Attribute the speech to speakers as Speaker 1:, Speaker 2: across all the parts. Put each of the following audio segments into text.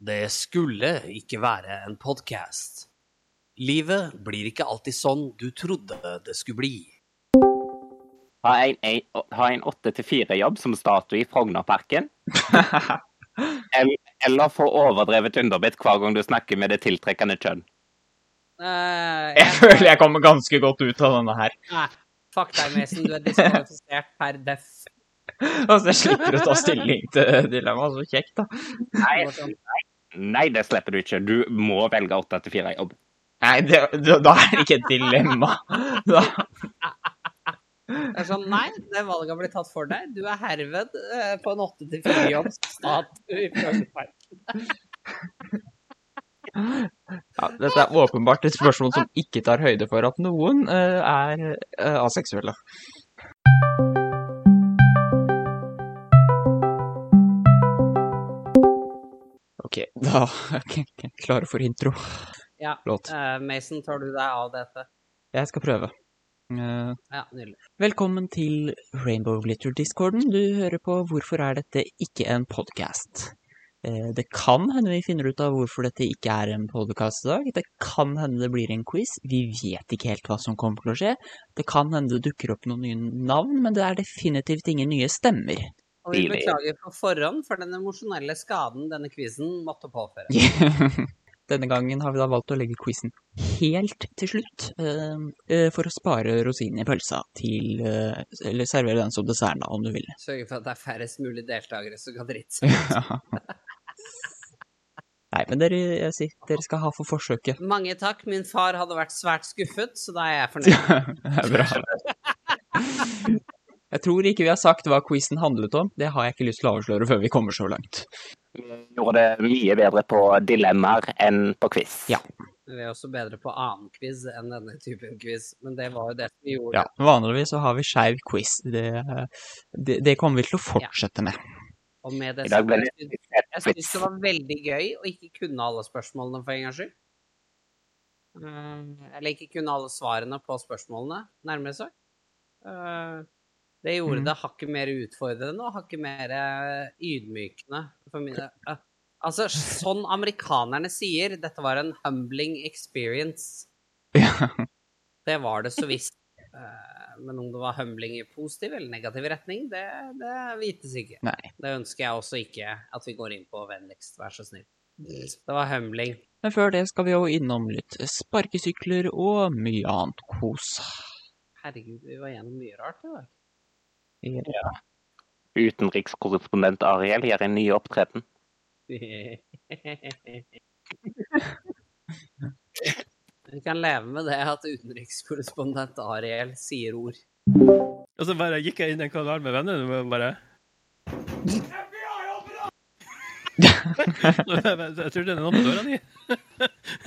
Speaker 1: Det skulle ikke være en podkast. Livet blir ikke alltid sånn du trodde det skulle bli.
Speaker 2: Ha en, en, ha en 8-4-jobb som statue i Frognerparken. Eller, eller få overdrevet underbitt hver gang du snakker med det tiltrekkende kjønn.
Speaker 3: Eh,
Speaker 4: Jeg føler jeg kommer ganske godt ut av denne her.
Speaker 3: Nei, fuck deg, Mason. Du er diskvalifisert per def.
Speaker 4: Altså, jeg slipper å ta stilling til dilemmaet. Så kjekt, da.
Speaker 2: Nei,
Speaker 3: sånn-
Speaker 2: nei, nei, det slipper du ikke. Du må velge 8-4-jobb.
Speaker 4: Nei, det, det, da er det ikke et dilemma. Da,
Speaker 3: Det er sånn, nei, det valget blir tatt for deg. Du er herved eh, på en 8-4-jobb statue i Frognerpark.
Speaker 4: ja, dette er åpenbart et spørsmål som ikke tar høyde for at noen eh, er eh, aseksuelle. OK, da er jeg ikke klar for intro.
Speaker 3: Ja.
Speaker 4: Låt.
Speaker 3: Eh, Mason, tar du deg av dette?
Speaker 4: Jeg skal prøve. Eh,
Speaker 3: Ja, nydelig.
Speaker 4: Velkommen til Rainbow Glitter-discorden. Du hører på Hvorfor er dette ikke en podkast? Det kan hende vi finner ut av hvorfor dette ikke er en podkast i dag. Det kan hende det blir en quiz. Vi vet ikke helt hva som kommer til å skje. Det kan hende det dukker opp noen nye navn, men det er definitivt ingen nye stemmer.
Speaker 3: Og vi
Speaker 2: Nydelig.
Speaker 3: beklager på forhånd for den emosjonelle skaden denne quizen måtte påføre.
Speaker 4: Denne gangen har vi da valgt å legge quizen helt til slutt, eh, eh, for å spare rosinen i pølsa til eh, Eller servere den som dessert, da, om du vil.
Speaker 3: Sørge for at det er færrest mulig deltakere som kan drite seg.
Speaker 4: Ja. Nei, men dere, jeg sier, dere skal ha for forsøket.
Speaker 3: Mange takk. Min far hadde vært svært skuffet, så da er jeg
Speaker 4: Det
Speaker 3: fornøyd.
Speaker 4: er bra. Jeg tror ikke vi har sagt hva quizen handlet om. Det har jeg ikke lyst til å avsløre før vi kommer så langt.
Speaker 2: Vi gjorde det mye bedre på dilemmaer enn på quiz.
Speaker 4: Ja.
Speaker 3: Vi er også bedre på annen quiz enn denne typen quiz, men det var jo det vi
Speaker 4: Ja,
Speaker 3: gjorde.
Speaker 4: Vanligvis så har vi skeiv quiz. Det, det, det kommer vi til å fortsette med.
Speaker 3: Og med det
Speaker 2: I dag ble det
Speaker 3: så- Jeg
Speaker 2: quiz.
Speaker 3: syns det var veldig gøy å ikke kunne alle spørsmålene for en gangs skyld. Eh, Eller ikke kunne alle svarene på spørsmålene, nærmere sagt. Eh, Det gjorde
Speaker 4: Mm.
Speaker 3: det hakket mer utfordrende og hakket mer eh, ydmykende. For min, eh, altså, sånn amerikanerne sier, dette var en humbling experience.
Speaker 4: Ja.
Speaker 3: Det var det så visst. Eh, Men om det var humbling i positiv eller negativ retning, det, det vites ikke.
Speaker 4: Nei.
Speaker 3: Det ønsker jeg også ikke at vi går inn på vennligst, vær så snill.
Speaker 5: Mm.
Speaker 3: Det var humbling.
Speaker 4: Men før det skal vi jo innom litt sparkesykler og mye annet kos.
Speaker 3: Herregud, vi var gjennom mye rart i dag.
Speaker 2: Utenrikskorrespondent Ariel gjør en ny opptreden.
Speaker 3: Vi kan leve med det at utenrikskorrespondent Ariel sier ord.
Speaker 6: Og så bare gikk jeg inn i en kanal med vennene mine og bare Jeg trodde det er noen på døra di.
Speaker 4: Øh,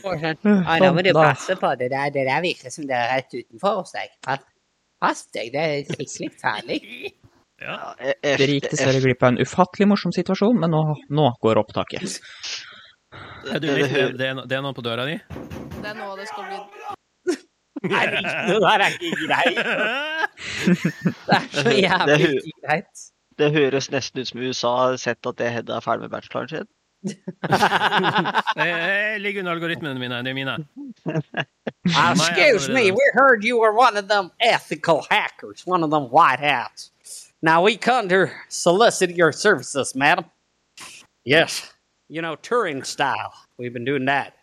Speaker 3: Ja, nå må
Speaker 5: Sånn
Speaker 3: du
Speaker 4: Da-
Speaker 3: passe på det der. Det der virker som det er rett utenfor hos deg. Pass- Pass deg, det er skikkelig farlig.
Speaker 6: Ja.
Speaker 4: Dere gikk dessverre glipp av en ufattelig morsom situasjon, men nå, nå går opptaket.
Speaker 6: Er du litt, det, er, no- det er noen på døra di?
Speaker 7: Det er nå det skal bli
Speaker 3: Det der er ikke greit. Det er så jævlig
Speaker 5: Det er
Speaker 3: ikke greit.
Speaker 5: Det høres nesten ut som USA har sett at det Hedda er ferdig med bacheloren sin.
Speaker 6: Jeg, jeg ligger under algoritmene mine. Det er mine.
Speaker 3: Uh,
Speaker 6: My
Speaker 3: excuse me,
Speaker 6: algorithm.
Speaker 3: we heard you were one of them ethical hackers, one of them white hats. Now we come to solicit your services, madam. Yes, you know, Turing style. We've been doing that.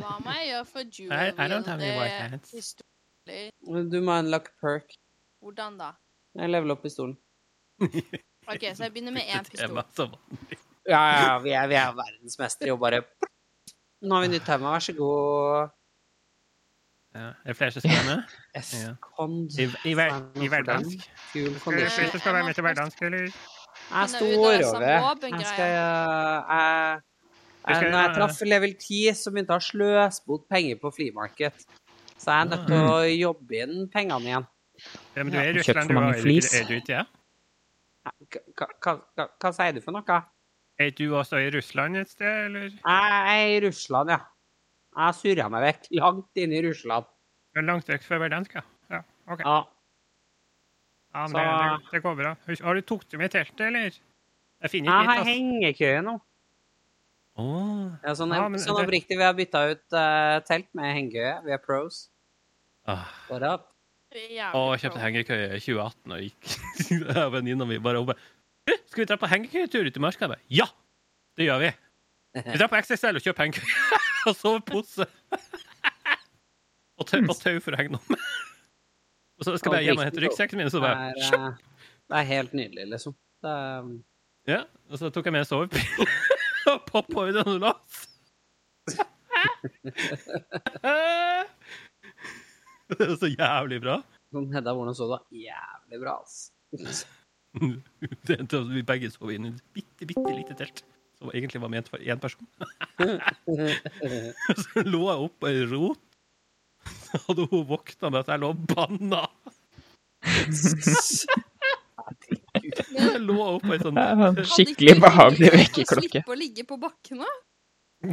Speaker 7: Hva må jeg gjøre for
Speaker 6: I-
Speaker 7: Julia?
Speaker 6: I don't have any white hands.
Speaker 7: Historie.
Speaker 3: Du må unlocke perk.
Speaker 7: Hvordan da?
Speaker 3: Jeg leveler opp pistolen.
Speaker 7: OK, så jeg begynner med én
Speaker 6: Det er
Speaker 7: pistol.
Speaker 6: bare sånn.
Speaker 3: Ja, ja, vi er, vi er verdensmestere i å bare Nå har vi nytt tema, vær så god.
Speaker 6: Ja. Er det flere som spør meg?
Speaker 3: F-kond.
Speaker 6: I, i, ver, I hverdansk?
Speaker 3: Kul
Speaker 7: det
Speaker 3: kondisjon.
Speaker 7: flere som spør meg om jeg heter
Speaker 6: hverdansk, eller?
Speaker 3: Jeg
Speaker 7: Men
Speaker 3: sto
Speaker 7: det er jo det som
Speaker 3: over. Jeg
Speaker 7: våpengreier.
Speaker 3: skal jeg,
Speaker 6: Du skal-
Speaker 3: jeg, Når jeg traff level 10, så begynte jeg å sløse bort penger på flymarked. Så jeg er nødt
Speaker 6: Mm.
Speaker 3: til å jobbe inn pengene igjen.
Speaker 6: Ja, men du er i
Speaker 4: Ja, kjøpt
Speaker 6: Russland,
Speaker 4: for
Speaker 6: du
Speaker 4: mange
Speaker 6: er, er,
Speaker 4: flis.
Speaker 6: er du ikke det?
Speaker 3: Hva, hva, hva, hva sier du for noe?
Speaker 6: Er du også i Russland et sted, eller?
Speaker 3: Jeg er i Russland, ja. Jeg surra meg vekk langt inn i Russland.
Speaker 6: Du er Langt vekk fra hverdansk, ja. Ja, OK.
Speaker 3: Ja.
Speaker 6: Ja, men
Speaker 3: Så-
Speaker 6: det, det, det går bra. Husk- Har du tatt med teltet, eller? Jeg finner
Speaker 3: Jeg
Speaker 6: ikke altså.
Speaker 3: har
Speaker 6: mitt, ass.
Speaker 3: hengekøye nå.
Speaker 6: Å,
Speaker 3: Ja, sånn,
Speaker 6: Ja, men
Speaker 3: sånn
Speaker 6: det-
Speaker 3: oppriktig, vi har bytta ut eh, telt med hengekøye. Vi er pros.
Speaker 6: Ah.
Speaker 3: What up?
Speaker 7: Jævlig
Speaker 6: Og jeg kjøpte hengekøye i 2018 og gikk av venninna mi bare oppe. Skal vi dra på hengekøyetur ut i marka? Jeg bare, Ja! Det gjør vi. Vi drar på XXL og kjøper hengekøye og sovepose. og tau, og tau for å henge noe med. Og så skal jeg bare hjem og hente ryggsekken min, og så
Speaker 3: Det
Speaker 6: bare
Speaker 3: er,
Speaker 6: kjapp!
Speaker 3: eh, det er helt nydelig, liksom. Det er,
Speaker 6: Ja, og så tok jeg med en sovepille og poppa ut en lås. det var så jævlig bra.
Speaker 3: sånn, Hedda, hvordan så det? Jævlig bra, ass.
Speaker 6: Det endte opp at vi begge sov inne i et bitte, bitte lite telt. Som egentlig var ment for én person. Så lå jeg oppå ei rot. Så hadde hun våkna med at jeg lå og banna. Jeg lå oppå ei sånn
Speaker 4: Det er en skikkelig behagelig vekkerklokke.
Speaker 7: Slippe å ligge på bakken da?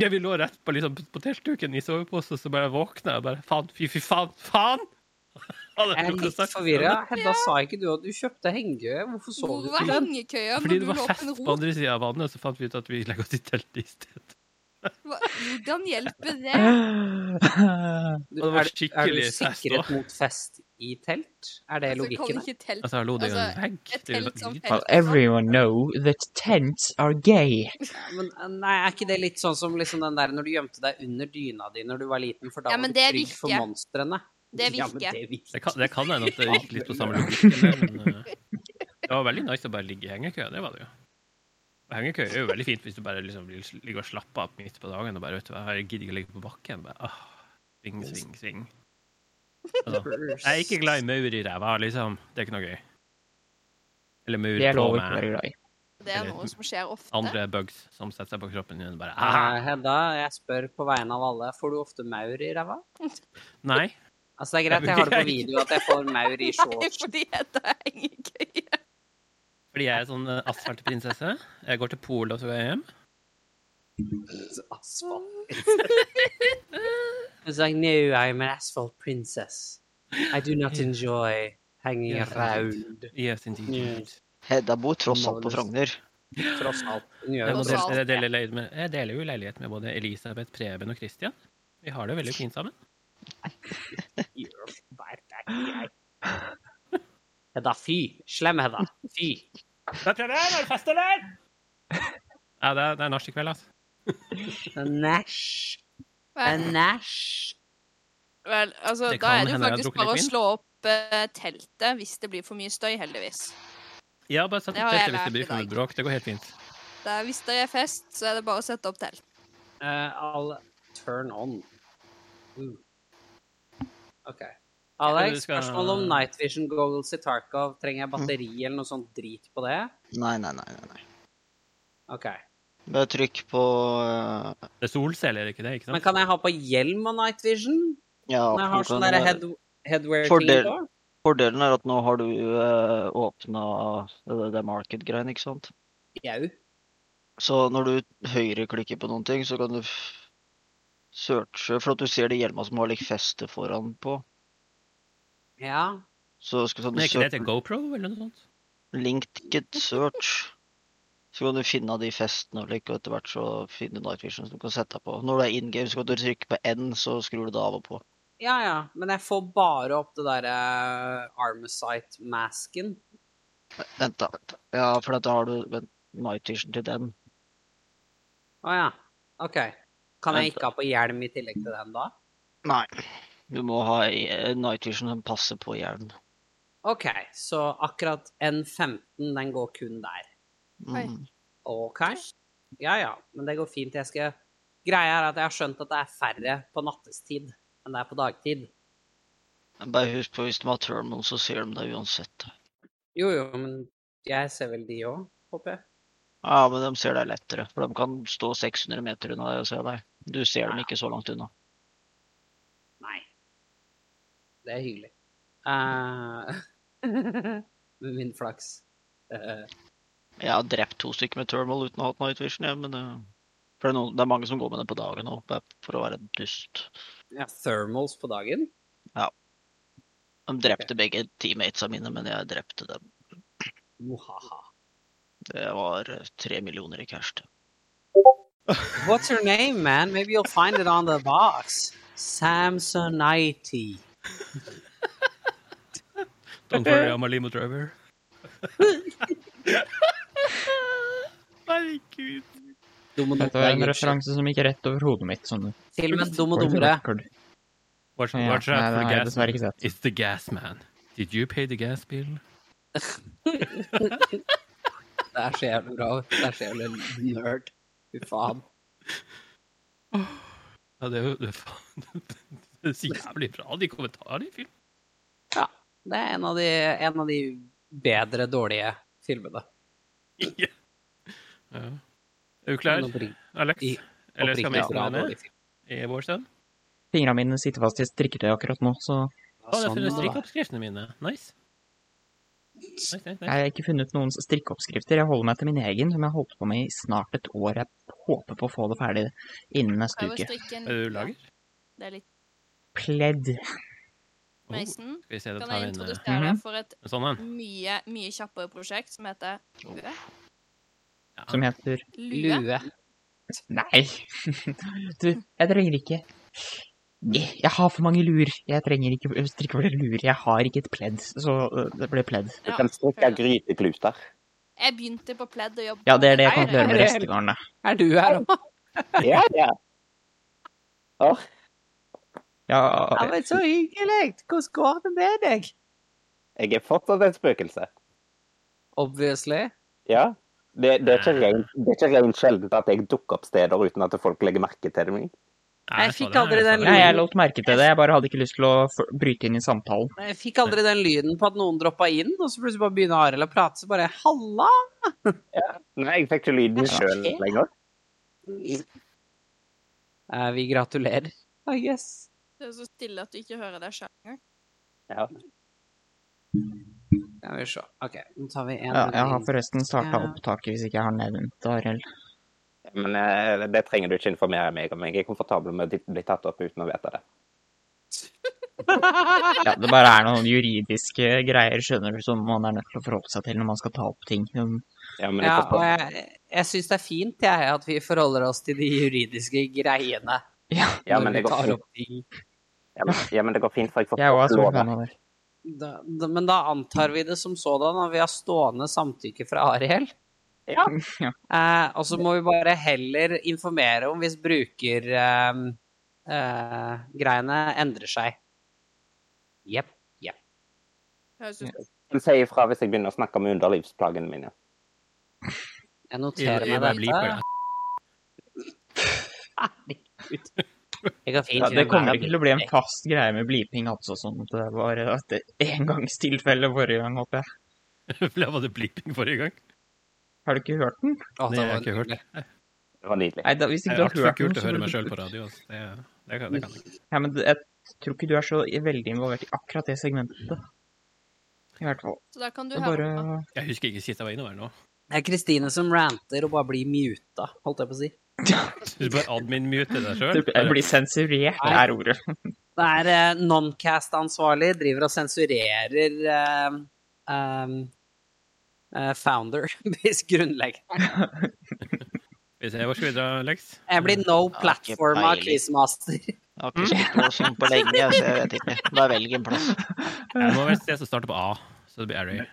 Speaker 6: ja, Vi lå rett på, liksom, på teltduken i sovepose, så bare våkna jeg og bare Faen, fy, fy faen, faen! Hadde
Speaker 3: Jeg er
Speaker 6: ikke
Speaker 3: litt
Speaker 6: sagt det.
Speaker 3: forvirra. Hedda, sa ikke du at du kjøpte hengekøye? Hvorfor så
Speaker 7: Hvor
Speaker 3: du
Speaker 7: var
Speaker 3: ikke den?
Speaker 7: hengekøya
Speaker 6: Fordi
Speaker 7: når
Speaker 6: det
Speaker 7: du
Speaker 6: var
Speaker 7: lå på
Speaker 6: fest på
Speaker 7: en ro?
Speaker 6: andre sida av vannet, så fant vi ut at vi legger oss i teltet i stedet.
Speaker 7: Hva- Hvordan hjelper det?
Speaker 3: Du,
Speaker 6: Og det
Speaker 3: er, du-
Speaker 6: var
Speaker 3: er du
Speaker 6: skikkelig fest
Speaker 3: sikret
Speaker 6: også.
Speaker 3: mot fest i telt? Er det
Speaker 7: Altså, kan
Speaker 3: logikken? her?
Speaker 7: ikke telt
Speaker 6: Altså, jeg lå det jo
Speaker 7: Altså,
Speaker 6: en vegg.
Speaker 7: et
Speaker 6: Det er jo
Speaker 7: telt som
Speaker 6: lyd-
Speaker 7: fest.
Speaker 4: Well, everyone know that tents are gay.
Speaker 3: Men, eh, nei, er ikke det litt sånn som liksom den der når du gjemte deg under dyna di når du var liten, for da
Speaker 7: Ja,
Speaker 3: var
Speaker 7: men
Speaker 3: du
Speaker 7: det
Speaker 3: trygg for
Speaker 7: virker.
Speaker 3: monstrene?
Speaker 7: Det
Speaker 3: Ja, men
Speaker 7: virker.
Speaker 3: det virker.
Speaker 6: Det kan, det kan hende at det gikk litt på samme logikk. Men eh, det var veldig nice å bare ligge i hengekøye. Det var det jo. Og Hengekøye er jo veldig fint hvis du bare liksom vil s- ligge og slappe av midt på dagen og bare vet du, hva, jeg gidder ikke å ligge på bakken. Bare, ah, sving, sving, sving. Altså, jeg er ikke glad i maur i ræva, liksom. Det er ikke noe gøy. Eller maur
Speaker 4: Det er
Speaker 6: på
Speaker 4: lov å ikke
Speaker 6: med
Speaker 4: være glad i.
Speaker 7: Det er noe som skjer ofte.
Speaker 6: andre bugs som setter seg på kroppen din. Bare, ah,
Speaker 3: Eh, Hedda, jeg spør på vegne av alle, får du ofte maur i ræva?
Speaker 6: nei.
Speaker 3: Altså, det er greit, jeg har det på video at jeg får maur i
Speaker 7: Nei,
Speaker 3: shorts.
Speaker 7: fordi det er hengekøye.
Speaker 6: Fordi jeg er sånn eh, asfaltprinsesse. Jeg går til polet, og så går jeg hjem.
Speaker 3: Asfalt. It's like, no, I'm an asphalt princess. I do not enjoy hanging
Speaker 6: Yes,
Speaker 3: around.
Speaker 6: Yes, indeed.
Speaker 3: Yes.
Speaker 5: Hedda bor tross alt på Frogner.
Speaker 3: Tross alt. Hun gjør jo
Speaker 6: Jeg, må
Speaker 7: Og
Speaker 3: det.
Speaker 7: så-
Speaker 6: dele, jeg, deler, leilighet med, jeg deler jo leilighet med både Elisabeth, Preben og Christian. Vi har det veldig fint sammen.
Speaker 3: Vær deg grei. Hedda, fy. Slem Hedda. Fy.
Speaker 6: Ja, det er, det er nach i kveld, altså.
Speaker 3: Næsj.
Speaker 7: Vel,
Speaker 3: Næsj.
Speaker 7: vel, altså,
Speaker 6: Det
Speaker 7: da
Speaker 6: kan
Speaker 7: er det jo
Speaker 6: hende jeg har drukket
Speaker 7: faktisk
Speaker 6: litt
Speaker 7: bare å
Speaker 6: vin.
Speaker 7: slå opp eh, teltet hvis det blir for mye støy, heldigvis.
Speaker 6: Ja, bare sett
Speaker 7: Det
Speaker 6: opp
Speaker 7: har jeg
Speaker 6: teltet hvis det blir
Speaker 7: lært i
Speaker 6: for mye
Speaker 7: dag.
Speaker 6: bråk. Det går helt fint.
Speaker 7: Det er, hvis det er fest, så er det bare å sette opp telt.
Speaker 3: Eh, I'll turn on. Ooh. OK.
Speaker 6: du
Speaker 3: Alex,
Speaker 6: skal-
Speaker 3: spørsmål om night vision goggles i Tarkov. Trenger jeg batteri
Speaker 5: Mm.
Speaker 3: eller noe sånt drit på det?
Speaker 5: Nei, nei, nei. nei, nei.
Speaker 3: OK.
Speaker 5: Bare trykk på øh,
Speaker 6: Det er solceller, ikke det? ikke
Speaker 3: Men
Speaker 6: sant?
Speaker 3: kan jeg ha på hjelm og night vision?
Speaker 5: Ja,
Speaker 3: Når jeg har
Speaker 5: du
Speaker 3: sånn
Speaker 5: kan-
Speaker 3: derre head, headwear
Speaker 5: Fordel.
Speaker 3: ting på?
Speaker 5: Fordelen er at nå har du uh, åpna det, det market-greiene, ikke sant.
Speaker 3: Jau.
Speaker 5: Så når du høyreklikker på noen ting, så kan du f- searche For at du ser de hjelma som har litt feste foran på.
Speaker 3: Ja.
Speaker 5: Så skal sånn,
Speaker 6: Men er
Speaker 5: du
Speaker 6: ikke det til
Speaker 5: søke
Speaker 6: GoPro eller noe sånt?
Speaker 5: linked search. Så kan du finne de festene og like, og etter hvert så finne night vision som du kan sette deg på. Når du er in game, så kan du trykke på N, så skrur du det av og på.
Speaker 3: Ja, ja. Men jeg får bare opp det eh, derre Armosite-masken.
Speaker 5: Vent, da. vent da. Ja, for da har du vent, night vision til den.
Speaker 3: Å ja. OK. Kan jeg
Speaker 5: Vent.
Speaker 3: ikke ha på hjelm i tillegg til den da?
Speaker 5: Nei. Du må ha eh, night vision som passer på hjelmen.
Speaker 3: OK, så akkurat N15, den går kun der.
Speaker 7: Oi.
Speaker 5: Mm.
Speaker 3: OK? Ja ja, men det går fint. Jeg skal Greia er at jeg har skjønt at det er færre på nattestid enn det er på dagtid.
Speaker 5: Men Mm. Bare husk på hvis de har thermal, så ser de deg uansett.
Speaker 3: Jo jo, men jeg ser vel de òg, håper jeg.
Speaker 5: Ja, men de ser deg lettere, for de kan stå 600 meter unna deg og se deg. Du ser dem ikke så langt unna.
Speaker 3: Nei. Det er hyggelig. Eh, med min flaks. Eh,
Speaker 5: Jeg har drept to stykker med thermal uten å ha hatt night vision, jeg, men det, for det, er noen, det er mange som går med det på dagen òg, for å være dust.
Speaker 3: ja, thermals på dagen.
Speaker 5: De drepte begge teammatesa mine, men jeg drepte dem.
Speaker 3: Mohaha.
Speaker 5: Det var eh, tre millioner i cash. til.
Speaker 3: What's her name, man? Maybe you'll find it on the box. Samsonite.
Speaker 6: Don't worry, I'm a limo driver. Herregud.
Speaker 3: Dum og
Speaker 4: Dette var en
Speaker 3: dumme.
Speaker 4: referanse som gikk rett over hodet mitt. Sånn.
Speaker 3: Filmen Dum og
Speaker 4: World
Speaker 3: dummere.
Speaker 4: Record.
Speaker 6: Watch,
Speaker 4: Ja,
Speaker 6: watch
Speaker 4: nei, det
Speaker 6: out for the
Speaker 4: har jeg
Speaker 6: gas.
Speaker 4: dessverre ikke sett.
Speaker 6: It's the gas man. Did you pay the gas bill?
Speaker 3: Det er så jævlig bra. Det er så jævlig nerd. Fy faen.
Speaker 6: Ja, det er jo det, er faen. Det er så jævlig bra, de kommentarene i filmen.
Speaker 3: Det er en av de, en av de bedre dårlige filmene.
Speaker 6: Ja. Er du klar, Alex?
Speaker 3: I-
Speaker 6: Eller skal
Speaker 3: Oppriktig
Speaker 6: vi
Speaker 3: bra
Speaker 6: snakke med
Speaker 3: dårlig film.
Speaker 6: i vår stund?
Speaker 4: Fingrene mine sitter fast i strikketøy akkurat nå, så
Speaker 6: Å, jeg har
Speaker 3: Sånn,
Speaker 6: funnet
Speaker 3: da.
Speaker 6: strikkeoppskriftene mine. Nice. Nice, nice,
Speaker 4: jeg
Speaker 6: nice.
Speaker 4: har ikke funnet noen strikkeoppskrifter. Jeg holder meg til min egen, som jeg har holdt på med i snart et år. Jeg håper på å få det ferdig innen neste
Speaker 7: Prøv å
Speaker 4: uke.
Speaker 7: strikke en
Speaker 6: Er du lager?
Speaker 7: Det er litt
Speaker 4: Pledd.
Speaker 6: Oh, skal
Speaker 7: meisen.
Speaker 6: vi se, da
Speaker 7: Kan
Speaker 6: tar
Speaker 7: jeg
Speaker 6: vi en, eh,
Speaker 7: introdusere
Speaker 4: Mhm.
Speaker 7: deg for et
Speaker 6: en sånn en.
Speaker 7: mye, mye kjappere prosjekt som heter Lue?
Speaker 4: som heter
Speaker 7: Lue.
Speaker 3: Lue.
Speaker 4: Nei, du, jeg trenger ikke Nei, Jeg har for mange lur. Jeg trenger ikke strikke flere luer. Jeg har ikke et pledd, så øh, det ble pledd.
Speaker 2: Du
Speaker 7: Ja.
Speaker 2: kan strikke grytekluter.
Speaker 7: Jeg begynte på pledd og jobbet
Speaker 4: Ja, det er det jeg
Speaker 7: Nei,
Speaker 4: kommer til å gjøre med
Speaker 3: det er-
Speaker 4: restegarnet.
Speaker 3: Er du her òg?
Speaker 2: Ja, ja. Åh,
Speaker 4: Ja,
Speaker 3: Ja, men så hyggelig! Hvordan går det med deg?
Speaker 2: jeg er fortsatt et spøkelse.
Speaker 3: Obviously.
Speaker 2: Ja. Det, det er ikke rent- det er ikke rent sjeldent at jeg dukker opp steder uten at folk legger merke til meg.
Speaker 6: Nei,
Speaker 3: Jeg
Speaker 6: sa
Speaker 3: fikk
Speaker 6: det,
Speaker 3: aldri
Speaker 6: sa
Speaker 3: den
Speaker 6: det.
Speaker 4: Nei, jeg lot merke til det. Jeg bare hadde ikke lyst til å f- bryte inn i samtalen.
Speaker 3: Men Jeg fikk aldri den lyden på at noen droppa inn, og så plutselig bare begynner Arild å prate, så bare halla!
Speaker 2: Nei, jeg fikk ikke lyden sjøl lenger.
Speaker 3: Eh, vi gratulerer, I guess.
Speaker 7: Det er så stille at du ikke hører deg sjøl engang.
Speaker 2: Ja.
Speaker 3: Skal vi se. OK, nå tar vi en
Speaker 4: Ja, jeg har
Speaker 3: runde
Speaker 4: forresten starta opptaket, hvis ikke jeg har nevnt det, Arild.
Speaker 2: Men eh, det trenger du ikke informere meg om. Jeg er komfortabel med å bli tatt opp uten å vite det.
Speaker 4: Ja, det bare er noen juridiske greier, skjønner du, som man er nødt til å forholde seg til når man skal ta opp ting. Um,
Speaker 2: Ja, men
Speaker 3: inn.
Speaker 2: jeg
Speaker 3: Ja, og
Speaker 2: forstår.
Speaker 3: jeg, jeg syns det er fint jeg, at vi forholder oss til de juridiske greiene
Speaker 4: Ja,
Speaker 2: Ja,
Speaker 3: når
Speaker 2: men
Speaker 3: vi
Speaker 2: det går
Speaker 3: tar
Speaker 2: fint.
Speaker 3: opp ting.
Speaker 2: Ja, men- Ja, men det går fint, for jeg
Speaker 4: jeg òg er
Speaker 2: forstår
Speaker 4: svært
Speaker 2: loven.
Speaker 4: fan av det.
Speaker 3: Da, da, men da antar vi det som sådan, at vi har stående samtykke fra Ariel.
Speaker 2: Ja.
Speaker 4: Ja.
Speaker 3: Eh, og så må vi bare heller informere om hvis brukergreiene eh, eh, greiene endrer seg. Jepp.
Speaker 7: Høres ut
Speaker 2: Si ifra hvis jeg begynner å snakke om underlivsplagene mine.
Speaker 3: Jeg
Speaker 6: Jeg-
Speaker 3: noterer
Speaker 6: jeg
Speaker 3: meg
Speaker 6: bare bleeper
Speaker 3: dette.
Speaker 6: det.
Speaker 3: Jeg kan fint
Speaker 4: Ja, det
Speaker 3: gjøre
Speaker 4: kommer
Speaker 3: meg
Speaker 4: ikke til å bli en fast greie med bliping, altså, sånn at det var et engangstilfelle forrige gang, håper jeg.
Speaker 6: Ble- Var det bleeping forrige gang?
Speaker 4: Har du ikke hørt den?
Speaker 3: Å, det
Speaker 6: Det har jeg
Speaker 3: var
Speaker 6: ikke hørt.
Speaker 3: nydelig.
Speaker 2: Det var nydelig.
Speaker 4: Nei, da, hvis
Speaker 6: Det
Speaker 4: ikke
Speaker 6: er
Speaker 4: du
Speaker 6: altfor
Speaker 4: har hørt den,
Speaker 6: kult å høre meg
Speaker 4: burde
Speaker 6: sjøl
Speaker 4: du-
Speaker 6: på radio. ass. Det, det, kan, det kan jeg ikke.
Speaker 4: Ja, men jeg tror ikke du er så veldig involvert i akkurat det segmentet. I hvert fall.
Speaker 7: Så da kan du
Speaker 4: Det er
Speaker 7: høre på.
Speaker 4: bare
Speaker 6: Jeg husker ikke sist jeg var inne her nå.
Speaker 3: Det er Kristine som ranter og bare blir muta, holdt jeg på å si.
Speaker 6: Du bare admin-mute deg sjøl.
Speaker 4: Det blir sensurert, det er ordet.
Speaker 3: Det er eh, Noncast-ansvarlig driver og sensurerer eh, eh, eh, Founder, hvis grunnleggeren.
Speaker 6: Skal vi se, Hvor skal vi dra, Lex?
Speaker 3: Jeg blir no
Speaker 5: Ja, ikke
Speaker 3: platform av
Speaker 5: peiling.
Speaker 3: quizmaster.
Speaker 5: Jeg har
Speaker 3: Mm.
Speaker 5: ikke spilt noe sånt på lenge, så jeg vet ikke. Bare velg en plass.
Speaker 6: Det må være et sted som starter på A. Så det blir Array.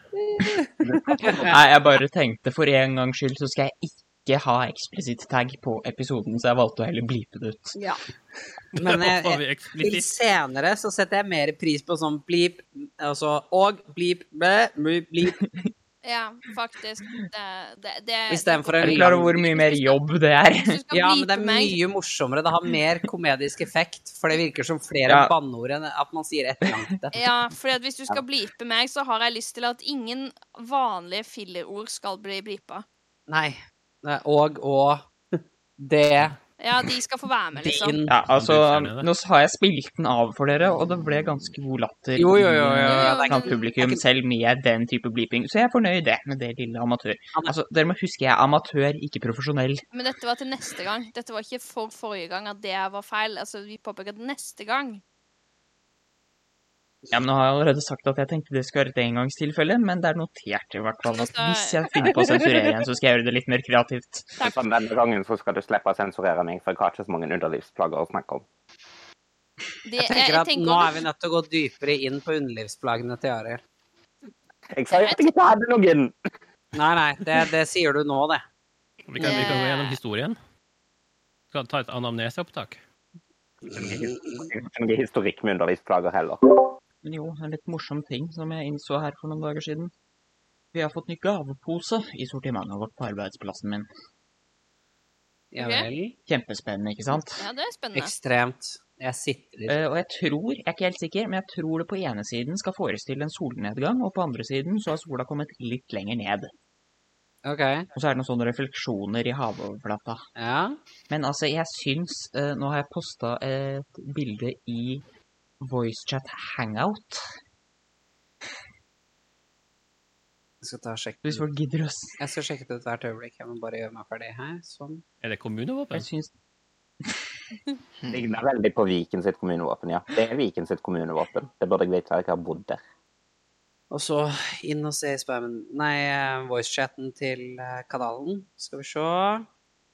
Speaker 4: Nei, jeg bare tenkte for en gangs skyld så skal jeg ikke ha eksplisitt tag på episoden, så jeg valgte å heller blipe det ut.
Speaker 3: Ja. Men jeg, jeg, til
Speaker 6: jeg,
Speaker 3: senere så setter jeg mer pris på sånn bleep, altså og bleep, bæ, mu- bleep,
Speaker 7: Ja, faktisk. Det, det, det
Speaker 3: istedenfor
Speaker 4: Er
Speaker 3: en
Speaker 4: du
Speaker 3: lang
Speaker 4: klar over hvor mye mer jobb det er?
Speaker 7: Hvis du skal
Speaker 3: Ja, men det
Speaker 7: bleepe
Speaker 3: er
Speaker 7: meg,
Speaker 3: mye morsommere. Det har mer komedisk effekt, for det virker som flere
Speaker 4: Ja.
Speaker 3: banneord enn at man sier etterlangte.
Speaker 7: Ja, for hvis du skal bleepe meg, så har jeg lyst til at ingen vanlige fillerord skal bli bleepa.
Speaker 3: Nei. Det er Og, og, det,
Speaker 7: Ja, de skal få være med, liksom.
Speaker 3: din
Speaker 4: Ja, altså,
Speaker 6: Kan du fjerne det?
Speaker 4: nå har jeg spilt den av for dere, og det ble ganske god latter
Speaker 3: Jo, jo, jo, jo,
Speaker 4: i-
Speaker 3: jo,
Speaker 7: det er ikke-
Speaker 4: blant publikum,
Speaker 3: det er ikke-
Speaker 4: selv med den type bleeping. Så jeg er fornøyd det, med det lille amatør.
Speaker 3: Han er-
Speaker 4: Altså, dere må huske, jeg er amatør, ikke profesjonell.
Speaker 7: Men dette var til neste gang. Dette var ikke for forrige gang at det var feil. Altså, vi påpeker at neste gang
Speaker 4: Ja, men nå har jeg allerede sagt at jeg tenkte det skulle være et engangstilfelle, men det er notert i hvert fall at hvis jeg finner på å sensurere igjen, så skal jeg gjøre det litt mer kreativt.
Speaker 7: Takk.
Speaker 2: Sånn, denne gangen så skal du slippe å sensurere meg, for jeg har ikke så mange underlivsplager å snakke om.
Speaker 7: Det,
Speaker 3: Jeg tenker at nå
Speaker 7: om-
Speaker 3: er vi nødt til å gå dypere inn på underlivsplagene til Arild.
Speaker 2: Jeg sa jo at jeg ikke hadde noen!
Speaker 3: Nei, nei, det, det sier du nå, det.
Speaker 6: Vi kan, vi kan gå gjennom historien. Skal ta et anamneseopptak.
Speaker 2: Ikke noe historikk med underlivsplager heller.
Speaker 4: Men jo, en litt morsom ting som jeg innså her for noen dager siden. Vi har fått ny gavepose i sortimentet vårt på arbeidsplassen min.
Speaker 3: Ja
Speaker 7: Ok.
Speaker 3: vel.
Speaker 4: Kjempespennende, ikke sant?
Speaker 7: Ja, det er spennende.
Speaker 3: Ekstremt. Jeg sitter
Speaker 4: Eh, og jeg tror, jeg er ikke helt sikker, men jeg tror det på ene siden skal forestille en solnedgang, og på andre siden så har sola kommet litt lenger ned.
Speaker 3: OK.
Speaker 4: Og så er det noen sånne refleksjoner i havoverflata.
Speaker 3: Ja.
Speaker 4: Men altså, jeg syns eh, Nå har jeg posta et bilde i VoiceChat Hangout.
Speaker 3: Jeg skal ta og sjekke.
Speaker 4: Hvis folk gidder å s-
Speaker 3: Jeg skal sjekke det ut hvert øyeblikk. Jeg må bare gjøre meg ferdig her. Sånn.
Speaker 6: Er det kommunevåpen?
Speaker 4: Jeg syns
Speaker 2: Ligner veldig på Viken sitt kommunevåpen, ja. Det er Viken sitt kommunevåpen. Det burde jeg vite, jeg har bodd der.
Speaker 3: Og så inn og se i spammen Nei, eh, voicechatten til eh, kanalen. Skal vi se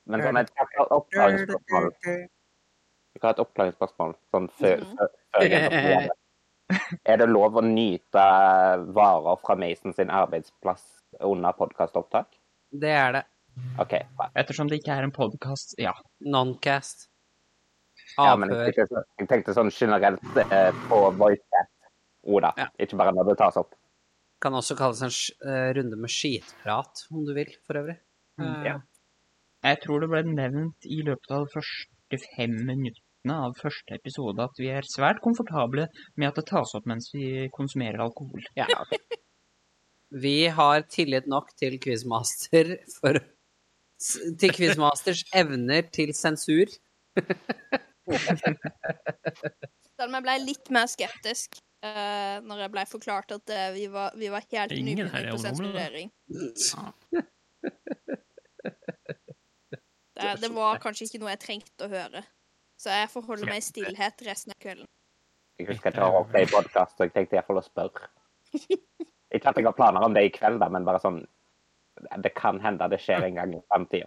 Speaker 2: Men sånn et oppklaringsspørsmål Jeg har et oppklaringsspørsmål. Sånn før,
Speaker 7: Mhm.
Speaker 2: før, før jeg går på det. Er det lov å nyte eh, varer fra Mason sin arbeidsplass under podkastopptak?
Speaker 3: Det er det.
Speaker 2: OK. bra.
Speaker 4: Ettersom det ikke er en podkast Ja.
Speaker 3: Noncast.
Speaker 2: Ja, men
Speaker 3: Avhør.
Speaker 2: jeg tenkte, sånn- jeg tenkte sånn generelt eh, på voicechat. Oda,
Speaker 3: Ja.
Speaker 2: ikke bare når det tas opp.
Speaker 3: Kan også kalles en sk- eh, runde med skitprat, om du vil, for øvrig. Eh,
Speaker 2: Mm, ja.
Speaker 4: Jeg tror det ble nevnt i løpet av de første fem minuttene av første episode at vi er svært komfortable med at det tas opp mens vi konsumerer alkohol.
Speaker 3: Vi har tillit nok til Quizmaster for s- Til Quizmasters evner til sensur.
Speaker 7: Selv om jeg ble litt mer skeptisk eh, når jeg ble forklart at eh, vi, var, vi var helt
Speaker 6: Det er ingen her
Speaker 7: nybegynner
Speaker 6: i
Speaker 7: på
Speaker 6: området.
Speaker 7: sensurering. Det, det var kanskje ikke noe jeg trengte å høre. Så jeg forholder meg i stillhet resten av kvelden.
Speaker 2: Jeg husker ikke å ha det i podkast, så jeg tenkte iallfall å spørre. Ikke at jeg har planer om det i kveld, da, men bare sånn Det kan hende det skjer en gang i framtida.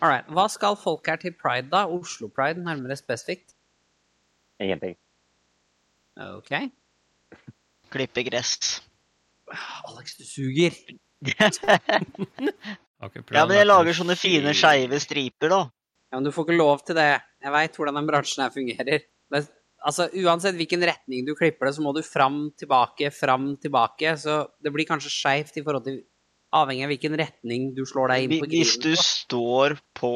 Speaker 3: All right. Hva skal folk her til pride, da? Oslo Pride, nærmere spesifikt?
Speaker 2: Ingenting.
Speaker 3: OK.
Speaker 5: Klippe gress.
Speaker 3: Alex, du suger.
Speaker 6: Okay,
Speaker 5: Ja, men jeg lager sånne fine, skeive striper, da.
Speaker 3: Ja, men du får ikke lov til det. Jeg veit hvordan den bransjen her fungerer. Det, altså, Uansett hvilken retning du klipper det, så må du fram, tilbake, fram, tilbake. Så det blir kanskje skeivt i forhold til Avhengig av hvilken retning du slår deg inn på
Speaker 5: Hvis du står på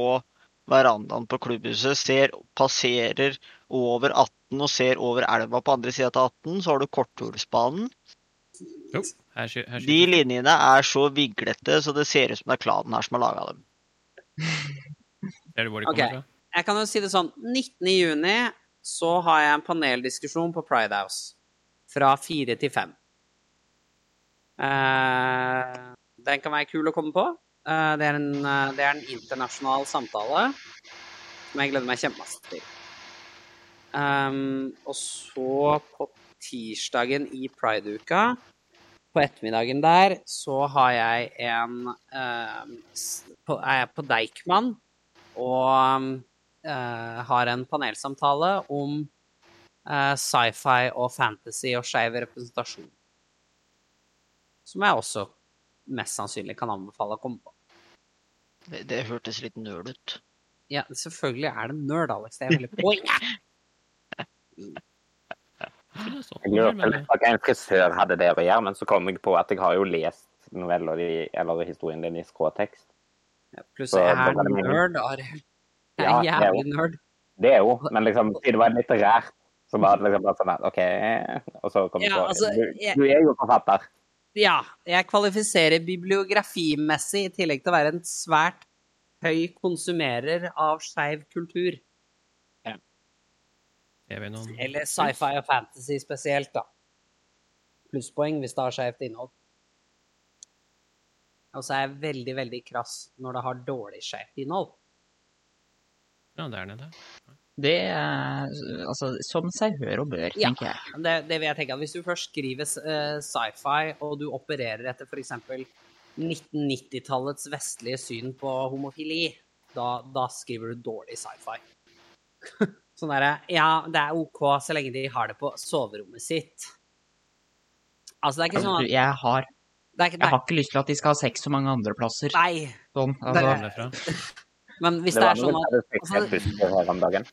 Speaker 5: verandaen på klubbhuset, ser, passerer over 18 og ser over elva på andre sida av 18, så har du Korthulsbanen.
Speaker 6: Her, sky- her,
Speaker 5: De
Speaker 6: skyter-
Speaker 5: linjene er så viglete så det ser ut som det er klanen her som har laga dem.
Speaker 6: ser du hvor de
Speaker 3: Ok.
Speaker 6: kommer fra?
Speaker 3: Jeg kan jo si det sånn. 19. juni så har jeg en paneldiskusjon på Pride House. Fra fire til fem. Eh, den kan være kul å komme på. Eh, det, er en, eh, det er en internasjonal samtale som jeg gleder meg kjempemasse til. Ehm, og så på tirsdagen i Pride-uka, på ettermiddagen der, så har jeg en ehm, s- på, Er jeg på Deichman og um, eh, har en panelsamtale om eh, sci-fi og fantasy og skeiv representasjon. Som jeg også mest sannsynlig kan anbefale å komme på.
Speaker 5: Det, det hørtes litt nerd ut.
Speaker 3: Ja, selvfølgelig er det nerd, Alex. Det er veldig poenget.
Speaker 6: Ikke det, sånn.
Speaker 2: Jeg lurer på
Speaker 6: Men,
Speaker 2: litt hva en frisør hadde der å gjøre, men så kom jeg på at jeg har jo lest noveller i, eller historien din i skråtekst.
Speaker 3: Pluss
Speaker 2: Så
Speaker 3: jeg
Speaker 2: da
Speaker 3: er
Speaker 2: var det meningen.
Speaker 3: nerd, Arild. Jeg
Speaker 2: Ja,
Speaker 3: er
Speaker 2: det er
Speaker 3: jævlig nerd.
Speaker 2: Det er jo, men liksom, siden det var litterært, så var det liksom bare sånn at OK Og så kom jeg
Speaker 3: Ja,
Speaker 2: på
Speaker 3: altså,
Speaker 2: du,
Speaker 3: jeg-
Speaker 2: du er jo forfatter.
Speaker 3: Ja, jeg kvalifiserer bibliografimessig i tillegg til å være en svært høy konsumerer av skeiv kultur.
Speaker 6: er vi noen-
Speaker 3: Eller sci-fi og fantasy spesielt, da. Plusspoeng hvis det har skjevt innhold. Og så er jeg veldig, veldig krass når det har dårlig skjevt innhold.
Speaker 6: Ja, der nede.
Speaker 4: Det er altså som seg hør og bør,
Speaker 3: Ja.
Speaker 4: tenker jeg.
Speaker 3: Det, det vil jeg tenke at Hvis du først skriver eh, sci-fi, og du opererer etter f.eks. 1990-tallets vestlige syn på homofili, da, da skriver du dårlig sci-fi. sånn derre Ja, det er OK så lenge de har det på soverommet sitt. Altså, det er ikke sånn at
Speaker 4: Jeg har,
Speaker 3: det er, ikke- det
Speaker 4: jeg
Speaker 3: er,
Speaker 4: har ikke lyst til at de skal ha sex så mange andre plasser.
Speaker 3: Nei.
Speaker 4: Sånn,
Speaker 6: Hvor
Speaker 4: altså,
Speaker 6: kom det fra?
Speaker 3: Men hvis
Speaker 2: Det
Speaker 3: det
Speaker 2: var
Speaker 3: er sånn
Speaker 2: noen
Speaker 3: at
Speaker 2: hadde sex i en busk her om dagen.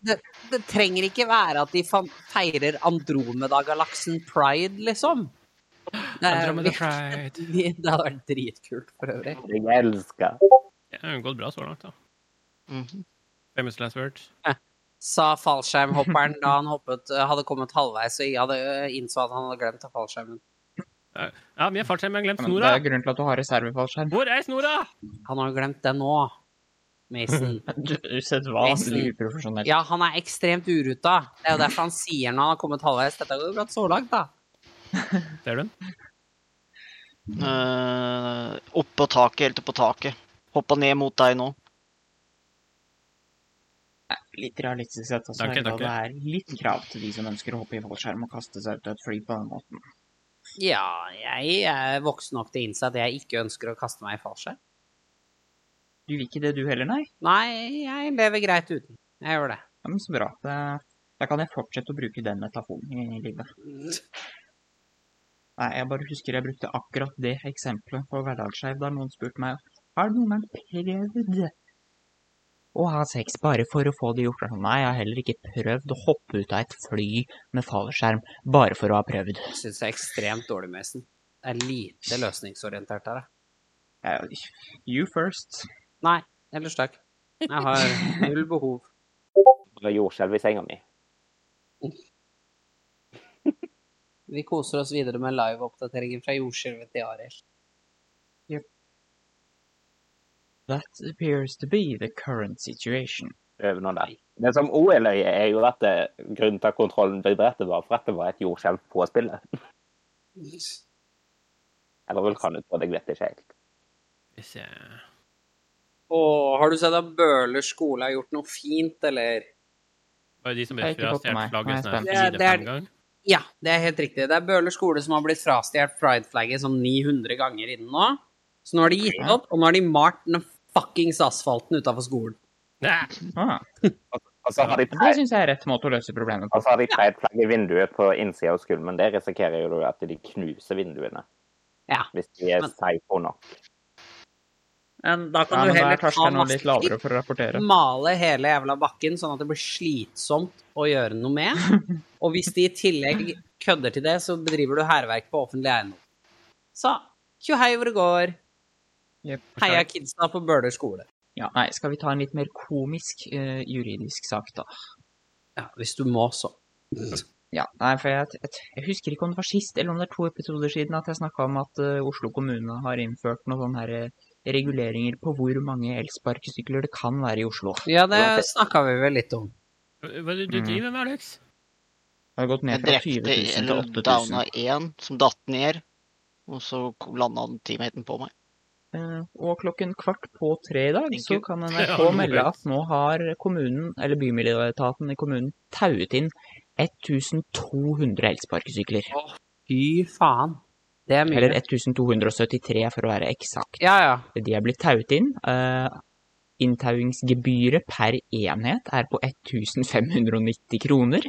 Speaker 3: Det trenger ikke være at de fan- feirer Andromeda-galaksen Pride, liksom. Det er-
Speaker 6: Andromeda Pride.
Speaker 3: Vi- Det hadde vært dritkult, for øvrig.
Speaker 2: Jeg elsker.
Speaker 6: Det har jo gått bra så langt, da.
Speaker 5: Mhm.
Speaker 6: Famous last words.
Speaker 3: Sa fallskjermhopperen da han hoppet, eh, hadde kommet halvveis og hadde eh, innså at han hadde glemt av fallskjermen.
Speaker 6: Ja, vi har fallskjerm, men jeg
Speaker 4: men det
Speaker 6: har glemt snora!
Speaker 4: er grunnen til at du har reservefallskjerm.
Speaker 6: Hvor er snora?
Speaker 3: Han har jo glemt det nå, Mason.
Speaker 4: Du, Usett hva,
Speaker 3: Mason.
Speaker 4: uprofesjonell.
Speaker 3: Ja, han er ekstremt uruta. Det er jo derfor han sier når han har kommet halvveis. Dette har jo gått så langt, da.
Speaker 6: Ser du den?
Speaker 5: Eh, opp på taket, helt opp på taket. Hoppa ned mot deg nå.
Speaker 4: Litt realistisk sett, altså.
Speaker 6: Danke,
Speaker 4: er det
Speaker 6: danke.
Speaker 4: da Det er litt krav til de som ønsker å hoppe i fallskjerm og kaste seg ut av et fly på den måten.
Speaker 3: Ja, jeg er voksen nok til å innse at jeg ikke ønsker å kaste meg i fallskjerm.
Speaker 4: Du vil ikke det du heller, nei?
Speaker 3: Nei, jeg lever greit uten. Jeg gjør det.
Speaker 4: Ja, men så bra. Det, da kan jeg fortsette å bruke den metaforen i livet. Nei, jeg bare husker jeg brukte akkurat det eksempelet på hverdagsskeiv da noen spurte meg har du noen gang prøvd å ha sex bare for å få det gjort. Nei, jeg har heller ikke prøvd å hoppe ut av et fly med fallskjerm bare for å ha prøvd.
Speaker 3: Jeg syns det er ekstremt dårlig, Mason. Det er lite løsningsorientert her, da.
Speaker 4: Jeg- You first.
Speaker 3: Nei, ellers takk. Jeg har null behov.
Speaker 2: Bare jordskjelv i senga mi.
Speaker 3: Vi koser oss videre med live-oppdateringen fra jordskjelvet til Arild.
Speaker 4: That appears to be the current situation.
Speaker 2: Øver nå der. Det som òg er løye, er jo at eh, grunnen til at kontrollen ble drept, var for at det var et jordskjelv på spillet. Eller vulkanutbrudd, jeg vet ikke helt.
Speaker 6: Hvis jeg...
Speaker 3: Åh, har du sett at Bøhler skole har gjort noe fint, eller?
Speaker 6: Bare de som
Speaker 4: Jeg har
Speaker 6: vet
Speaker 4: ikke
Speaker 6: vi har
Speaker 4: fått med meg.
Speaker 6: stjålet flagget
Speaker 4: Nei,
Speaker 6: sånn
Speaker 3: jeg er
Speaker 6: her
Speaker 3: spent.
Speaker 6: fire-fem ganger.
Speaker 3: Ja, det er helt riktig. Det er Bøhler skole som har blitt frastjålet prideflagget sånn 900 ganger innen nå. Så nå har de gitt opp, og nå har de malt den fuckings asfalten utafor skolen.
Speaker 6: Nei,
Speaker 4: Ah,
Speaker 2: Og så har de Altså,
Speaker 4: det
Speaker 2: tre-
Speaker 4: syns jeg er rett måte å løse problemet på.
Speaker 2: og så har de tre flagg i vinduet på innsida av skolen, men det risikerer jo du at de knuser vinduene.
Speaker 3: Ja.
Speaker 2: Hvis de er
Speaker 3: Men-
Speaker 2: psycho nok.
Speaker 3: Men da
Speaker 4: Ja,
Speaker 3: kan
Speaker 4: men
Speaker 3: du
Speaker 4: da
Speaker 3: heller
Speaker 4: er
Speaker 3: ta
Speaker 4: terskelen litt
Speaker 3: maskeklipp,
Speaker 4: lavere for å rapportere.
Speaker 3: male hele jævla bakken sånn at det blir slitsomt å gjøre noe med. Og hvis de i tillegg kødder til det, så bedriver du hærverk på offentlig eiendom. Så tjohei hvor det går.
Speaker 4: Jep.
Speaker 3: Heia kidsa på Bøler skole.
Speaker 4: Ja, nei, skal vi ta en litt mer komisk eh, juridisk sak, da?
Speaker 3: Ja, hvis du må, så.
Speaker 4: Ja, nei, for jeg, jeg, jeg husker ikke om det var sist, eller om det er to episoder siden, at jeg snakka om at eh, Oslo kommune har innført noen sånne her, eh, reguleringer på hvor mange elsparkesykler det kan være i Oslo.
Speaker 3: Ja, det
Speaker 2: Uansett.
Speaker 3: snakka vi vel litt om.
Speaker 6: Hva er det du
Speaker 4: Mm.
Speaker 6: driver med, Alex?
Speaker 4: Det har gått
Speaker 5: Jeg
Speaker 4: ned fra 20
Speaker 5: drepte
Speaker 4: 000
Speaker 5: eller
Speaker 4: til 8000.
Speaker 5: downa én som datt ned. Og så landa den teamhaten på meg.
Speaker 4: Eh, Og klokken kvart på tre i dag
Speaker 5: Thank
Speaker 4: så
Speaker 5: you.
Speaker 4: kan
Speaker 6: Ja,
Speaker 4: NRK
Speaker 6: det var
Speaker 4: melde
Speaker 6: greit.
Speaker 4: at nå har kommunen, eller bymiljøetaten i kommunen, tauet inn 1200 elsparkesykler.
Speaker 3: Fy faen. Det er mye.
Speaker 4: Eller 1273, for å være eksakt.
Speaker 3: Ja, ja.
Speaker 4: De er blitt tauet inn. Eh, inntauingsgebyret per enhet er på 1590 kroner.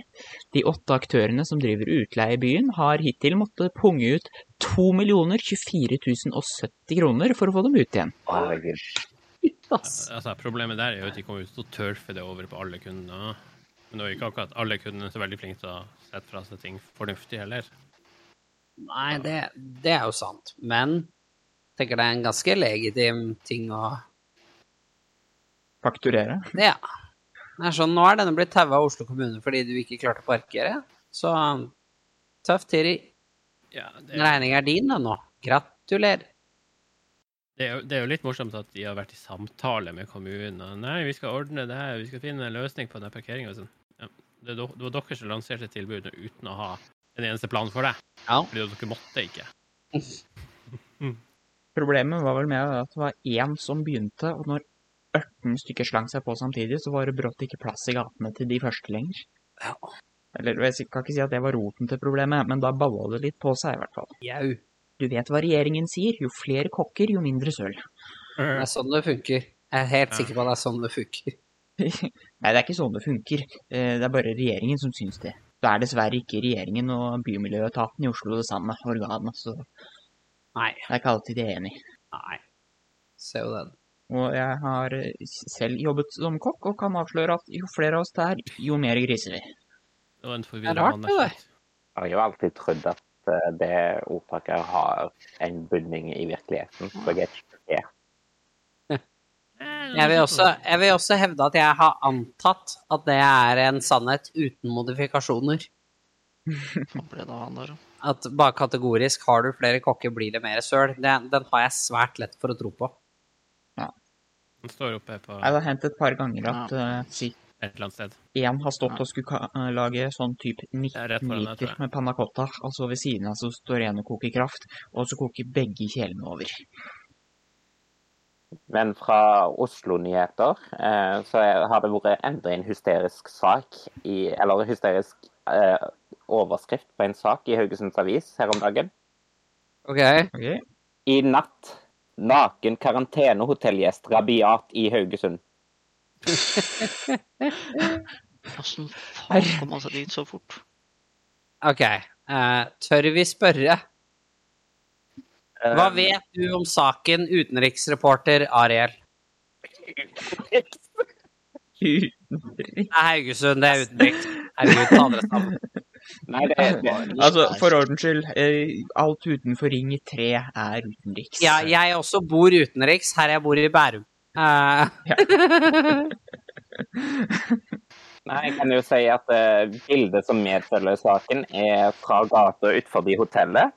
Speaker 4: De åtte aktørene som driver utleie i byen, har hittil måttet punge ut 2 24 070 kroner for å få dem ut igjen.
Speaker 2: Herregud.
Speaker 6: Altså, problemet der er jo at de kommer ut og tørfer det over på alle kundene. Men det var jo ikke akkurat alle kundene så veldig flinke til å sette fra seg ting fornuftig heller.
Speaker 3: Nei, det, det er jo sant. Men jeg tenker det er en ganske legitim ting å
Speaker 4: Fakturere.
Speaker 3: Ja. Det er sånn, nå er denne blitt taua av Oslo kommune fordi du ikke klarte å parkere. Så um, tøff, Tiri.
Speaker 6: Ja, det er,
Speaker 3: Regninga er din, den nå. Gratulerer.
Speaker 6: det, er jo, det er jo litt morsomt at de har vært i samtale med kommunen. og, Nei, vi skal ordne det her, vi skal finne en løsning på den parkeringa. Sånn. Ja, det, er do- det var dere som lanserte tilbudet uten å ha en eneste plan for det.
Speaker 3: Ja.
Speaker 6: Fordi dere måtte ikke.
Speaker 4: Problemet var vel med at det var én som begynte, og når 18 stykker slang seg på samtidig, så var det brått ikke plass i gatene til de første lenger.
Speaker 3: Ja.
Speaker 4: Eller jeg kan ikke si at det var roten til problemet, men da balla det litt på seg, i hvert fall.
Speaker 3: Jau.
Speaker 4: Du vet hva regjeringen sier, jo flere kokker, jo mindre søl.
Speaker 3: Det er sånn det funker. Jeg er helt sikker på at det er sånn det funker.
Speaker 4: Nei, det er ikke sånn det funker. Eh, Det er bare regjeringen som syns det. Det er dessverre ikke regjeringen og bymiljøetaten i Oslo det samme organet, så det
Speaker 3: Nei.
Speaker 4: er ikke alltid de er enig.
Speaker 3: Nei. Ser jo den.
Speaker 4: Og jeg har eh, selv jobbet som kokk og kan avsløre at jo flere av oss det er, jo mer griser vi.
Speaker 6: Det var en
Speaker 3: Det er rart,
Speaker 6: forvirrende
Speaker 3: det der.
Speaker 2: Jeg har jo alltid trodd at eh, det ordtaket har en bunning i virkeligheten. Så jeg er ikke sjokkert.
Speaker 3: Jeg vil, også,
Speaker 6: sånn
Speaker 3: jeg vil også hevde at jeg har antatt at det er en sannhet uten modifikasjoner.
Speaker 5: Hva ble det av han der?
Speaker 3: At bare kategorisk har du flere kokker, blir det mer søl. Den, den har jeg svært lett for å tro på.
Speaker 6: Den står oppe på
Speaker 4: Det har hendt et par ganger at eh, si
Speaker 6: et eller annet sted.
Speaker 4: én har stått og skulle ka- eh, lage sånn type 19
Speaker 6: er rett foran deg, tror
Speaker 4: liter
Speaker 6: jeg.
Speaker 4: med panna cotta, og så ved siden av så står en og koker kraft, og så koker begge kjelene over.
Speaker 2: Men fra Oslo-nyheter eh, så er- har det vært enda en hysterisk sak i Eller hysterisk eh, overskrift på en sak i Haugesunds Avis her om dagen.
Speaker 3: OK.
Speaker 4: Ok.
Speaker 2: I natt naken karantenehotellgjest rabiat i Haugesund.
Speaker 5: Åssen faen kom han seg dit så fort?
Speaker 3: ok. Eh, tør vi spørre?
Speaker 2: Eh,
Speaker 3: Hva vet du om saken, utenriksreporter Ariel? Det er Haugesund, det er utenriks. Herregud, ta dere sammen.
Speaker 2: Nei, det, det,
Speaker 4: Altså, for ordens skyld, eh, alt utenfor Ring 3 er utenriks.
Speaker 3: Ja, jeg også bor utenriks, her jeg bor i Bærum. Eh,
Speaker 2: nei, jeg kan jo si at eh, bildet som medfølger saken, er fra gata utenfor hotellet,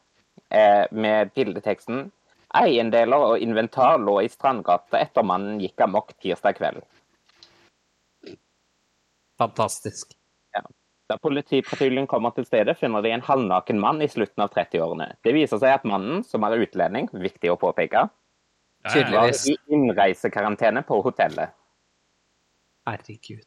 Speaker 2: eh, med bildeteksten Eiendeler og inventar lå i Strandgata etter mannen gikk amok tirsdag kveld.
Speaker 3: fantastisk.
Speaker 2: Da politipatruljen kommer til stedet, finner de en halvnaken mann i slutten av 30-årene. Det viser seg at mannen, som er utlending, viktig å påpeke,
Speaker 6: Ja, ja, ja.
Speaker 2: var
Speaker 3: Yes.
Speaker 2: i innreisekarantene på hotellet.
Speaker 3: Herregud.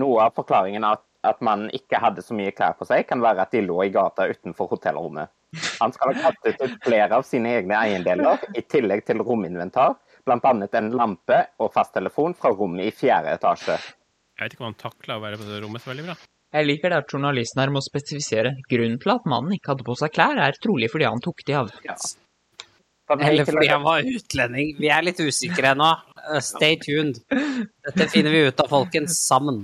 Speaker 2: Noe av forklaringen at, at mannen ikke hadde så mye klær på seg, kan være at de lå i gata utenfor hotellrommet. Han skal ha kastet ut flere av sine egne eiendeler, i tillegg til rominventar, bl.a. en lampe og fasttelefon fra rommet i fjerde etasje.
Speaker 6: Jeg vet ikke om han takla å være på det rommet så veldig bra.
Speaker 4: Jeg liker det at journalisten her må spesifisere. Grunnen til at mannen ikke hadde på seg klær, er trolig fordi han tok de av.
Speaker 2: Sånn,
Speaker 3: Eller
Speaker 2: ikke-
Speaker 3: fordi han var utlending. Vi er litt usikre ennå. Eh, Stay tuned. Dette finner vi ut av, folkens, sammen.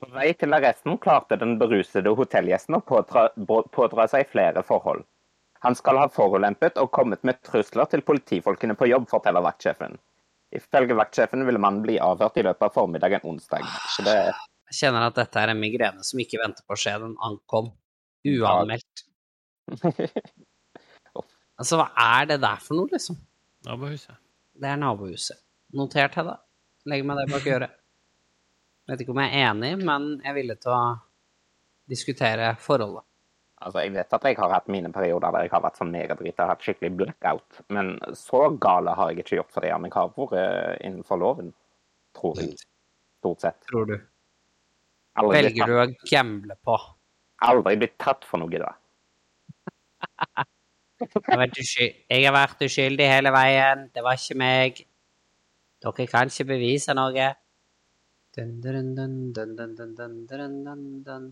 Speaker 2: På vei til arresten klarte den berusede hotellgjesten å pådra, bå- pådra seg flere forhold. Han skal ha forulempet og kommet med trusler til politifolkene på jobb, forteller vaktsjefen. Ifølge vaktsjefen ville mannen bli avhørt i løpet av formiddagen onsdag. Så det,
Speaker 3: Jeg kjenner at dette er en migrene som ikke venter på å skje. Den ankom uanmeldt. Altså, hva er det der for noe, liksom?
Speaker 6: Nabohuset.
Speaker 3: Det er nabohuset. Notert til det. Legger meg det bak øret. Vet ikke om jeg er enig, men jeg er villig til å diskutere forholdet.
Speaker 2: altså, jeg vet at jeg har hatt mine perioder der jeg har vært sånn megedrita og hatt skikkelig blackout, men så gale har jeg ikke gjort for det. Men jeg har vært eh, innenfor loven, tror jeg. Stort sett.
Speaker 3: Tror du?
Speaker 2: Aldri blitt
Speaker 3: Velger du å gamble på?
Speaker 2: tatt- Aldri blitt tatt for noe, da.
Speaker 3: Jeg har vært uskyld- jeg har vært uskyldig hele veien. Det var ikke meg. Dere kan ikke bevise noe. Dun, dun, dun, dun, dun, dun, dun, dun, dun, dun.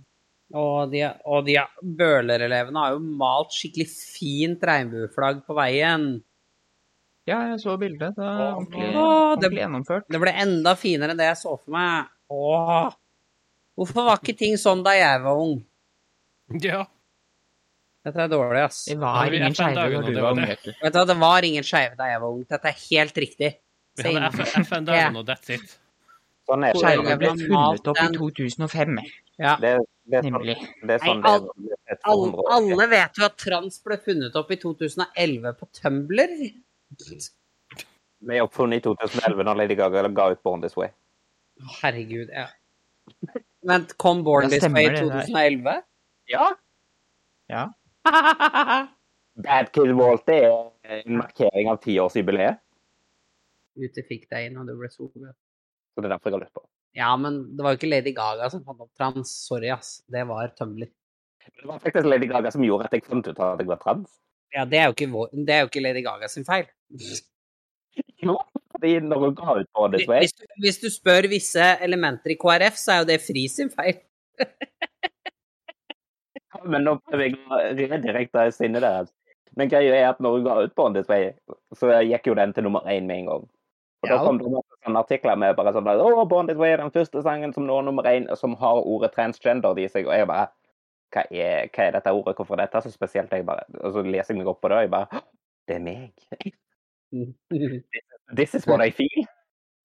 Speaker 3: Og de, og de Bøler-elevene har jo malt skikkelig fint regnbueflagg på veien.
Speaker 4: Ja, jeg så bildet. Det er ordentlig,
Speaker 3: Å, det-
Speaker 4: ordentlig gjennomført.
Speaker 3: Det ble enda finere enn det jeg så for meg. Åh. Hvorfor var ikke ting sånn da jeg var ung?
Speaker 6: Ja.
Speaker 3: Dette er dårlig, ass.
Speaker 4: Det
Speaker 6: Da
Speaker 4: var
Speaker 6: har vi
Speaker 4: ingen
Speaker 6: FN-dagen,
Speaker 4: skeive
Speaker 6: og
Speaker 4: da du
Speaker 6: det var
Speaker 4: var ung,
Speaker 6: det.
Speaker 4: vet du.
Speaker 3: Vet du hva, det var ingen skeive da jeg var ung. Dette er helt riktig.
Speaker 6: Vi hadde
Speaker 3: Same.
Speaker 6: FN- FN-dagen, og that's it.
Speaker 2: Sånn er det.
Speaker 4: Skeive ble
Speaker 3: man
Speaker 4: funnet opp i
Speaker 3: malt den?
Speaker 4: 2005,
Speaker 2: Det, det er sånn
Speaker 4: nemlig.
Speaker 2: Det er sånn
Speaker 3: Nei, all-
Speaker 2: det er.
Speaker 3: Alle,
Speaker 2: Alle,
Speaker 3: alle vet jo at trans ble funnet opp i 2011 på Tumblr.
Speaker 2: Vi er oppfunnet i 2011 når Lady Gaga ga ut Born This Way.
Speaker 3: Herregud, ja. Vent, kom Born
Speaker 4: Det
Speaker 3: This Way
Speaker 4: stemmer,
Speaker 3: i
Speaker 4: det
Speaker 3: 2011?
Speaker 2: Ja.
Speaker 4: Ja.
Speaker 2: Bad Kid Walter er en markering av tiårsjubileet.
Speaker 3: Ute fikk deg inn, og du ble sovet.
Speaker 2: Så det er derfor jeg har lurt på.
Speaker 3: Ja, men det var jo ikke Lady Gaga som fant opp trans. Sorry, ass. Det var Tumblr.
Speaker 2: Men Det var faktisk Lady Gaga som gjorde at jeg fant ut at jeg var trans.
Speaker 3: Ja, det er jo ikke, vår, det er jo ikke Lady Gaga sin feil.
Speaker 2: Jo, fordi når hun ga ut på det, så jeg
Speaker 3: Hvis du, hvis du spør visse elementer i KrF, så er jo det Fri sin feil.
Speaker 2: Men nå prøver jeg å redirekte sinnet deres. Men greia er at når hun ga ut på This Way, så gikk jo den til nummer én med en gang. Og da
Speaker 3: Ja.
Speaker 2: kom det masse sånne artikler med bare sånn at, Å, Born This Way er den første sangen som når nummer én, som har ordet transgender i seg. Og jeg bare hva er, hva er dette ordet? Hvorfor er dette så spesielt? Jeg bare, og så leser jeg meg opp på det, og jeg bare Det er meg. This is what I feel.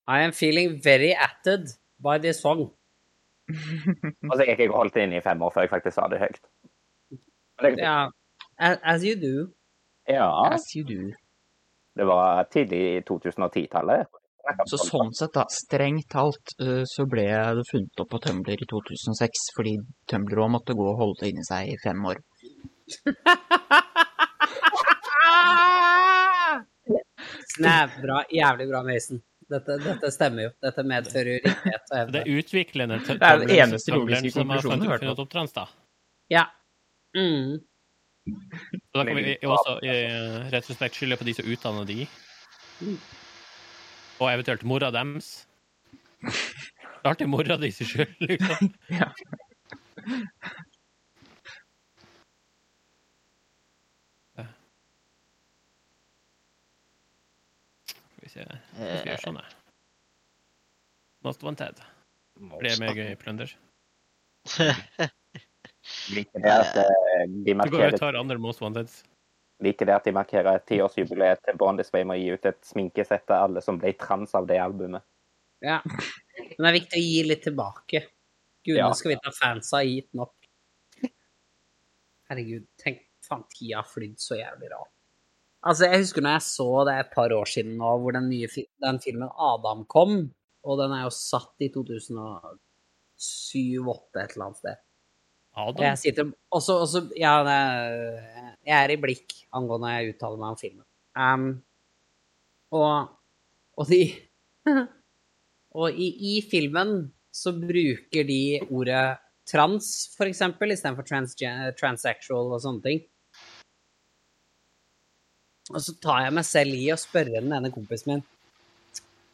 Speaker 3: I am feeling very atted by this song.
Speaker 2: Og så gikk jeg og holdt det inne i fem år før jeg faktisk sa det høyt. Men det-
Speaker 3: Ja, as, as you do.
Speaker 2: Ja,
Speaker 4: As you do.
Speaker 2: det var tidlig i 2010-tallet.
Speaker 4: Så sånn sett, da, strengt talt, eh, så ble det funnet opp på Tumblr i 2006, fordi Tumblr òg måtte gå og holde det inni seg i fem år.
Speaker 3: Snap, bra, jævlig bra, Mason. Dette, dette stemmer jo. Dette medfører jo riktighet og
Speaker 6: Det
Speaker 3: evne.
Speaker 6: er utviklende tø-
Speaker 4: Det er den
Speaker 6: tømleren-
Speaker 4: eneste
Speaker 6: tømleren
Speaker 4: logiske
Speaker 6: som har
Speaker 4: konklusjonen,
Speaker 6: funnet-
Speaker 4: i hvert fall.
Speaker 6: funnet opp trans, da.
Speaker 3: Mm.
Speaker 6: Så da kan vi også eh, rett og slett skylde på de som utdanner de. Og eventuelt mora deres. Det er alltid mora di sin skyld, liksom. Skal vi se Hva skal jeg
Speaker 5: Eh,
Speaker 6: gjøre sånn, jeg? Most wanted. Blir det mer gøy plunder?
Speaker 2: Liker det at eh, de
Speaker 6: Du går
Speaker 2: markerer,
Speaker 6: og tar andre most wanteds.
Speaker 2: liker det at de markerer et tiårsjubileet til Born This Way med å gi ut et sminkesett til alle som ble trans av det albumet.
Speaker 3: Ja. Men det er viktig å gi litt tilbake. Gud,
Speaker 2: Ja.
Speaker 3: nå skal vi ta fansa hit nok. Herregud, tenk faen, tida har flydd så jævlig rart. Altså, jeg husker når jeg så det et par år siden nå, hvor den nye fi den filmen Adam kom, og den er jo satt i 2007-2008 et eller annet sted. Og
Speaker 6: Adam?
Speaker 3: Jeg sitter og så- og så- Ja, det- jeg er i blikk angående jeg uttaler meg om filmen. Ehm, og og de Og i, i filmen så bruker de ordet trans, for eksempel, istedenfor transge- transsexual og sånne ting. Og så tar jeg meg selv i å spørre den ene kompisen min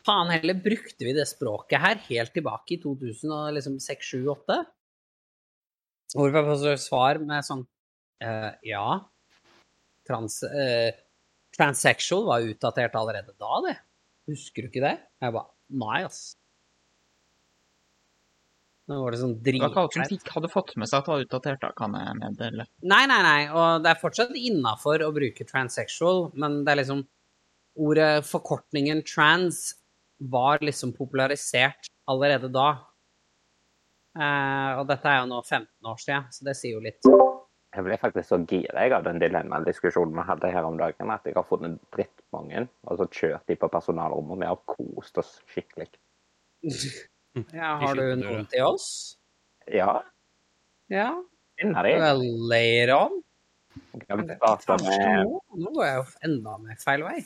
Speaker 3: Faen heller, brukte vi det språket her helt tilbake i liksom 2006-2008? Hvor vi får så svar med sånn eh, Ja, trans, eh, transsexual var utdatert allerede da, det. Husker du ikke det? Jeg bare Nei, ass. Nå var det sånn
Speaker 4: Det var ikke alle som
Speaker 3: dritflaut.
Speaker 4: fikk, hadde fått med seg at det var utdatert, da, kan jeg meddele.
Speaker 3: Nei, nei, nei. Og det er fortsatt innafor å bruke transsexual, men det er liksom Ordet forkortningen trans var liksom popularisert allerede da. Eh, og dette er jo nå 15 år siden, så det sier jo litt.
Speaker 2: Jeg ble faktisk så gira jeg, av den dilemmadiskusjonen vi hadde her om dagen, at jeg har funnet drittmange, og så kjørt de på personalrommet, og vi har kost oss skikkelig.
Speaker 3: Ja, har du
Speaker 6: slutten av
Speaker 3: noen
Speaker 6: døra.
Speaker 3: til oss?
Speaker 2: Ja,
Speaker 3: Ja.
Speaker 2: finner de.
Speaker 3: Well, later on.
Speaker 2: Jeg kan starte
Speaker 3: Kanskje
Speaker 2: med,
Speaker 3: nå. Nå går jeg jo enda mer feil vei.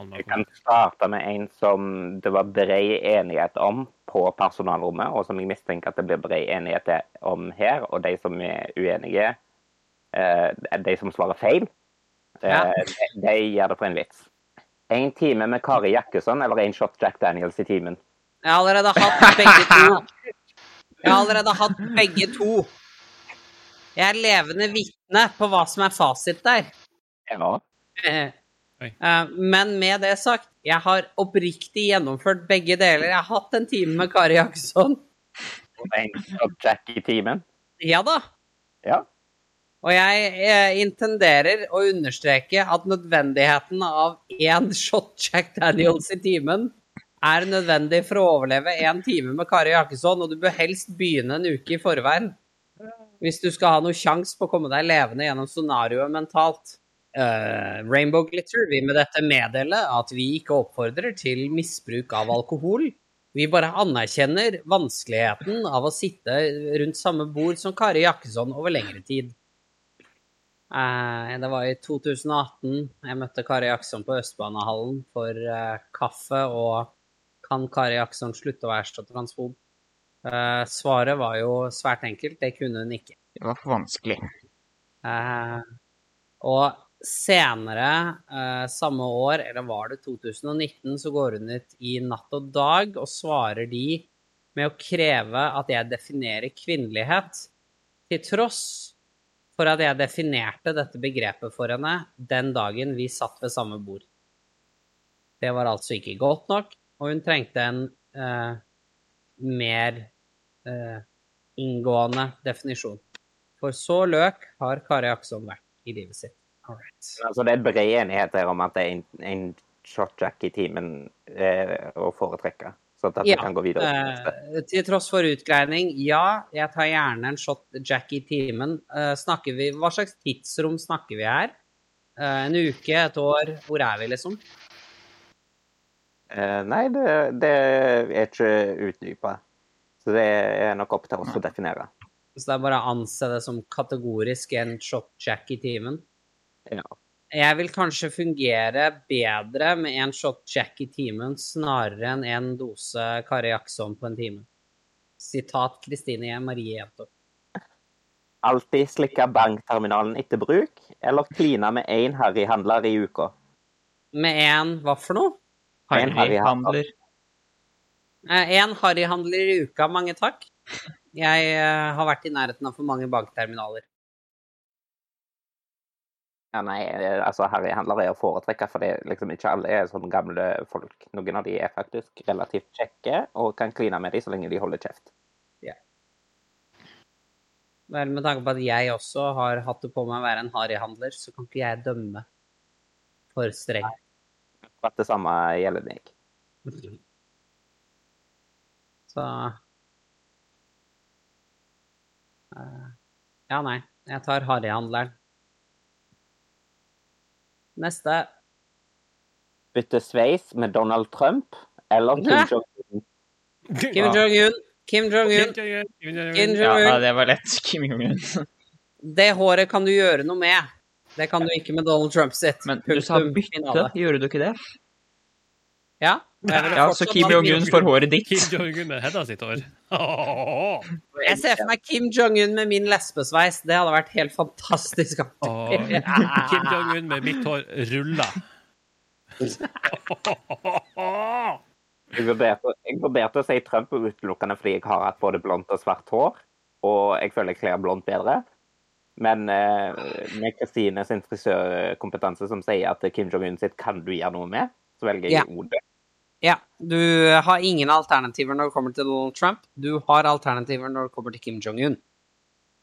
Speaker 6: Kan man
Speaker 2: jeg kan
Speaker 6: komme-
Speaker 2: starte med en som det var bred enighet om på personalrommet, og som jeg mistenker at det blir bred enighet om her, og de som er uenige, eh, de som svarer feil,
Speaker 3: Ja.
Speaker 2: eh, de, de gjør det på en vits. En time med Kari Jakkesson eller en shot Jack Daniels i timen?
Speaker 3: Jeg har allerede hatt begge to. Jeg har allerede hatt begge to. Jeg er levende vitne på hva som er fasit der.
Speaker 2: Ja.
Speaker 3: Eh,
Speaker 6: Oi.
Speaker 3: eh, Men med det sagt, jeg har oppriktig gjennomført begge deler. Jeg har hatt en time med Kari Jakkesson.
Speaker 2: Og en shot Jack i timen?
Speaker 3: Ja da.
Speaker 2: Ja.
Speaker 3: Og jeg eh, intenderer å understreke at nødvendigheten av én shot Jack Daniels i timen er nødvendig for å overleve én time med Kari Jakkesson, og du bør helst begynne en uke i forveien. Hvis du skal ha noe sjanse på å komme deg levende gjennom scenarioet mentalt. Eh, Rainbow Glitter vil med dette meddele at vi ikke oppfordrer til misbruk av alkohol. Vi bare anerkjenner vanskeligheten av å sitte rundt samme bord som Kari Jakkesson over lengre tid. Eh, det var i 2018 jeg møtte Kari Jackson på Østbanehallen for eh, kaffe og kan Kari Jackson slutte å være så transfob? Eh, svaret var jo svært enkelt, det kunne hun ikke.
Speaker 4: Det var for vanskelig.
Speaker 3: Eh, og senere, eh, samme år, eller var det 2019, så går hun ut i Natt og dag og svarer de med å kreve at jeg definerer kvinnelighet, til tross for at jeg definerte dette begrepet for henne den dagen vi satt ved samme bord. Det var altså ikke godt nok, og hun trengte en eh, mer eh, inngående definisjon. For så løk har Kari Akson vært i livet sitt. All right.
Speaker 2: Altså, det er bred enighet her om at det er en, en shotjack i timen eh, å foretrekke. Så at vi
Speaker 3: Ja,
Speaker 2: kan gå videre. til neste.
Speaker 3: Eh, til tross for utgreining, ja, jeg tar gjerne en shot Jack i timen. Eh, snakker vi, hva slags tidsrom snakker vi her? Eh, en uke, et år, hvor er vi liksom?
Speaker 2: Eh, nei, det, det er ikke utdypa. Så det er nok opp til oss å definere.
Speaker 3: Så det er bare å anse det som kategorisk en shot Jack i timen.
Speaker 2: Ja.
Speaker 3: Jeg vil kanskje fungere bedre med en shot Jack i timen snarere enn en dose Kari Jackson på en time. Sitat Kristine Marie Jentopp.
Speaker 2: Alltid slikke bankterminalen etter bruk, eller kline med én harryhandler i uka.
Speaker 3: Med en hva for noe?
Speaker 2: En har vi hatt.
Speaker 4: Harryhandler.
Speaker 3: Eh, En harryhandler i uka, mange takk. Jeg eh, har vært i nærheten av for mange bankterminaler.
Speaker 2: Ja, nei, eh, altså harryhandler er å foretrekke, for det er liksom ikke alle er sånne gamle folk. Noen av de er faktisk relativt kjekke og kan kline med de så lenge de holder kjeft.
Speaker 3: Vel, med tanke på at jeg også har hatt det på meg å være en harryhandler, så kan ikke jeg dømme for strengt.
Speaker 2: For at det samme gjelder meg.
Speaker 3: Så Eh, Ja, nei. Jeg tar harryhandleren. Neste.
Speaker 2: Bytte sveis med Donald Trump eller Kim
Speaker 3: Hæ?
Speaker 2: Jong-un.
Speaker 3: Kim
Speaker 6: Ah.
Speaker 3: Jong-un. Kim Jong-un. Kim
Speaker 4: Ja,
Speaker 3: Jong-un.
Speaker 4: nei, det var lett. Kim Jong-un.
Speaker 3: Det håret kan du gjøre noe med. Det kan du ikke med Donald Trump sitt.
Speaker 4: Men du sa
Speaker 3: Punktum.
Speaker 4: bytte,
Speaker 3: Finale.
Speaker 4: gjorde du ikke det?
Speaker 3: Ja, jeg ville
Speaker 4: Ja, så
Speaker 3: fortsatt
Speaker 4: Kim
Speaker 3: hatt
Speaker 4: Jong-un får håret ditt.
Speaker 6: Kim Jong-un med Hedda sitt hår. Åh,
Speaker 3: Jeg ser for meg Kim Jong-un med min lesbesveis. Det hadde vært helt fantastisk.
Speaker 6: åh. Kim Jong-un med mitt hår ruller.
Speaker 2: Jeg vurderte, jeg vurderte å si Trump utelukkende fordi jeg har hatt både blondt og svart hår, og jeg føler jeg kler blondt bedre. Men eh, med Kristine sin frisørkompetanse som sier at Kim Jong-un sitt kan du gjøre noe med, så velger
Speaker 3: Ja.
Speaker 2: jeg ordet.
Speaker 3: Ja, du har ingen alternativer når det kommer til Donald Trump. Du har alternativer når det kommer til Kim Jong-un.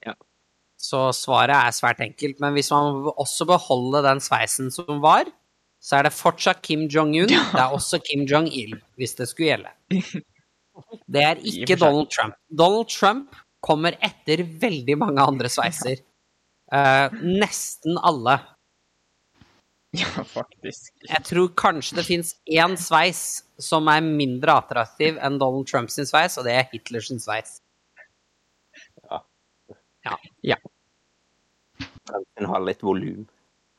Speaker 2: Ja.
Speaker 3: Så svaret er svært enkelt. Men hvis man også beholder den sveisen som var, så er det fortsatt Kim Jong-un. Det er også Kim Jong-il, hvis det skulle gjelde. Det er
Speaker 4: I og
Speaker 3: ikke
Speaker 4: for seg.
Speaker 3: Donald Trump. Donald Trump kommer etter veldig mange andre sveiser. Eh, nesten alle.
Speaker 4: Ja, faktisk.
Speaker 3: Jeg tror kanskje det fins én sveis som er mindre attraktiv enn Donald Trumps sin sveis, og det er Hitlers sin sveis.
Speaker 2: Den har litt volum.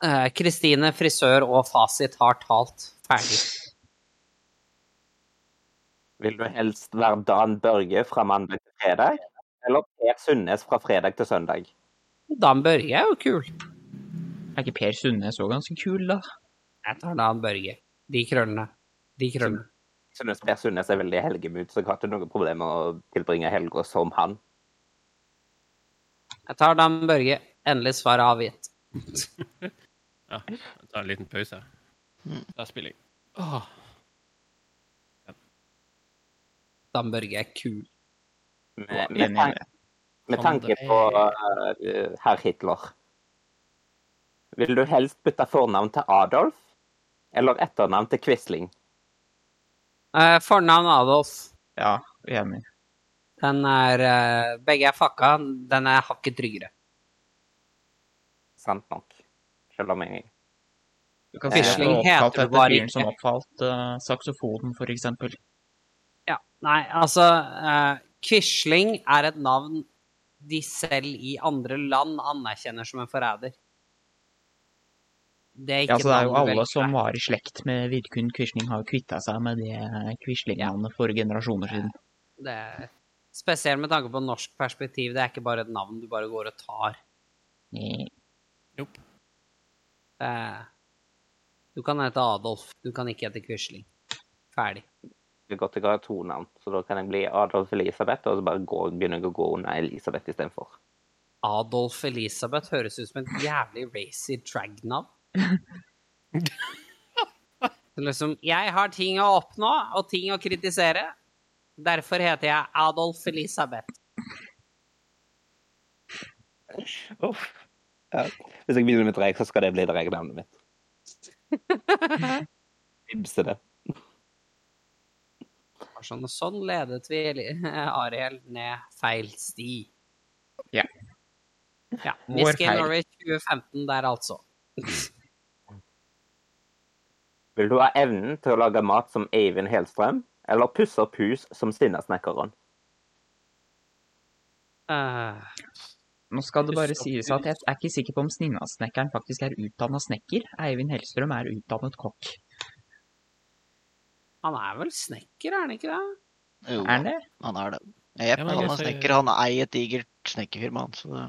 Speaker 3: Eh, Kristine, frisør og fasit har talt. Ferdig.
Speaker 2: Vil du helst være Dan Børge fra mandag til fredag, eller Per Sundnes fra fredag til søndag?
Speaker 3: Dan Børge er jo kul.
Speaker 4: Er ikke Per Sundnes så ganske kul, da?
Speaker 3: Jeg tar Dan Børge. De krøllene. De krøllene.
Speaker 2: Jeg synes Per Sundnes er veldig i helgemut, så jeg har ikke noe problem med å tilbringe helga som han.
Speaker 3: Jeg tar Dan Børge. Endelig svar er avgitt.
Speaker 6: Ja, jeg tar en liten pause. Da spiller jeg. Åh.
Speaker 3: Dan Børge er kul.
Speaker 2: Med, med,
Speaker 4: Enig i
Speaker 2: tan
Speaker 4: det.
Speaker 2: med tanke på eh, herr Hitler. Vil du helst bytte fornavn til Adolf, eller etternavn til Quisling?
Speaker 3: Eh, fornavn Adolf.
Speaker 4: Ja, enig.
Speaker 3: Den er eh, Begge er fucka. Den er hakket tryggere.
Speaker 2: Sant nok. Selv om jeg
Speaker 4: Du kan
Speaker 3: si
Speaker 4: si
Speaker 3: at det
Speaker 4: at
Speaker 3: Quisling var oppkalt heter det etter bare fyren ikke. som
Speaker 4: som oppfalt eh, saksofonen, for eksempel.
Speaker 3: Ja, nei, altså eh, Quisling er et navn de selv i andre land anerkjenner som en forræder. Det er ikke
Speaker 4: Ja, så det er jo
Speaker 3: navnet du
Speaker 4: alle
Speaker 3: velger
Speaker 4: som
Speaker 3: deg.
Speaker 4: var i slekt med Vidkun Quisling, har jo kvitta seg med det Quisling-navnet for generasjoner siden.
Speaker 3: Det er spesielt med tanke på norsk perspektiv. Det er ikke bare et navn du bare går og tar.
Speaker 4: Nei.
Speaker 3: Det er... Eh, Du kan hete Adolf. Du kan ikke hete Quisling. Ferdig.
Speaker 2: Det er godt jeg har to navn, så da kan jeg bli Adolf Elisabeth, og så bare gå, begynner jeg å gå under Elisabeth istedenfor.
Speaker 3: Adolf Elisabeth høres ut som et jævlig racy dragnavn. Det er liksom Jeg har ting å oppnå og ting å kritisere. Derfor heter jeg Adolf Elisabeth.
Speaker 2: Uff. Ja. Hvis jeg begynner med dreg, så skal det bli dregnavnet mitt. Vimse det.
Speaker 3: Og Sånn, sånn ledet vi eh, Ariel ned feil sti.
Speaker 4: Ja.
Speaker 3: Ja,
Speaker 4: Vår
Speaker 3: Miss Gay
Speaker 4: feil.
Speaker 3: Norway 2015 der, altså.
Speaker 2: Vil du ha evnen til å lage mat som Eivind Helstrøm, eller pusse opp hus som Sinnasnekkeren?
Speaker 3: Eh,
Speaker 4: Nå skal det bare sies at jeg er ikke sikker på om Sninnasnekkeren faktisk er utdanna snekker. Eivind Hellstrøm er utdannet kokk.
Speaker 3: han er vel snekker, er han ikke det?
Speaker 5: Jo,
Speaker 4: Er han det?
Speaker 5: han er det. Jepp,
Speaker 6: Ja, men
Speaker 5: han
Speaker 6: jeg
Speaker 5: er
Speaker 6: ser-
Speaker 5: snekker. Han eier et digert snekkerfirma, han. Så det...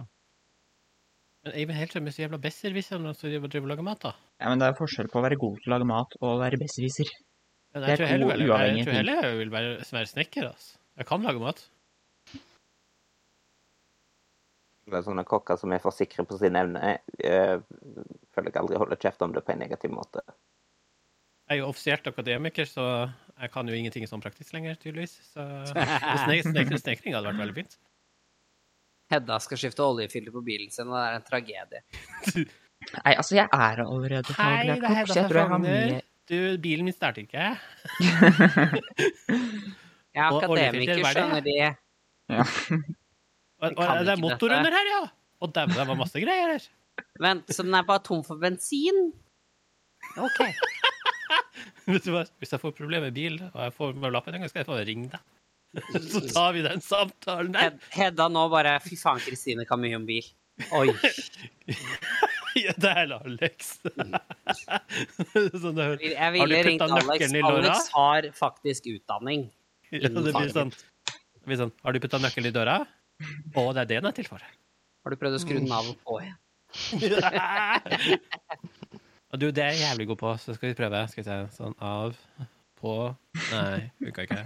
Speaker 6: Men Eivind Hellstrøm er så jævla besserwisser når han driver driver og lager mat, da.
Speaker 4: Ja, men det er forskjell på å være god til å lage mat og å være besserwisser.
Speaker 6: Men
Speaker 4: Det er
Speaker 6: jeg tror heller,
Speaker 4: to
Speaker 6: vel- jeg,
Speaker 4: uavhengige
Speaker 6: tror heller jeg vil være, være snekker, altså. Jeg kan lage mat.
Speaker 2: Det er sånne kokker som er for sikre på sine evner. Jeg føler jeg aldri holder kjeft om det på en negativ måte.
Speaker 6: Jeg er jo offisielt akademiker, så jeg kan jo ingenting i sånn praktisk lenger, tydeligvis. Så snek, snek, snekring hadde vært veldig fint.
Speaker 3: Hedda skal skifte oljefilter på bilen sin, og det er en tragedie.
Speaker 4: Nei, altså, jeg er allerede faglært kokk, så jeg tror jeg har mye
Speaker 6: Du, bilen min starter ikke.
Speaker 3: Jeg er
Speaker 6: Og
Speaker 3: akademiker,
Speaker 6: oljefilter, hva er det?
Speaker 3: skjønner de.
Speaker 6: Og,
Speaker 3: Jeg kan
Speaker 6: og det er
Speaker 3: ikke
Speaker 6: motor
Speaker 3: dette.
Speaker 6: under her, ja! Og dæven, det var masse greier her.
Speaker 3: Vent, så den er bare tom for bensin? OK.
Speaker 6: Vet du hva? Hvis jeg får problemer med bil, og jeg får med lappen en gang, skal jeg få ringe deg. Så tar vi den samtalen der.
Speaker 3: Hed- Hedda nå bare Fy faen, Kristine kan mye om bil. Oi.
Speaker 6: Ja, det er Alex. sånn det høres.
Speaker 3: Jeg
Speaker 6: Har du
Speaker 3: ville
Speaker 6: puttet
Speaker 3: ringt Alex.
Speaker 6: nøkkelen i låra?
Speaker 3: Alex har faktisk utdanning.
Speaker 6: Ja, det blir sånn. Det blir sånn. Har du putta nøkkelen i døra? Å, det er det den er til for.
Speaker 3: Har du prøvd å skru den av og på igjen?
Speaker 6: og du, det er jeg jævlig god på, så skal vi prøve. Skal vi se. Sånn av, på Nei, funka ikke.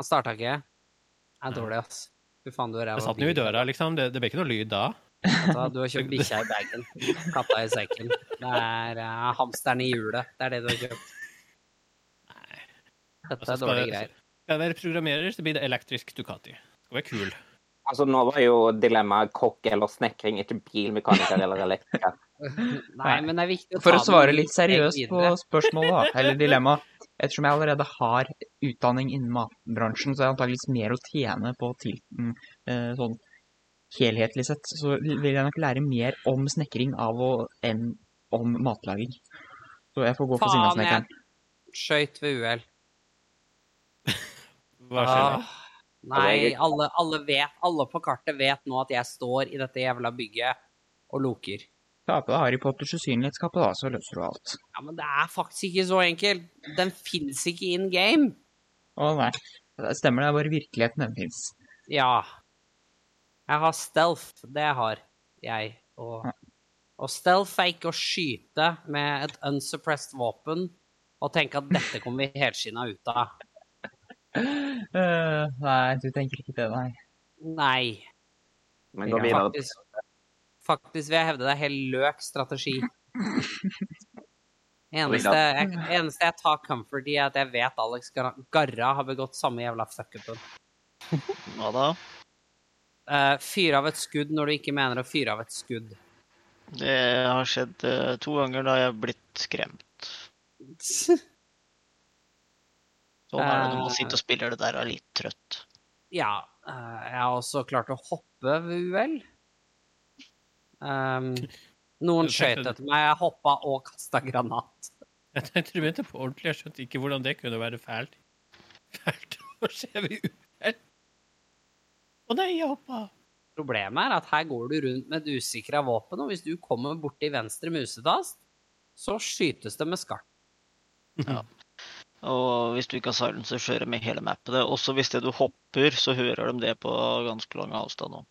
Speaker 3: Han starta ikke. Det er dårlig, ass. Fy faen, du er
Speaker 6: Jeg
Speaker 3: ræva.
Speaker 6: satt den jo i
Speaker 3: bil,
Speaker 6: døra, liksom. Det, det ble ikke noe lyd da.
Speaker 3: gutta. Du har kjøpt bikkja i bagen. Katta i sekken. Det er eh, hamsteren i hjulet. Det er det du har kjøpt. Dette
Speaker 6: Altså,
Speaker 3: er dårlige
Speaker 6: skal-
Speaker 3: greier.
Speaker 6: Skal jeg være programmerer, så blir det elektrisk Ducati. Skal være kul.
Speaker 2: Altså, nå var jo dilemmaet kokk eller snekring, ikke bilmekaniker eller elektriker.
Speaker 3: Nei, men det er viktig å
Speaker 4: For å
Speaker 3: ta den
Speaker 4: svare litt
Speaker 3: steg
Speaker 4: seriøst på
Speaker 3: videre.
Speaker 4: spørsmålet, da, eller dilemmaet, ettersom jeg allerede har utdanning innen matbransjen, så er jeg antakeligvis mer å tjene på tilten eh, sånn helhetlig sett, så vil jeg nok lære mer om snekring av å enn om matlaging. Så jeg får gå for
Speaker 3: Faen,
Speaker 4: sinnasnekkeren.
Speaker 3: jeg skøyt ved uhell.
Speaker 6: Hva skjer?
Speaker 3: Åh, Nei, alle, alle vet, alle på kartet vet nå at jeg står i dette jævla bygget og loker.
Speaker 4: Ta på deg Harry Potters usynlighetskappe, da, så løser du alt.
Speaker 3: Ja, men det er faktisk ikke så enkelt. Den fins ikke in game.
Speaker 4: Å nei, det stemmer det, er bare virkeligheten den fins.
Speaker 3: Ja. Jeg har stealth, det har jeg. Og, og stealth er ikke å skyte med et unsuppressed våpen og tenke at dette kommer vi helskinna ut av.
Speaker 4: Eh, nei, du tenker ikke det, nei.
Speaker 3: Nei.
Speaker 2: Men gå
Speaker 4: Ja.
Speaker 2: videre.
Speaker 3: Faktisk, faktisk vil jeg hevde det er helt løk strategi. Eneste jeg, eneste jeg tar comfort i, er at jeg vet Alex Gar- Garra har begått samme jævla fuckupen.
Speaker 5: Hva da?
Speaker 3: Uh, fyre av et skudd når du ikke mener å fyre av et skudd.
Speaker 5: Det har skjedd eh, to ganger da jeg har blitt skremt. Sånn er det når
Speaker 3: Eh.
Speaker 5: man sitter og spiller det der og er litt trøtt.
Speaker 3: Ja. eh, jeg har også klart å hoppe ved uhell. Um, noen skøyt etter meg. Jeg hoppa og kasta granat.
Speaker 6: Jeg tenkte du mente på ordentlig. Jeg skjønte ikke hvordan det kunne være fælt. Fælt å skje ved uhell. Å nei, jeg hoppa.
Speaker 3: Problemet er at her går du rundt med et usikra våpen, og hvis du kommer borti venstre musetast, så skytes det med skarpt.
Speaker 5: Og hvis du ikke har silence, så kjører med hele mappet. det. Også hvis det du hopper, så hører de det på ganske lang avstand òg.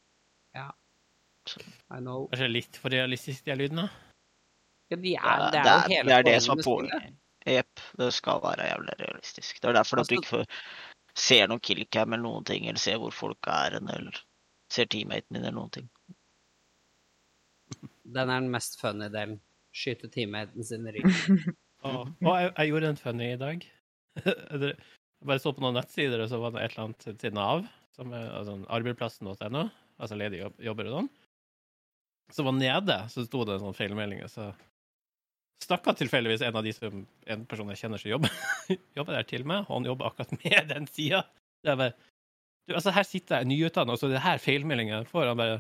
Speaker 3: I know.
Speaker 6: Kanskje litt for realistisk, de her lydene?
Speaker 3: Ja, de
Speaker 5: Det
Speaker 3: er, det er,
Speaker 5: er-
Speaker 3: jo hele
Speaker 5: det er det som er
Speaker 3: med spillet.
Speaker 5: poenget. Jepp. Det skal være jævlig realistisk. Det er derfor at du
Speaker 3: Altså-
Speaker 5: ikke får, ser noen killcam eller noen ting, eller ser hvor folk er hen, eller ser teammaten din eller noen ting.
Speaker 3: Den er den mest funny delen. Skyte teammaten sin i ryggen.
Speaker 6: Og, og jeg, jeg gjorde en funny i dag. Dere- jeg bare så på noen nettsider, og så var det et eller annet til Nav, som er altså, arbeidsplassen.no, altså ledige jobb, jobber og sånn. Så var nede, så sto det en sånn feilmelding, og så snakka tilfeldigvis en av de som en person jeg kjenner som jobber, jobber der til meg, og han jobber akkurat med den sida. Det er bare du, altså, her sitter jeg nyutdanna, og så er det her feilmeldinga jeg får. Han bare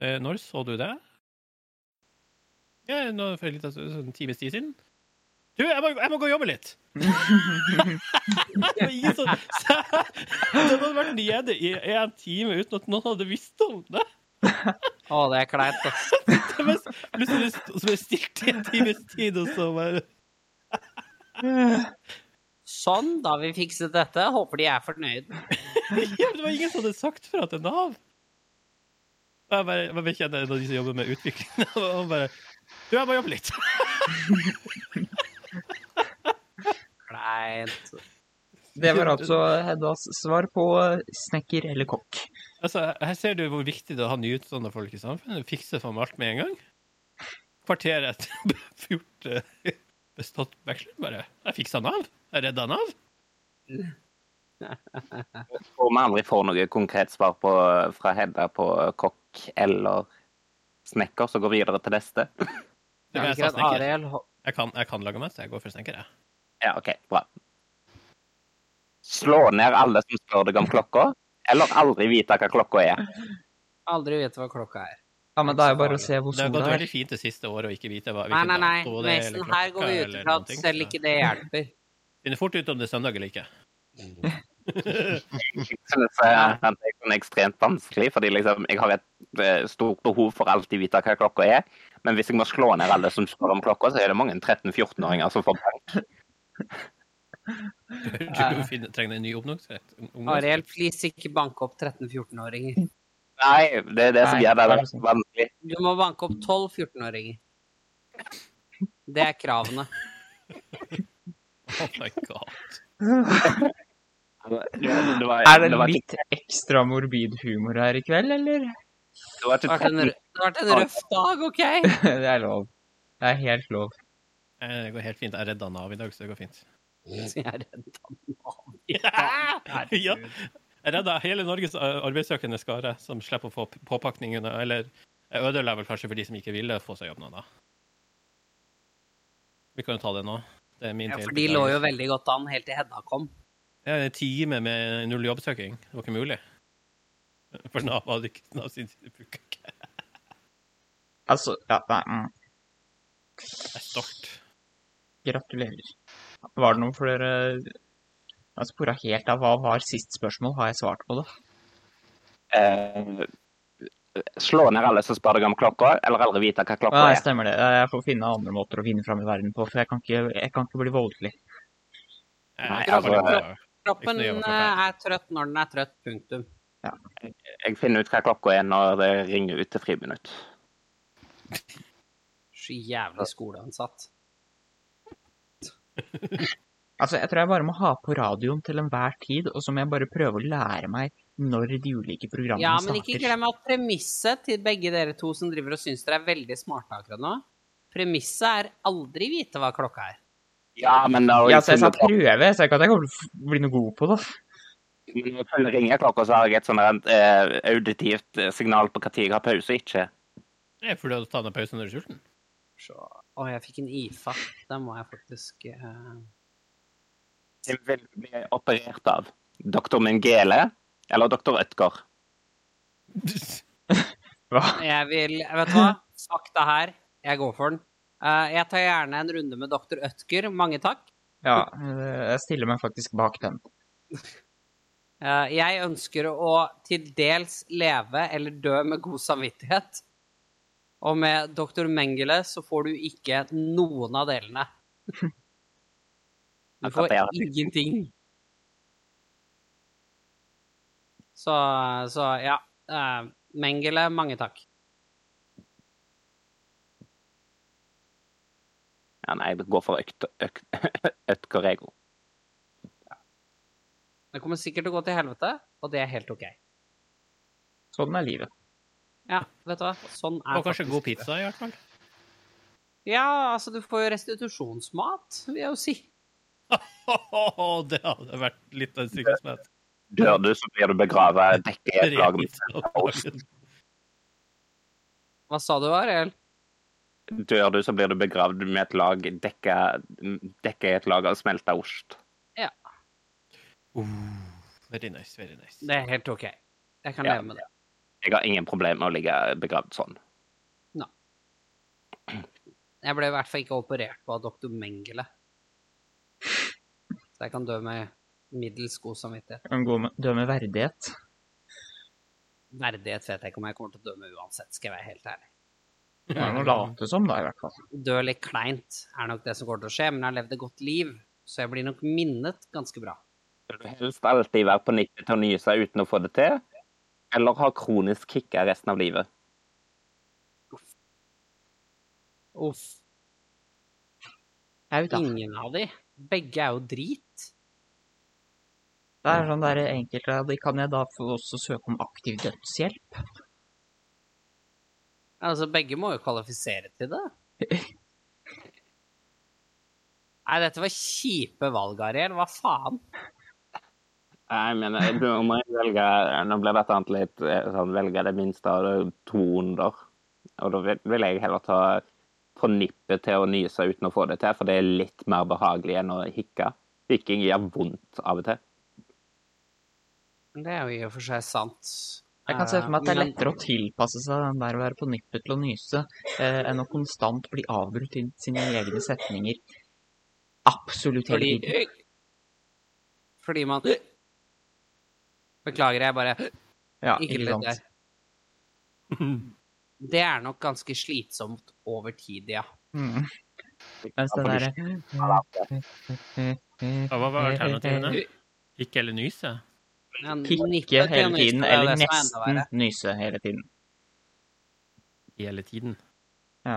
Speaker 6: eh, Når så du det? Ja, nå for en liten stund- sånn times tid siden. Du, jeg må, jeg må gå og jobbe litt! det var ingen som så, Den sånn- hadde vært nede i en time uten at noen hadde visst om det.
Speaker 3: Å, det er kleint, ass.
Speaker 6: det var, plutselig st- så ble jeg stilt i en times tid, og så bare
Speaker 3: Sånn, da har vi fikset dette. Håper de er fornøyd.
Speaker 6: ja, men Det var ingen som hadde sagt fra til Nav. Og Jeg bare, jeg bare kjenner en av de som jobber med utvikling, og han bare Du, jeg må jobbe litt.
Speaker 3: Kleint.
Speaker 4: Det var altså Heddas svar på snekker eller kokk.
Speaker 6: Altså, her ser du hvor viktig det er å ha nyutdanna folk i samfunnet. Fikse faen meg alt med en gang. Kvarteret etter gjort eh, bestått bachelor, bare Jeg fiksa Nav. Jeg redda Nav.
Speaker 2: Tror vi aldri får noe konkret svar på, fra Hedda på eh, kokk eller snekker, så går vi videre til neste.
Speaker 3: Er
Speaker 6: Det var
Speaker 3: det
Speaker 6: jeg
Speaker 3: ikke
Speaker 6: sa
Speaker 3: at
Speaker 6: snekker.
Speaker 3: Ariel ho-
Speaker 6: Jeg kan, jeg kan lage mat, så jeg går for snekker, jeg.
Speaker 2: Ja, OK, bra. Slå ned alle som spør deg om klokka, eller aldri vite hva klokka er.
Speaker 3: aldri vet hva klokka er?
Speaker 4: Ja, men det er jo bare å se hvor
Speaker 6: Det har
Speaker 4: sola
Speaker 6: gått
Speaker 4: er.
Speaker 6: veldig fint det siste året å ikke vite hva
Speaker 3: Nei,
Speaker 6: hvilken
Speaker 3: nei, nei.
Speaker 6: dato det er,
Speaker 3: Mason,
Speaker 6: eller
Speaker 3: her går
Speaker 6: klokka
Speaker 3: vi ut
Speaker 6: eller
Speaker 3: ifra
Speaker 6: noen
Speaker 3: at
Speaker 6: ting,
Speaker 3: selv
Speaker 6: så-
Speaker 3: ikke det hjelper.
Speaker 6: Finner fort ut om det er søndag eller ikke.
Speaker 2: Jeg synes eh, at det er sånn ekstremt vanskelig, fordi liksom, jeg har et eh, stort behov for alltid vite hva klokka er. Men hvis jeg må slå ned alle som spør om klokka, så er det mange 13-14-åringer som får bank.
Speaker 6: Du finner, trenger en ny oppnåelsesrett.
Speaker 3: Ariel, please ikke banke opp 13-14-åringer.
Speaker 2: Nei, det er det som
Speaker 4: Nei,
Speaker 2: gjør det
Speaker 4: det er sånn. sant.
Speaker 2: vanskelig.
Speaker 3: Du må banke opp 12 14-åringer. Det er kravene.
Speaker 6: Oh my god.
Speaker 2: Det var, det var,
Speaker 4: Er det
Speaker 2: det var,
Speaker 4: litt ekstra morbid humor her i kveld, eller?
Speaker 2: ikke, det var
Speaker 3: Det
Speaker 2: ikke
Speaker 3: har vært en,
Speaker 2: 13,
Speaker 3: rø- det har vært en røff dag, OK?
Speaker 4: Det er lov. Det er helt lov.
Speaker 6: Eh, Det går helt fint. Jeg redda Nav i dag, så det går fint.
Speaker 3: Så jeg er redd han har-
Speaker 6: Ja. Jeg redda hele Norges eh, arbeidssøkende skare, som slipper å få p- påpakning under Eller jeg ødela vel kanskje for de som ikke ville få seg jobb nå, da. Vi kan jo ta det nå. Det er min
Speaker 3: Ja,
Speaker 6: feil.
Speaker 3: for de lå jo veldig godt an helt til Hedda kom.
Speaker 6: Det er en time med null jobbsøking. Det var ikke mulig. For Nav hadde ikke Nav sin side funka ikke.
Speaker 4: Altså, ja, nei, mm,
Speaker 6: Jeg er stolt.
Speaker 4: gratulerer. Var det noen flere Jeg spora helt av. Hva var sist spørsmål? Har jeg svart på det?
Speaker 2: eh, Slå ned alle som spør deg om klokka, eller aldri vite hva klokka
Speaker 4: Nei,
Speaker 2: er.
Speaker 4: stemmer det. Jeg får finne andre måter å vinne fram i verden på, for jeg kan ikke, jeg kan ikke bli voldelig.
Speaker 6: Jeg,
Speaker 2: Nei,
Speaker 6: jeg, jeg,
Speaker 2: altså-
Speaker 3: Kroppen
Speaker 6: Ikke nøye med
Speaker 3: eh,
Speaker 6: klokka.
Speaker 3: er trøtt når den er trøtt, punktum.
Speaker 2: Jeg finner ut hva klokka er når det ringer ut til friminutt.
Speaker 3: Så jævlig skoleansatt.
Speaker 4: Altså, jeg tror jeg bare må ha på radioen til enhver tid, og så må jeg bare prøve å lære meg når de ulike programmene
Speaker 3: Ja, men
Speaker 4: starter.
Speaker 3: ikke glem at premisset til begge dere to som driver og syns dere er veldig smarte akkurat nå, premisset er aldri vite hva klokka er.
Speaker 2: Ja, men da
Speaker 4: Ja, så jeg sa prøve, så jeg kan ikke at jeg kommer til å bli noe god på det.
Speaker 2: Når jeg følger ringeklokka, så har jeg et sånn her, eh, auditivt eh, signal på når jeg har pause og ikke.
Speaker 6: jeg får ta en pause når du er sulten.
Speaker 3: Så, å, jeg fikk en IFA. Den må jeg faktisk eh,
Speaker 2: Jeg vil bli operert av doktor Mingele eller doktor Ødgaard.
Speaker 4: Hva?
Speaker 3: Jeg vil Vet du hva? Fakta her. Jeg går for den. Eh, jeg tar gjerne en runde med doktor Ødger. Mange takk.
Speaker 4: Ja, eh, jeg stiller meg faktisk bak den.
Speaker 3: Eh, jeg ønsker å til dels leve eller dø med god samvittighet. Og med Dr. Mengele så får du ikke noen av delene. Du
Speaker 2: Akkurat
Speaker 3: får
Speaker 2: det, ja.
Speaker 3: ingenting. Så, så ja. eh, Mengele, mange takk.
Speaker 2: Ja, nei, jeg går for økt, økt, Øtkorego.
Speaker 3: Det kommer sikkert til å gå til helvete, og det er helt OK.
Speaker 4: Sånn er livet.
Speaker 3: Ja, vet du hva. Sånn er
Speaker 6: Og kanskje
Speaker 3: faktisk
Speaker 6: god
Speaker 3: livet.
Speaker 6: pizza, i hvert fall.
Speaker 3: Ja, altså, du får jo restitusjonsmat, vil jeg jo si.
Speaker 6: det hadde vært litt av en sykdomsmøte.
Speaker 2: Dør du, så blir du begravet dekket i et lag med
Speaker 3: Hva sa du, Ariel?
Speaker 2: Dør du, så blir du begravd med et lag dekket dekket i et lag av smelta ost.
Speaker 6: Very nice, very nice.
Speaker 3: Det er helt OK. Jeg kan
Speaker 2: Ja.
Speaker 3: leve med det.
Speaker 2: Jeg har ingen problem med å ligge begravd sånn.
Speaker 3: Jeg ble i hvert fall ikke operert på av doktor Mengele. Så jeg kan dø med middels god samvittighet.
Speaker 4: Kan gå med, dø med verdighet.
Speaker 3: Verdighet vet jeg ikke om jeg kommer til å dø med uansett, skal jeg være helt ærlig.
Speaker 4: Det er noe å late som, da, i hvert fall.
Speaker 3: Dø litt kleint er nok det som kommer til å skje, men jeg har levd et godt liv, så jeg blir nok minnet ganske bra.
Speaker 2: Vil du helst alltid være på nippet til å nyse uten å få det til? Eller ha kronisk kicka resten av livet?
Speaker 3: Uff.
Speaker 4: Jeg er ute.
Speaker 3: Ingen av de. Begge er jo drit.
Speaker 4: Det er sånn der enkelte av de kan jeg da få også søke om aktiv dødshjelp.
Speaker 3: Altså, begge må jo kvalifisere til det. Nei, dette var kjipe valg, Ariel. Hva faen?
Speaker 2: Nei, men jeg- du må jeg velge Nå ble dette annet litt eh, sånn Velge det minste av det to onder. Og da vil, vil jeg heller ta på nippet til å nyse uten å få det til, for det er litt mer behagelig enn å hikke. Hikking gjør vondt av og til.
Speaker 3: Det er jo i og for seg sant.
Speaker 4: Jeg kan se for meg at det er
Speaker 3: Eh, men-
Speaker 4: lettere å tilpasse seg den der å være på nippet til å nyse, eh, enn å konstant bli avbrutt i sine egne setninger. Absolutt hele tiden.
Speaker 3: Fordi Fordi man Beklager, jeg bare
Speaker 4: Ja,
Speaker 3: ikke
Speaker 4: ikke
Speaker 3: litt
Speaker 4: sant.
Speaker 3: der. Det er nok ganske slitsomt over tid, ja.
Speaker 4: Mm. Mens den eh, derre
Speaker 6: Ja, hva var alternativene? Ikke eller nyse?
Speaker 3: Men
Speaker 4: Kikke
Speaker 3: nippet til å
Speaker 4: hele
Speaker 3: nyse,
Speaker 4: tiden,
Speaker 3: det er
Speaker 4: eller
Speaker 3: det som er enda
Speaker 4: nesten
Speaker 3: verre.
Speaker 4: nyse hele tiden.
Speaker 6: Hele tiden?
Speaker 4: Ja.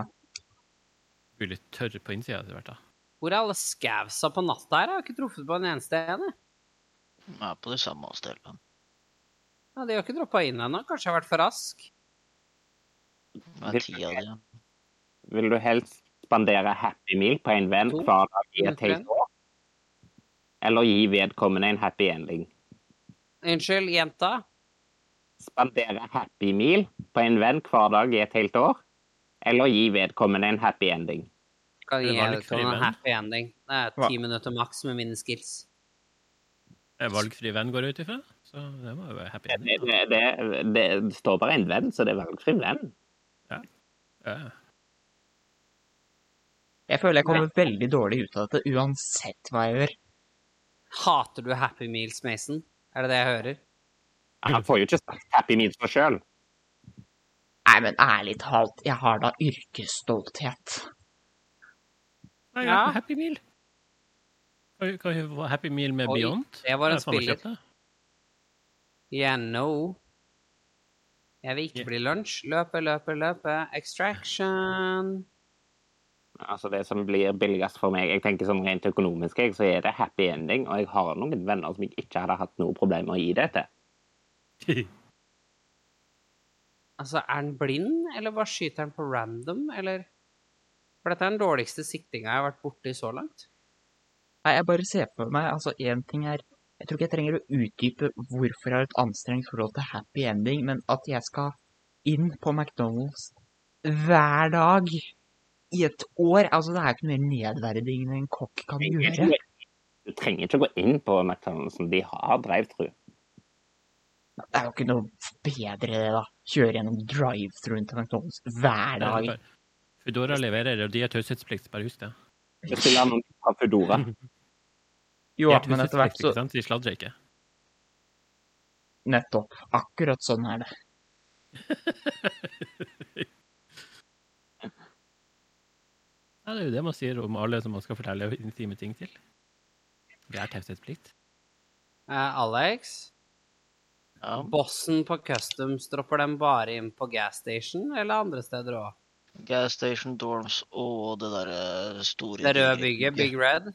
Speaker 6: Blir litt tørr på innsida etter hvert, da.
Speaker 3: Hvor er alle skavsa på natta her? Jeg har ikke truffet på en eneste en. jeg.
Speaker 5: Jeg er på de samme stedene.
Speaker 3: Ja, de har ikke droppa inn ennå. Kanskje jeg har vært for rask.
Speaker 5: Det er ti av de. ja.
Speaker 2: Vil du helst spandere Happy Meal på en venn
Speaker 3: To.
Speaker 2: hver dag i et helt år? Eller gi vedkommende en happy ending?
Speaker 3: Unnskyld, jenta.
Speaker 2: Spandere Happy Meal på en venn hver dag i et helt år? Eller gi vedkommende en happy ending?
Speaker 3: Kan
Speaker 6: Det
Speaker 3: gi
Speaker 6: var litt
Speaker 3: deg en
Speaker 6: frivenn.
Speaker 3: happy ending. Det er
Speaker 4: Hva?
Speaker 3: ti minutter maks med mine skills.
Speaker 6: Eh, Valgfri venn går jeg ut ifra, så det må jo være happy
Speaker 2: Det,
Speaker 6: ending. da.
Speaker 2: det, det, det står bare en venn, så det er valgfri venn.
Speaker 6: Ja.
Speaker 4: Jeg føler jeg kommer veldig dårlig ut av dette, uansett hva jeg gjør.
Speaker 3: Hater du Happy Meals, Mason? Er det det jeg hører?
Speaker 2: Han får jo ikke sagt Happy Meals for sjøl.
Speaker 4: Nei, men ærlig talt, jeg har da yrkesstolthet.
Speaker 6: Nei, ja.
Speaker 3: Ja.
Speaker 6: Happy Meal. Kan vi- Kan vi få Happy Meal med
Speaker 3: Oi,
Speaker 6: Beyond?
Speaker 3: det var en
Speaker 6: Jeg har faen meg
Speaker 3: spiller.
Speaker 6: kjøpt det.
Speaker 3: Yeah, no. Jeg vil ikke
Speaker 6: Ja.
Speaker 3: bli lunsj. Løpe, løpe, løpe. Extraction.
Speaker 2: Altså det som blir billigst for meg, jeg tenker sånn rent økonomisk, jeg, så er det happy ending. Og jeg har noen venner som jeg ikke hadde hatt noe problem med å gi det til.
Speaker 3: Altså, er han blind, eller bare skyter han på random, eller For dette er den dårligste siktinga jeg har vært borti så langt.
Speaker 4: Nei, jeg bare ser på meg, altså en ting er, jeg tror ikke jeg trenger å utdype hvorfor jeg har et anstrengt forhold til happy ending, men at jeg skal inn på McDonalds hver dag i et år, altså det er ikke noe mer nedverdigende en kokk kan gjøre.
Speaker 2: Du trenger ikke gå inn på McDonald's, de har drive-thru.
Speaker 4: Det er jo ikke noe bedre det da, kjøre gjennom drive-thruen til McDonalds hver dag.
Speaker 6: Foodora leverer, og de har taushetsplikt, bare husk det.
Speaker 2: Bestiller noen fra Foodora.
Speaker 6: De
Speaker 4: Jo,
Speaker 6: har
Speaker 4: men etter hvert
Speaker 6: taushetsplikt,
Speaker 4: så,
Speaker 6: ikke sant? De sladrer ikke.
Speaker 4: nettopp, akkurat sånn er det.
Speaker 6: Ja, det er jo det man sier om alle som man skal fortelle intime ting til. Det er taushetsplikt.
Speaker 3: Eh, Alex,
Speaker 5: Ja.
Speaker 3: bossen på Customs dropper dem bare inn på gas station eller andre steder òg?
Speaker 5: Gas Station, Dorms og det der eh, store
Speaker 3: Det røde bygget, Big Red?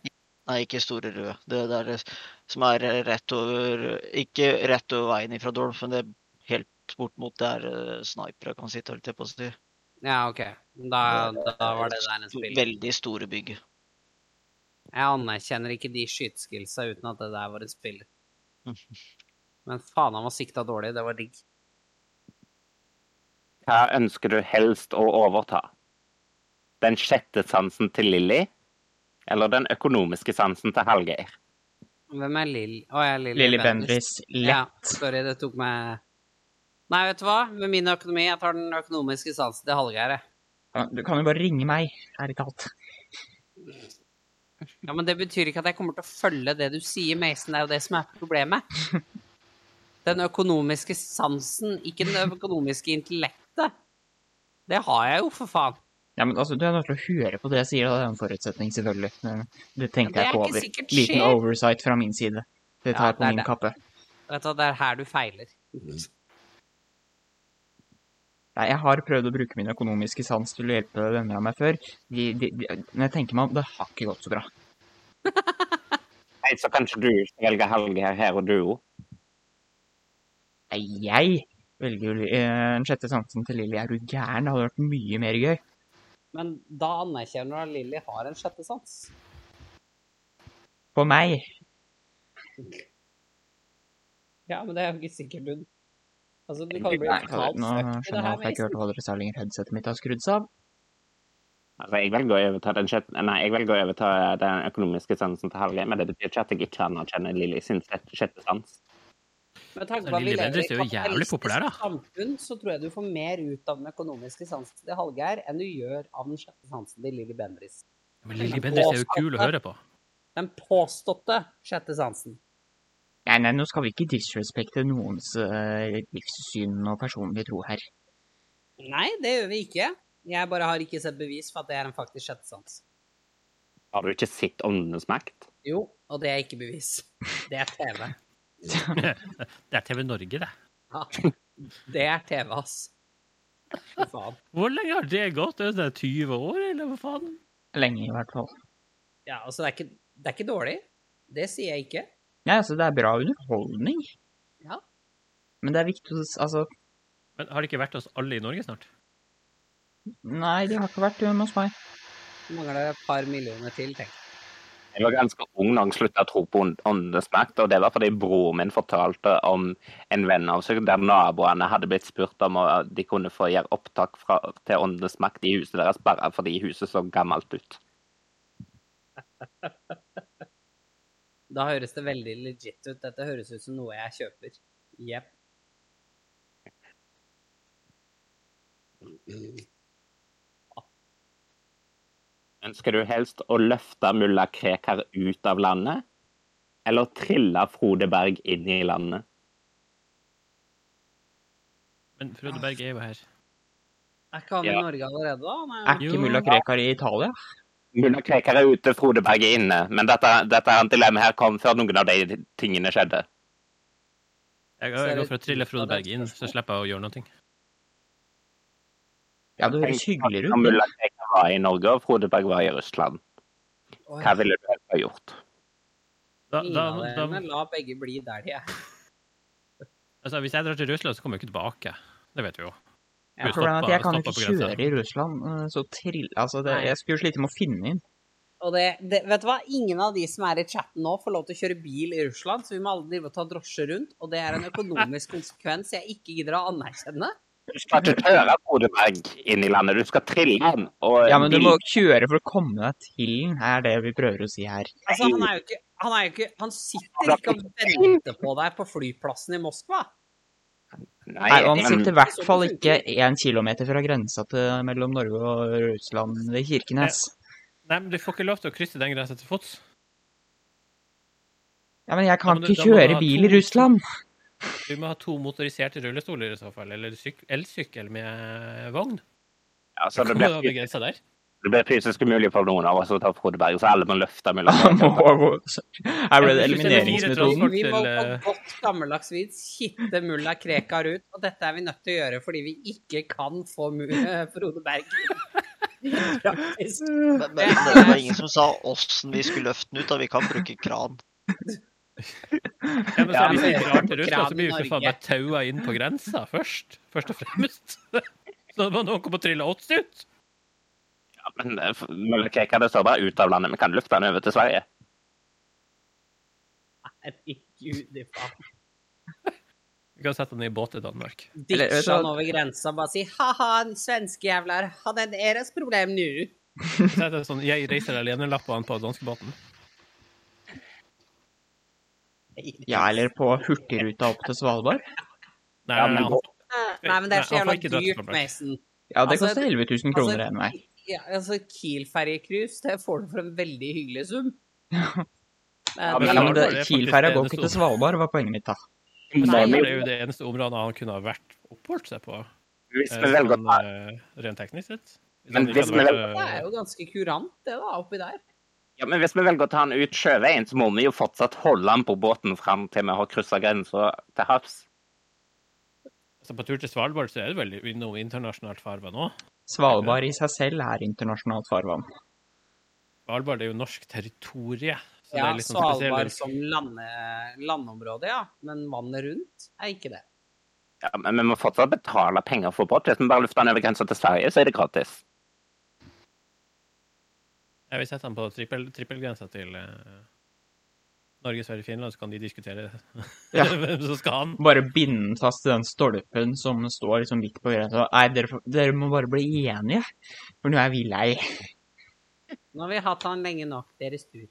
Speaker 5: Nei, ikke Store Røde. Det der eh, som er eh, rett over Ikke rett over veien ifra Dorms, men det er helt bort mot der eh, snipere kan sitte, holdt jeg på å si.
Speaker 3: Ja, OK. Da, da var det der en spill.
Speaker 5: Veldig store bygg.
Speaker 3: Jeg anerkjenner ikke de skyteskillsa uten at det der var et spill. Men faen, han var sikta dårlig. Det var digg.
Speaker 2: Hva ønsker du helst å overta? Den sjette sansen til Lilly, eller den økonomiske sansen til Hallgeir?
Speaker 3: Hvem er Lill? Å, jeg er Lilly
Speaker 4: Lilly Bendriss,
Speaker 3: Ja,
Speaker 4: lett.
Speaker 3: sorry, det tok meg Nei, vet du hva? Med min økonomi, jeg tar den økonomiske sansen til Hallgeir, jeg.
Speaker 4: Ja, Du kan jo bare ringe meg, ærlig talt.
Speaker 3: Ja, men det betyr ikke at jeg kommer til å følge det du sier, Mason. Det er jo det som er problemet. Den økonomiske sansen, ikke den økonomiske intellektet. Det har jeg jo, for faen.
Speaker 4: Ja, men altså, Du er nødt til å høre på det jeg sier, da. det er en forutsetning, selvfølgelig. Men Det tenkte jeg
Speaker 3: Ja, det er
Speaker 4: ikke
Speaker 3: ikke
Speaker 4: over.
Speaker 3: sikkert
Speaker 4: Liten
Speaker 3: skjer.
Speaker 4: oversight fra min side. Det
Speaker 3: Ja,
Speaker 4: tar jeg
Speaker 3: det
Speaker 4: på
Speaker 3: er
Speaker 4: min
Speaker 3: det.
Speaker 4: kappe.
Speaker 3: Vet du, hva, det er her du feiler.
Speaker 4: Nei, jeg har prøvd å bruke min økonomiske sans til å hjelpe venner av meg før. De, de, de, men jeg tenker meg om, det har ikke gått så bra.
Speaker 2: Nei, så kanskje du velger Hallgeir her og du òg?
Speaker 4: Nei, jeg velger jo li- eh, den sjette sansen til Lilly. Er du gæren? Det hadde vært mye mer gøy.
Speaker 3: Men da anerkjenner du at Lilly har en sjette sans.
Speaker 4: På meg.
Speaker 3: Ja, men det er jo ikke sikkert hun Altså, du kan jo bli
Speaker 4: Nei,
Speaker 3: totalt
Speaker 4: nå
Speaker 3: fucked i det
Speaker 4: skjønner jeg
Speaker 3: her,
Speaker 4: at jeg ikke
Speaker 3: Mason.
Speaker 4: hørte hva dere sa lenger. Headsetet mitt har skrudd seg av.
Speaker 2: Altså, jeg velger å overta den, sjette- nei, jeg velger å overta den økonomiske sansen til Hallgeir, men det betyr ikke at jeg ikke anerkjenner Lilly sin sjette- sjette sans.
Speaker 3: Med tanke på at
Speaker 6: Men
Speaker 3: vi
Speaker 6: Altså, Lilly
Speaker 3: lever i
Speaker 6: Bendriss er jo jævlig
Speaker 3: kapitalistisk
Speaker 6: populær, da.
Speaker 3: samfunn, så tror jeg du får mer ut av den økonomiske sansen til Hallgeir enn du gjør av den sjette sansen til Lilly Bendriss.
Speaker 6: Men Lilly Bendriss er jo kul å høre på.
Speaker 3: Den påståtte sjette sansen.
Speaker 4: Nei, nei, nå skal vi ikke disrespekte noens eh, livssyn og personlige tro her.
Speaker 3: Nei, det gjør vi ikke. Jeg bare har ikke sett bevis for at det er en faktisk sjette sans.
Speaker 2: Har du ikke sett Åndenes makt?
Speaker 3: Jo, og det er ikke bevis. Det er TV.
Speaker 6: Det er TV Norge, det.
Speaker 3: Ja. Det er TV, ass. Fy faen.
Speaker 6: Hvor lenge har det gått? Er det 20 år, eller hva faen?
Speaker 4: Lenge, i hvert fall.
Speaker 3: Ja, altså, det er ikke, det er ikke dårlig. Det sier jeg ikke.
Speaker 4: Nei, altså, det er bra underholdning.
Speaker 3: Ja.
Speaker 4: Men det er viktig å s- Altså,
Speaker 6: Men har det ikke vært oss alle i Norge snart?
Speaker 4: nei, det har ikke vært hjemme hos meg.
Speaker 3: Det mangler et par millioner til, tenk.
Speaker 2: Jeg var ganske ung da jeg slutta å tro på ånd- åndenes makt, og det var fordi broren min fortalte om en venn av seg der naboene hadde blitt spurt om å- de kunne få gjøre opptak fra, til åndenes makt i huset deres bare fordi huset så gammelt ut.
Speaker 3: Da høres det veldig legit ut. Dette høres ut som noe jeg kjøper. Jepp.
Speaker 2: Ønsker du helst å løfte mulla Krekar ut av landet, eller trille Frode Berg inn i landet?
Speaker 6: Men Frode Berg er jo her.
Speaker 3: Er ikke han
Speaker 2: Ja.
Speaker 3: i Norge allerede, da? Han
Speaker 4: Er
Speaker 3: er jo-
Speaker 4: ikke
Speaker 6: Jo.
Speaker 4: mulla Krekar i Italia?
Speaker 2: Mulla Krekar er ute, Frode Berg er inne, men dette, dette dilemmaet her kom før noen av de tingene skjedde.
Speaker 6: Jeg, jeg går for å trille Frode Berg inn, så slipper jeg å gjøre noe.
Speaker 4: Ja, det høres hyggeligere
Speaker 2: Når
Speaker 4: ut.
Speaker 2: Mulla Krekar var i Norge, og Frode Berg var i Russland.
Speaker 3: Oi,
Speaker 2: Hva ville du helst ha gjort?
Speaker 6: Da,
Speaker 3: ingen
Speaker 6: da,
Speaker 3: av
Speaker 6: da,
Speaker 3: dere, men La begge bli der de er.
Speaker 6: altså, hvis jeg drar til Russland, så kommer jeg ikke tilbake. Det vet vi jo.
Speaker 4: Ja,
Speaker 6: Blir
Speaker 4: problemet er at
Speaker 6: stoppa-
Speaker 4: jeg kan jo
Speaker 6: stoppa
Speaker 4: ikke
Speaker 6: på grensa.
Speaker 4: kjøre i Russland, eh, så trill... Altså, det,
Speaker 3: Nei.
Speaker 4: jeg skulle slite med å finne inn.
Speaker 3: Og det, det, vet du hva? Ingen av de som er i chatten nå, får lov til å kjøre bil i Russland, så vi må alle drive og ta drosje rundt. Og det er en økonomisk konsekvens jeg ikke gidder å anerkjenne.
Speaker 2: Du skal ikke kjøre Frode Berg inn i landet, du skal trille han. Og
Speaker 4: Ja, men du
Speaker 2: vil-
Speaker 4: må kjøre for å komme deg til den, er det vi prøver å si her.
Speaker 3: Altså, han er jo ikke Han, er jo ikke, han sitter ikke og venter på deg på flyplassen i Moskva.
Speaker 2: Nei,
Speaker 4: Nei, og han
Speaker 2: men-
Speaker 4: sitter i hvert
Speaker 3: sånn
Speaker 4: fall ikke én kilometer fra grensa til, mellom Norge og Russland ved Kirkenes.
Speaker 6: Nei, men du får ikke lov til å krysse den grensa til fots.
Speaker 4: Ja, men jeg
Speaker 6: Ja,
Speaker 4: kan
Speaker 6: men du-
Speaker 4: ikke
Speaker 6: da må du
Speaker 4: kjøre
Speaker 6: ha
Speaker 4: bil
Speaker 6: to-
Speaker 4: i Russland!
Speaker 6: Du må ha to motoriserte rullestoler i så fall, eller syk- elsykkel med vogn.
Speaker 2: Ja, så
Speaker 6: Så
Speaker 2: altså, det
Speaker 6: kommer du
Speaker 2: blir
Speaker 6: over grensa der.
Speaker 2: Det blir fysisk umulig for noen av oss å ta Frode Berg, så alle må løfte mellom
Speaker 4: Han må Her ble det
Speaker 3: Vi
Speaker 6: Jeg synes det er fire
Speaker 4: elimineringsmetoden.
Speaker 6: transport
Speaker 3: vi må
Speaker 6: til,
Speaker 3: på
Speaker 6: eh,
Speaker 3: godt gammeldags vis hitte mulla Krekar ut, og dette er vi nødt til å gjøre fordi vi ikke kan få mu- eh, Frode Berg Praktisk.
Speaker 5: Men, men det var ingen som sa åssen vi skulle løfte den ut. da. Vi kan bruke kran.
Speaker 6: Ja, men så
Speaker 2: Ja,
Speaker 6: er vi
Speaker 3: men-
Speaker 6: sikkert rart til Russland, så blir vi
Speaker 3: Kran i
Speaker 6: for faen
Speaker 3: Norge.
Speaker 6: meg taua inn på grensa først. Først og fremst. Så må noen komme og trille oss ut.
Speaker 2: Ja, men eh, f- mulla Krekar, det står bare ut av landet. Vi kan løfte den over til Sverige.
Speaker 3: Herregud, i faen.
Speaker 6: Vi kan sette den i båt til Danmark.
Speaker 4: Eller, vet du
Speaker 3: Ditcha
Speaker 4: hva?
Speaker 3: han over grensa og bare si ha-ha, svenske jævlar, ha den deres problem nu.
Speaker 6: Sette en sånn 'jeg reiser alene'-lappene på danskebåten.
Speaker 4: Ja, eller på Hurtigruta opp til Svalbard.
Speaker 6: Nei,
Speaker 2: Ja,
Speaker 6: nei,
Speaker 2: men
Speaker 6: nei,
Speaker 2: gå-
Speaker 3: Nei, men det er så
Speaker 6: Nei, han
Speaker 3: jævla
Speaker 6: får ikke dra til
Speaker 3: dyrt,
Speaker 6: Svalbard.
Speaker 3: Mason.
Speaker 4: Ja, det
Speaker 3: Altså,
Speaker 4: koster 11 000 kroner
Speaker 3: altså,
Speaker 4: en vei.
Speaker 3: Ja, altså Kiel-ferjecruise, det får du for en veldig hyggelig sum.
Speaker 2: Ja,
Speaker 4: Ja,
Speaker 6: men
Speaker 4: men
Speaker 6: Svalbard
Speaker 4: det-
Speaker 6: er faktisk
Speaker 4: Kielferja går
Speaker 6: det
Speaker 4: ikke til
Speaker 6: eneste-
Speaker 4: Svalbard, var poenget mitt, da.
Speaker 6: han-
Speaker 2: Nei,
Speaker 6: Svalbard er
Speaker 2: men
Speaker 6: jo det eneste området han kunne ha vært oppholdt seg på,
Speaker 2: hvis
Speaker 6: eh,
Speaker 2: vi velger å
Speaker 6: sånn,
Speaker 2: ta
Speaker 6: eh, rent teknisk sett.
Speaker 2: Men
Speaker 6: han
Speaker 2: hvis
Speaker 6: ikke hadde
Speaker 2: vi
Speaker 6: vært,
Speaker 3: Det
Speaker 6: eh,
Speaker 3: er jo ganske kurant, det da, oppi der.
Speaker 2: Ja, men hvis vi velger å ta han ut sjøveien, så må vi jo fortsatt holde han på båten fram til vi har kryssa grensa til havs.
Speaker 6: altså, på tur til Svalbard så er det vel i noe internasjonalt farvann òg.
Speaker 4: Svalbard i seg selv er internasjonalt farvann.
Speaker 6: Svalbard er jo norsk territorie. Så det
Speaker 3: Ja,
Speaker 6: er litt sånn
Speaker 3: Svalbard
Speaker 6: spesiell-
Speaker 3: som lande, landområde, ja. Men vannet rundt er ikke det.
Speaker 2: Ja, men vi må fortsatt betale penger for båt. Hvis vi bare lufter han over grensa til Sverige, så er det gratis.
Speaker 6: Jeg vil sette han på trippel, trippelgrensa til eh, Norge, Sverige, Finland, så kan de diskutere
Speaker 4: Ja.
Speaker 6: hvem som skal ha den.
Speaker 4: Bare binde den fast til den stolpen som står liksom midt på grensa. Nei, dere, får- dere må bare bli enige, for nå er vi lei.
Speaker 3: Nå har vi hatt han lenge nok, deres tur.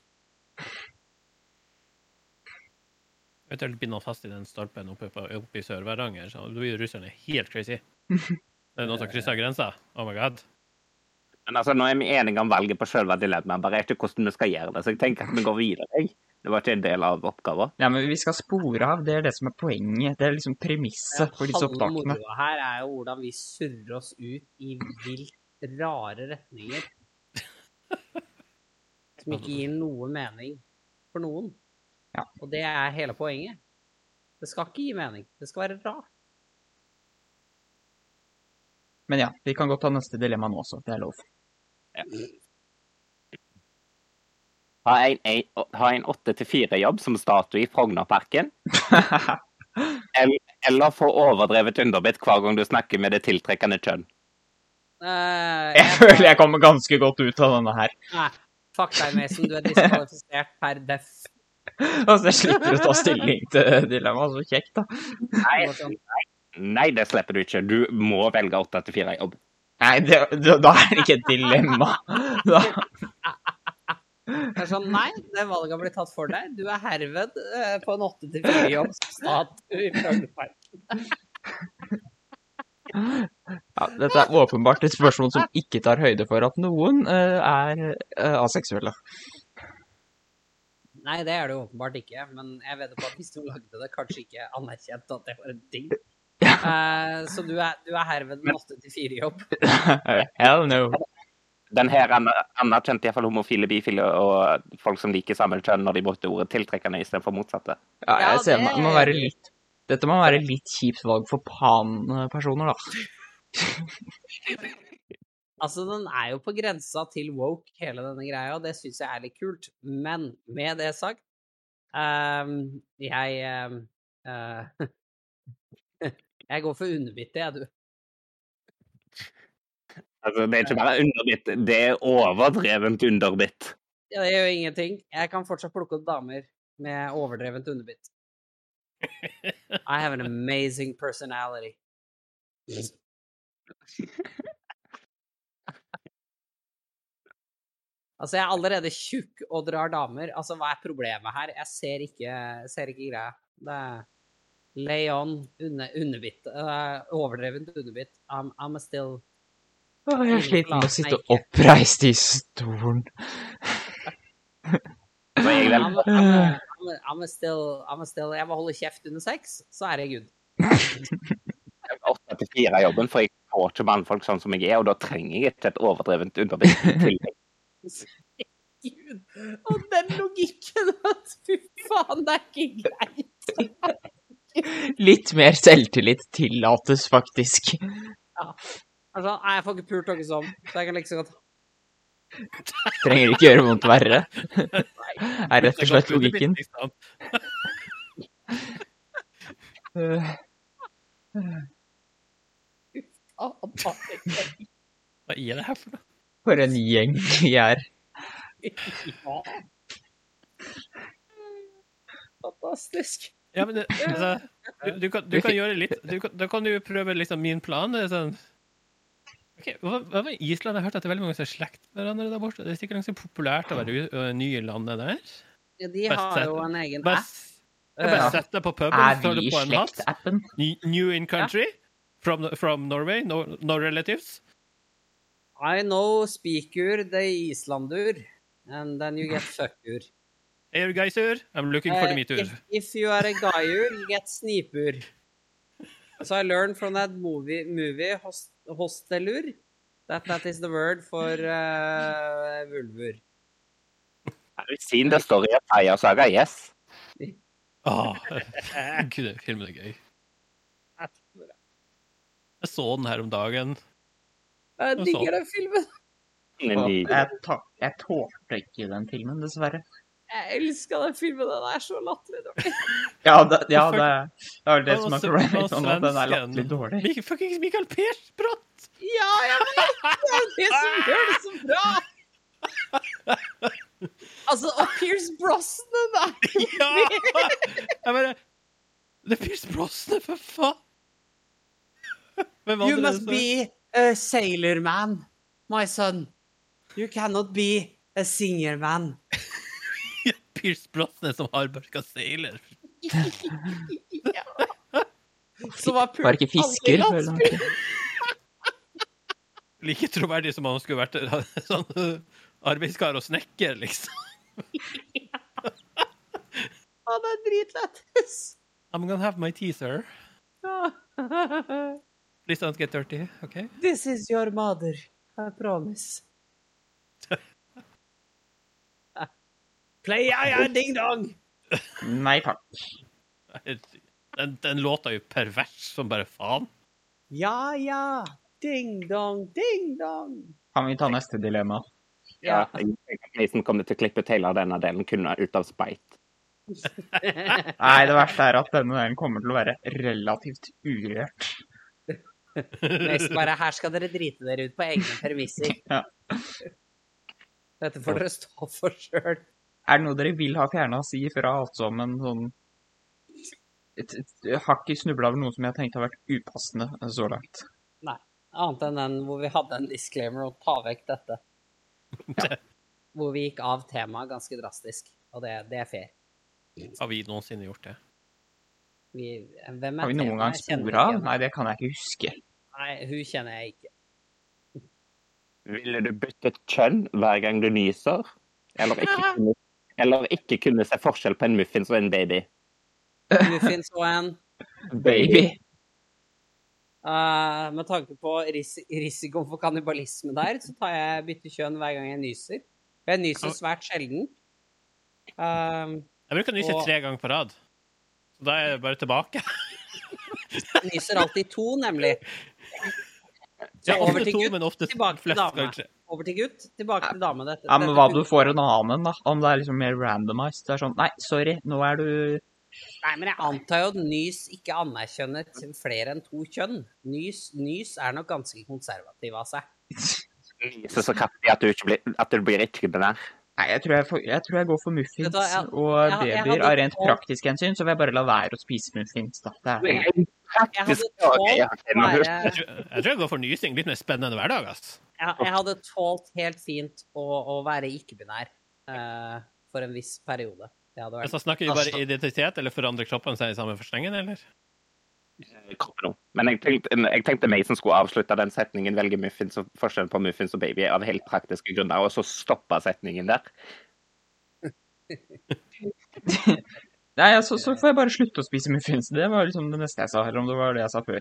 Speaker 6: Eventuelt binde han fast i den stolpen oppe, på, oppe i Sør-Varanger. så Da blir jo russerne helt crazy. Det er noen som
Speaker 4: Eh.
Speaker 6: krysser grensa. Oh my god.
Speaker 2: Men altså, nå er vi enige om valget på selve dilemmaet, bare ikke hvordan vi skal gjøre det. Så jeg tenker at vi går videre. jeg. Det var ikke en del av oppgaven.
Speaker 4: Nei, men vi skal spore av. Det er det som er poenget. Det er liksom premisset for disse
Speaker 3: Halve
Speaker 4: opptakene.
Speaker 3: moroa her er jo hvordan vi surrer oss ut i vilt rare retninger. Som ikke gir noe mening for noen.
Speaker 4: Ja.
Speaker 3: Og det er hele poenget. Det skal ikke gi mening. Det skal være rart.
Speaker 4: Men ja, vi kan godt ta neste dilemma nå også. Det er lov.
Speaker 2: Ha en, en, ha en 8-4-jobb som statue i Frognerparken, eller få overdrevet underbitt hver gang du snakker med det tiltrekkende kjønn.
Speaker 3: Eh,
Speaker 4: jeg
Speaker 3: tar-
Speaker 4: føler jeg kommer ganske godt ut av denne her.
Speaker 3: Nei, fuck deg, Mason. Du er diskvalifisert per def.
Speaker 4: Altså, jeg slipper å ta stilling til dilemmaet. Så kjekt, da.
Speaker 2: Nei,
Speaker 3: sånn-
Speaker 2: nei, det slipper du ikke. Du må velge 8-4-jobb.
Speaker 4: Nei, det, det, da er det ikke et dilemma. Da,
Speaker 3: Det er sånn, nei, det valget blir tatt for deg. Du er herved eh, på en 8-4-jobb som statue i Frognerpark.
Speaker 4: ja, dette er åpenbart et spørsmål som ikke tar høyde for at noen eh, er eh, aseksuelle.
Speaker 3: Nei, det er det jo åpenbart ikke, men jeg vet på at hvis du lagde det, kanskje ikke anerkjente at det var en ting. Eh, så du er, du er herved en 8-4-jobb.
Speaker 4: Hell no.
Speaker 2: Den her aner- anerkjente iallfall homofile, bifile og folk som liker samme kjønn når de brukte ordet tiltrekkende istedenfor motsatte.
Speaker 4: Ja,
Speaker 3: Ja,
Speaker 4: jeg ser
Speaker 3: det
Speaker 4: meg. Det må
Speaker 3: er
Speaker 4: være litt, dette må være litt kjipt valg for pan-personer, da.
Speaker 3: Altså, den er jo på grensa til woke, hele denne greia, og det syns jeg er litt kult. Men med det sagt ehm, Jeg ehm, eh, Jeg går for underbitte, jeg, du.
Speaker 2: Altså, det er ikke bare underbitt, det er overdrevent underbitt.
Speaker 3: Ja, det gjør ingenting. Jeg kan fortsatt plukke opp damer med overdrevent underbitt. I have an amazing personality. Altså, jeg er allerede tjukk og drar damer. Altså, hva er problemet her? Jeg ser ikke, ser ikke greia. Det er lay on, unne, underbitt. eh, overdrevent underbitt. I'm, I'm a still
Speaker 4: Å, jeg er sliten med å sitte
Speaker 3: Nei, ikke.
Speaker 4: oppreist i stolen.
Speaker 2: Så jeg
Speaker 3: I'm,
Speaker 2: vel,
Speaker 3: I'm, I'm, I'm, still, I'm still Jeg må holde kjeft under sex, så er det good.
Speaker 2: 8-4-jobben, for jeg forstår ikke mannfolk sånn som jeg er, og da trenger jeg ikke et overdrevent underbevisst tillegg.
Speaker 3: Gud. Og den logikken at fy faen, det er ikke greit.
Speaker 4: Litt mer selvtillit tillates faktisk.
Speaker 3: Altså, nei, jeg får ikke pult dere sånn, så jeg kan like så godt
Speaker 4: Trenger ikke gjøre vondt verre. Er rett og slett logikken. Eh,
Speaker 3: Ah, ah, ah.
Speaker 6: Hva er det her for noe?
Speaker 4: For en gjeng vi er.
Speaker 3: Ja. Fantastisk.
Speaker 6: Ja, men det, altså, du, du, kan, du kan gjøre litt du kan, Da kan du prøve liksom min plan. det er Sånn. Ok, hva, hva med Island? Jeg har hørt at det er veldig mange som er slekt med hverandre der borte. Det er sikkert ganske populært å være u- ø, ny i landet der.
Speaker 3: Ja, de
Speaker 6: Bare
Speaker 3: har
Speaker 6: sett-
Speaker 3: jo en egen
Speaker 6: Bare,
Speaker 3: app.
Speaker 6: s- ja, bare
Speaker 4: Ja.
Speaker 6: sett deg på puben,
Speaker 4: Er
Speaker 6: så tar du
Speaker 4: vi i
Speaker 6: på en hatt.
Speaker 4: slektappen?
Speaker 6: Ny- New in country. From, from Norway. No, no relatives.
Speaker 3: I know speaker the Islandur, and then you get fuckur.
Speaker 6: Are you guys here? I'm looking for the
Speaker 3: Eh,
Speaker 6: meter.
Speaker 3: if, if you are a guyur, you get snipur. So I learned from that movie, movie host, Hostelur, that that is the word for uh, vulvur.
Speaker 2: Har du sett det står i Ataya Saga? Yes.
Speaker 6: Åh, Ah. Gud, den filmen er gøy. Jeg så den her om dagen.
Speaker 3: Jeg
Speaker 6: Og så-
Speaker 3: digger den filmen!
Speaker 2: Men de,
Speaker 4: Jeg ta- jeg tålte ikke den filmen, dessverre.
Speaker 3: Jeg elsker den filmen! Den er så latterlig dårlig.
Speaker 4: Ja, det, ja, det, det er vel det
Speaker 6: Og
Speaker 4: som er
Speaker 6: så- og
Speaker 4: problemet. Sånn at den er
Speaker 6: svensken.
Speaker 4: latterlig dårlig.
Speaker 6: Mik- Fuckings Michael Persbrandt!
Speaker 3: Ja, jeg vet! Det er det som gjør det så bra! Altså, og Pierce Brosnan er
Speaker 6: Ja! Jeg bare Det er Pierce Brosnan, for faen! Hvem var
Speaker 3: You
Speaker 6: det
Speaker 3: must
Speaker 6: som-
Speaker 3: be a sailor man, my son. You cannot be a singer man.
Speaker 6: Ja, Pierce Brosnan som hardbarka sailor.
Speaker 3: Så var pult
Speaker 4: Var ikke
Speaker 3: aldri
Speaker 4: fisker? føler
Speaker 3: landsby.
Speaker 4: jeg.
Speaker 6: Like troverdig som han skulle vært eh, sånn eh, arbeidskar og snekker, liksom.
Speaker 3: Han er dritlættis.
Speaker 6: I'm gonna have my tea, sir.
Speaker 3: Ja.
Speaker 6: Please don't get dirty, OK?
Speaker 3: This is your mother. I promise. Play I I ding dong.
Speaker 4: Nei takk.
Speaker 6: Den, den låta er jo pervers som bare faen.
Speaker 3: Ja, ja. Ding dong, ding dong.
Speaker 4: Kan vi ta neste dilemma?
Speaker 2: ja, jeg tenker at de som kommer til å klippe ut hele denne delen, kunne ut av speit.
Speaker 4: Nei, det verste er at denne delen kommer til å være relativt urørt.
Speaker 3: Mest bare her skal dere drite dere ut på egne premisser.
Speaker 4: Ja.
Speaker 3: Dette får dere stå for sjøl.
Speaker 4: Er det noe dere vil ha fjerna si fra alt sammen? Sånn et, et, Jeg har ikke snubla over noe som jeg tenkte har vært upassende eh, så langt.
Speaker 3: Annet enn den hvor vi hadde en disclaimer om ta vekk dette. Hvor vi gikk av temaet ganske drastisk. Og det, det er fair.
Speaker 6: Har vi noensinne gjort det?
Speaker 3: Vi, hvem er
Speaker 4: Har vi noen
Speaker 3: temaet?
Speaker 4: gang
Speaker 3: Jeg kjenner
Speaker 4: spora?
Speaker 3: ikke henne.
Speaker 4: Nei, det kan jeg ikke huske.
Speaker 3: Nei, hun kjenner jeg ikke.
Speaker 2: Ville du byttet kjønn hver gang du nyser? Eller ikke kunne, eller ikke kunne se forskjell på en muffins og en baby?
Speaker 3: Muffins og en
Speaker 4: Baby.
Speaker 3: eh, Med tanke på ris risikoen for kannibalisme der, så tar jeg bytter kjønn hver gang jeg nyser. For jeg nyser svært sjelden. Um,
Speaker 6: Jeg bruker å nyse
Speaker 3: Og-
Speaker 6: tre ganger på rad. Så da er jeg bare tilbake.
Speaker 3: nyser alltid to, nemlig.
Speaker 6: Ja,
Speaker 3: over
Speaker 6: ofte
Speaker 3: til
Speaker 6: to,
Speaker 3: gutt,
Speaker 6: men ofte
Speaker 3: tilbake til
Speaker 6: flest
Speaker 3: dame.
Speaker 6: ganger tre.
Speaker 3: Over til gutt, tilbake til dame. Dette,
Speaker 4: Ja, men
Speaker 3: dette
Speaker 4: hva
Speaker 3: funker.
Speaker 4: du får en annen, da? Om det er liksom mer randomized? Det er sånn Nei, sorry, nå er du
Speaker 3: Nei, men jeg antar jo at nys ikke anerkjenner til flere enn to kjønn. Nys, nys er nok ganske konservativ av seg.
Speaker 2: Nyser så kraftig at du, ikke blir, at du blir ikke den der.
Speaker 4: Nei, jeg tror jeg, får, jeg, tror jeg går for
Speaker 3: Vet
Speaker 4: muffins
Speaker 3: du hva, jeg-
Speaker 4: og
Speaker 3: jeg- jeg
Speaker 4: babyer.
Speaker 3: hadde
Speaker 4: Av rent
Speaker 3: tolv-
Speaker 4: praktisk hensyn så vil jeg bare la være å spise muffins, da. Det er
Speaker 2: Jeg hadde
Speaker 3: tolv
Speaker 2: tolv
Speaker 3: Bare,
Speaker 6: Jeg tror- jeg tror jeg går for nysing. Litt mer spennende hverdag, ass.
Speaker 3: jeg, jeg hadde tålt helt fint å, å være ikke-binær eh, for en viss periode. Det hadde vært
Speaker 6: Altså, snakker vi bare identitet, eller forandrer kroppen seg i samme forstengen, eller?
Speaker 2: kroppen nå. Men jeg tenkte, jeg tenkte meg som skulle avslutte den setningen, velge muffins og forskjellen på muffins og baby av helt praktiske grunner, og så stoppe setningen der.
Speaker 8: Nei, altså, så får jeg bare slutte å spise muffins. Det var liksom det neste jeg sa, eller om det var det jeg sa før.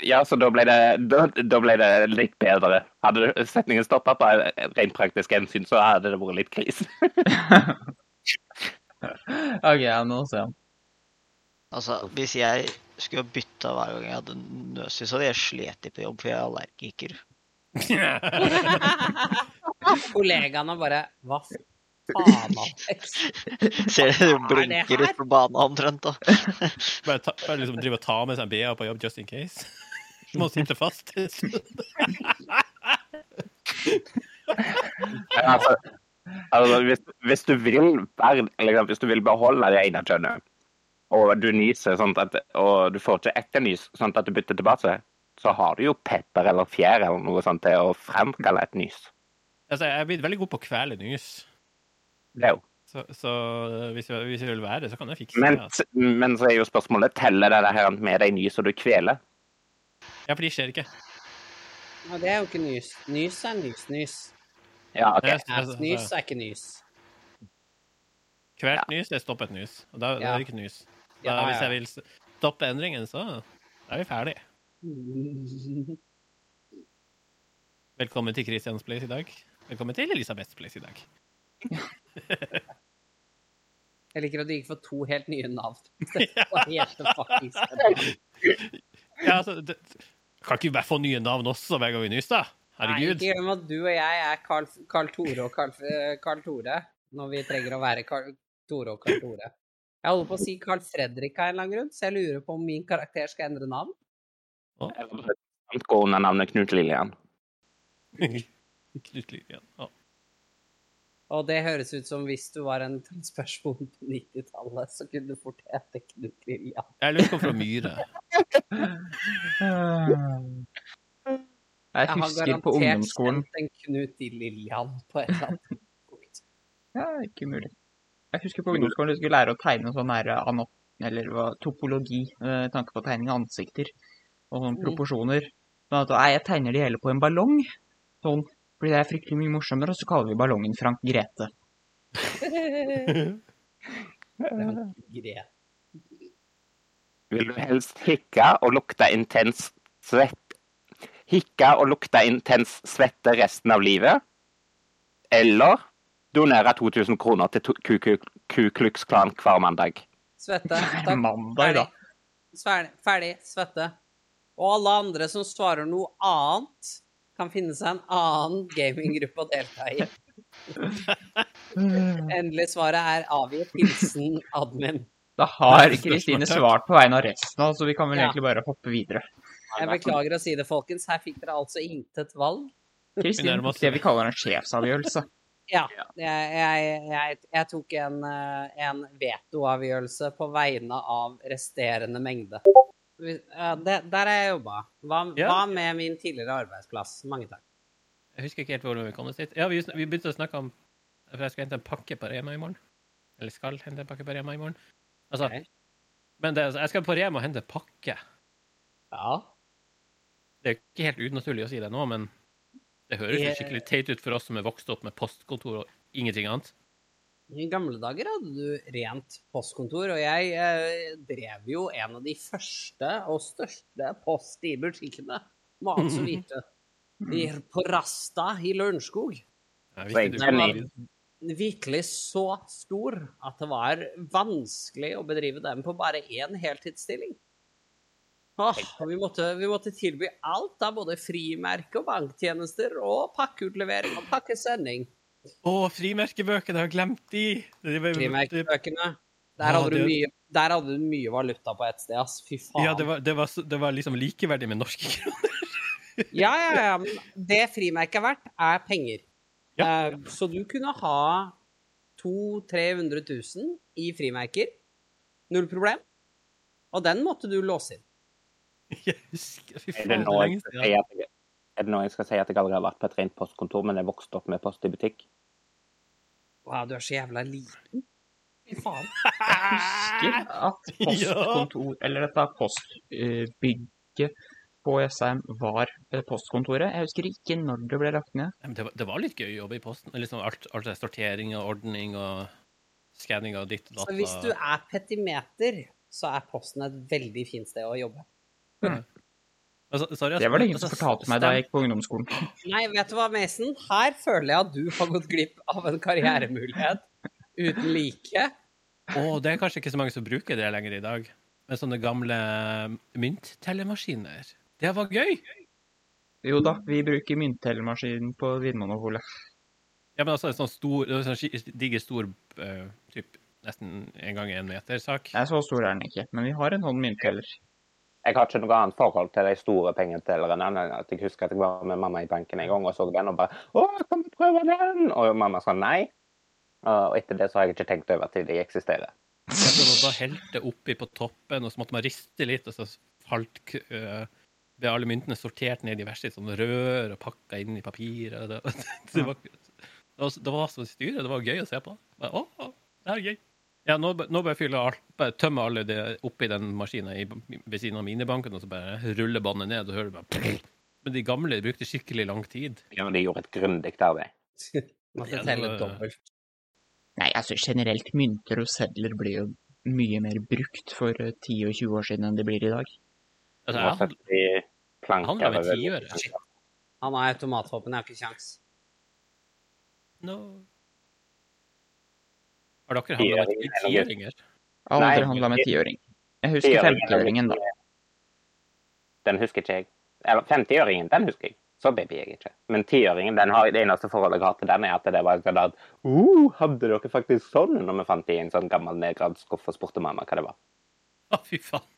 Speaker 2: Ja, så da ble det, da, da ble det litt bedre. Hadde setningen stoppa på rent praktisk hensyn, så hadde det vært litt krise.
Speaker 8: OK, ja, nå ser jeg.
Speaker 5: Altså, hvis jeg skulle bytta hver gang jeg hadde nøsis, så hadde jeg slet på jobb, for jeg er allergiker.
Speaker 3: Kollegaene bare Hva faen, Alex?
Speaker 5: Ser dere
Speaker 3: Hva
Speaker 5: de
Speaker 3: er det
Speaker 5: blunker
Speaker 3: her?
Speaker 5: ut på banen omtrent, da.
Speaker 6: Bare, ta, bare liksom drive og ta med seg en BH på jobb just in case. Du må sitte fast.
Speaker 2: Men altså, altså hvis, hvis, du vil, være- liksom, hvis du vil beholde det ene kjønnet, og du nyser sånn at Og du får ikke ekte nys, sånn at du bytter tilbake, så har du jo pepper eller fjær eller noe sånt til å fremkalle et nys.
Speaker 6: Altså, jeg er blitt veldig god på å kvele nys.
Speaker 2: Det er jo.
Speaker 6: Så, så eh, hvis, jeg, hvis jeg vil være det, så kan jeg fikse
Speaker 2: Men,
Speaker 6: det. Altså.
Speaker 2: men så er jo spørsmålet teller det her med de nys som du kveler.
Speaker 6: Ja, for de skjer ikke.
Speaker 3: Og det er jo ikke nys. Nys er nys-nys.
Speaker 2: Ja, OK.
Speaker 6: Jeg- altså,
Speaker 3: Ass-nys er ikke nys.
Speaker 6: Kvelt nys det er stoppet nys. Og da, da
Speaker 3: Ja.
Speaker 6: er det ikke nys. Da,
Speaker 3: Ja,
Speaker 6: Hvis
Speaker 3: ja.
Speaker 6: jeg vil s- stoppe endringen, så er vi ferdig. Velkommen til Christians Place i dag. Velkommen til Elisabeths Place i dag.
Speaker 3: Jeg liker at du gikk for to helt nye navn. Det var helt fuckings skandale.
Speaker 6: Ja, altså, det, kan ikke vi bare få nye navn også hver gang vi nyser? da?
Speaker 3: Nei,
Speaker 6: Herregud.
Speaker 3: Ikke glem at du og jeg er Carl, Carl Tore og Carl, eh, Carl Tore når vi trenger å være Carl Tore og Carl Tore. Jeg holder på å si Carl Fredrik av en eller annen grunn, så jeg lurer på om min karakter skal endre navn.
Speaker 2: Han går under navnet Knut Lillian.
Speaker 6: Knut Lillian. Ja.
Speaker 3: Og det høres ut som hvis du var en transperson på 90-tallet, så kunne du fort hete Knut Lillian.
Speaker 6: Jeg lurer på om fra Myhre.
Speaker 8: Eh, Jeg husker på ungdomsskolen
Speaker 3: kjent en Knut i Lillian på et eller annet punkt.
Speaker 8: Ja, ikke mulig. Jeg husker på ungdomsskolen du skulle lære å tegne sånn her eh, anat... Eller hva, topologi, eh, med tanke på tegning av ansikter og sånne proporsjoner. Sånn at nei, jeg tegner det hele på en ballong. Sånn. Fordi det er fryktelig mye morsommere, og så kaller vi ballongen Frank Grete.
Speaker 3: Greit.
Speaker 2: Vil du helst hikke og lukte intens svett Hikke og lukte intens svette resten av livet? Eller donere 2000 kroner til to- Ku Ku- Ku Klux Klan hver mandag?
Speaker 3: Svette.
Speaker 8: Det er
Speaker 3: Takk.
Speaker 8: mandag, da.
Speaker 3: Ferdig. Ferdig. Svette. Og alle andre som svarer noe annet, kan finne seg en annen gaminggruppe å delta i. Endelig svaret er avgitt. Hilsen admin.
Speaker 8: Da har Kristine svart på vegne av resten, så vi kan vel
Speaker 3: Ja.
Speaker 8: egentlig bare hoppe videre.
Speaker 3: Jeg beklager å si det, folkens. Her fikk dere altså intet valg.
Speaker 8: Kristine
Speaker 6: nærmer
Speaker 8: tok
Speaker 6: oss
Speaker 8: det vi kaller en sjefsavgjørelse.
Speaker 3: Ja. Jeg, jeg, jeg, jeg tok en, eh, en vetoavgjørelse på vegne av resterende mengde. Vi- ja, det- Der har jeg jobba. Hva,
Speaker 6: Ja.
Speaker 3: hva med min tidligere arbeidsplass? Mange takk.
Speaker 6: Jeg husker ikke helt hvor vi kom oss dit. Ja, vi, sn- vi begynte å snakke om For jeg skal hente en pakke på Rema i morgen. Eller skal hente en pakke på Rema i morgen. Altså,
Speaker 3: Ok.
Speaker 6: Men det, er altså, jeg skal på Rema og hente pakke.
Speaker 3: Ja.
Speaker 6: Det er jo ikke helt unaturlig å si det nå, men det høres jo
Speaker 3: Jeg-
Speaker 6: skikkelig teit ut for oss som er vokst opp med postkontor og ingenting annet.
Speaker 3: I gamle dager hadde du rent postkontor, og jeg eh, drev jo en av de første og største post i butikkene. Må altså vite. Vi er på Rasta i Lørenskog.
Speaker 6: Jeg
Speaker 2: Så
Speaker 6: visste
Speaker 3: Den
Speaker 6: du-
Speaker 3: var virkelig så stor at det var vanskelig å bedrive den på bare én heltidsstilling. Åh, og vi, måtte, vi måtte tilby alt av både frimerke og banktjenester og pakkeutlevering og pakkesending.
Speaker 6: Å, frimerkebøkene! Jeg har glemt de! Det var, det,
Speaker 3: Frimerkebøkene. Der hadde,
Speaker 6: Ja,
Speaker 3: du
Speaker 6: det-
Speaker 3: mye, der hadde du mye valuta på ett sted, ass. Fy faen.
Speaker 6: ja, det var, det, var, så- det var liksom likeverdig med norske kroner.
Speaker 3: ja, ja, ja, men det frimerket er verdt, er penger.
Speaker 6: Ja.
Speaker 3: Eh, Så du kunne ha 200 000-300 000 i frimerker. Null problem. Og den måtte du låse inn.
Speaker 6: Jeg husker, fy
Speaker 2: Er det
Speaker 6: faen, det
Speaker 2: nå
Speaker 6: er
Speaker 2: jeg
Speaker 6: lenge
Speaker 2: skal si
Speaker 6: siden.
Speaker 2: at jeg, er det nå jeg, skal si at jeg aldri har vært på et rent postkontor, men jeg vokste opp med post i butikk?
Speaker 3: Wow, du er så jævla liten. Fy faen.
Speaker 8: husker at postkontor, eller dette postbygget på Jessheim var eh, postkontoret. Jeg husker ikke når det ble lagt ned.
Speaker 6: Ja, men Det var, det var litt gøy å jobbe i posten. Liksom alt, alt det sortering og ordning og skanning av ditt
Speaker 3: Så hvis du
Speaker 6: data.
Speaker 3: er petimeter, så er posten et veldig fint sted å jobbe.
Speaker 6: Altså, sorry,
Speaker 4: Det var det ingen som
Speaker 6: altså,
Speaker 4: fortalte meg da jeg gikk på ungdomsskolen.
Speaker 3: Nei, vet du hva, Mason? Her føler jeg at du har gått glipp av en karrieremulighet uten like.
Speaker 6: Å, det er kanskje ikke så mange som bruker det lenger i dag. Men sånne gamle myntellemaskiner. Det var gøy!
Speaker 4: Jo da, vi bruker mynttellermaskinen på Vinmonopolet.
Speaker 6: Ja, men altså, en sånn stor, en sånn ski- diger stor eh, typ, nesten en gang en meter-sak.
Speaker 4: Nei, så stor er den ikke, men vi har en sånn myntteller.
Speaker 2: Jeg har ikke noe annet forhold til de store pengetellerne enn at jeg husker at jeg var med mamma i banken en gang og så den og bare 'Å, kan vi prøve den?' Og mamma sa nei. Og etter det så har jeg ikke tenkt over til de eksisterer.
Speaker 6: Ja, så da- da helte det oppi på toppen, og så måtte man riste litt, og så falt k- øh, ble alle myntene sortert ned i verste sånn rør og pakka inn i papir. Og det, det, var, det, var, det var så styret. Det var gøy å se på. Bare, å, å, det her er gøy. Ja, nå, bør- nå bør jeg fylle alt, bare tømme alle det oppi den maskinen i, ved siden av minibanken, og så bare rulle båndet ned, og hører du bare Men de gamle brukte skikkelig lang tid.
Speaker 2: Ja, men de gjorde et grundig arbeid.
Speaker 3: Måtte
Speaker 6: Ja, det
Speaker 3: telle
Speaker 6: var-
Speaker 3: dobbelt.
Speaker 4: Nei, altså generelt mynter og sedler blir jo mye mer brukt for eh, 10 og 20 år siden enn de blir i dag.
Speaker 6: Altså,
Speaker 2: Nå
Speaker 6: jeg hadde,
Speaker 2: setter de planker
Speaker 6: han la ved
Speaker 2: over-
Speaker 6: tiøret.
Speaker 3: Han har automatvåpen, jeg har ikke kjangs.
Speaker 6: no. Har dere handla
Speaker 2: Tiøring
Speaker 6: med
Speaker 2: er noe gøy.
Speaker 6: tiåringer?
Speaker 2: Nei,
Speaker 4: Aldri handla med
Speaker 2: det-
Speaker 4: tiøring. Jeg husker
Speaker 2: Tiøringen er
Speaker 4: femtiøringen, da.
Speaker 2: Den husker ikke jeg. Eller 50-øringen, den husker jeg. Så baby er jeg ikke. Men 10-øringen, den har, det eneste forholdet jeg har til den, er at det var sånn at uh, Hadde dere faktisk sånn? Når vi fant i en sånn gammel nedgravd skuff og spurte mamma hva det var.
Speaker 6: Å, fy faen.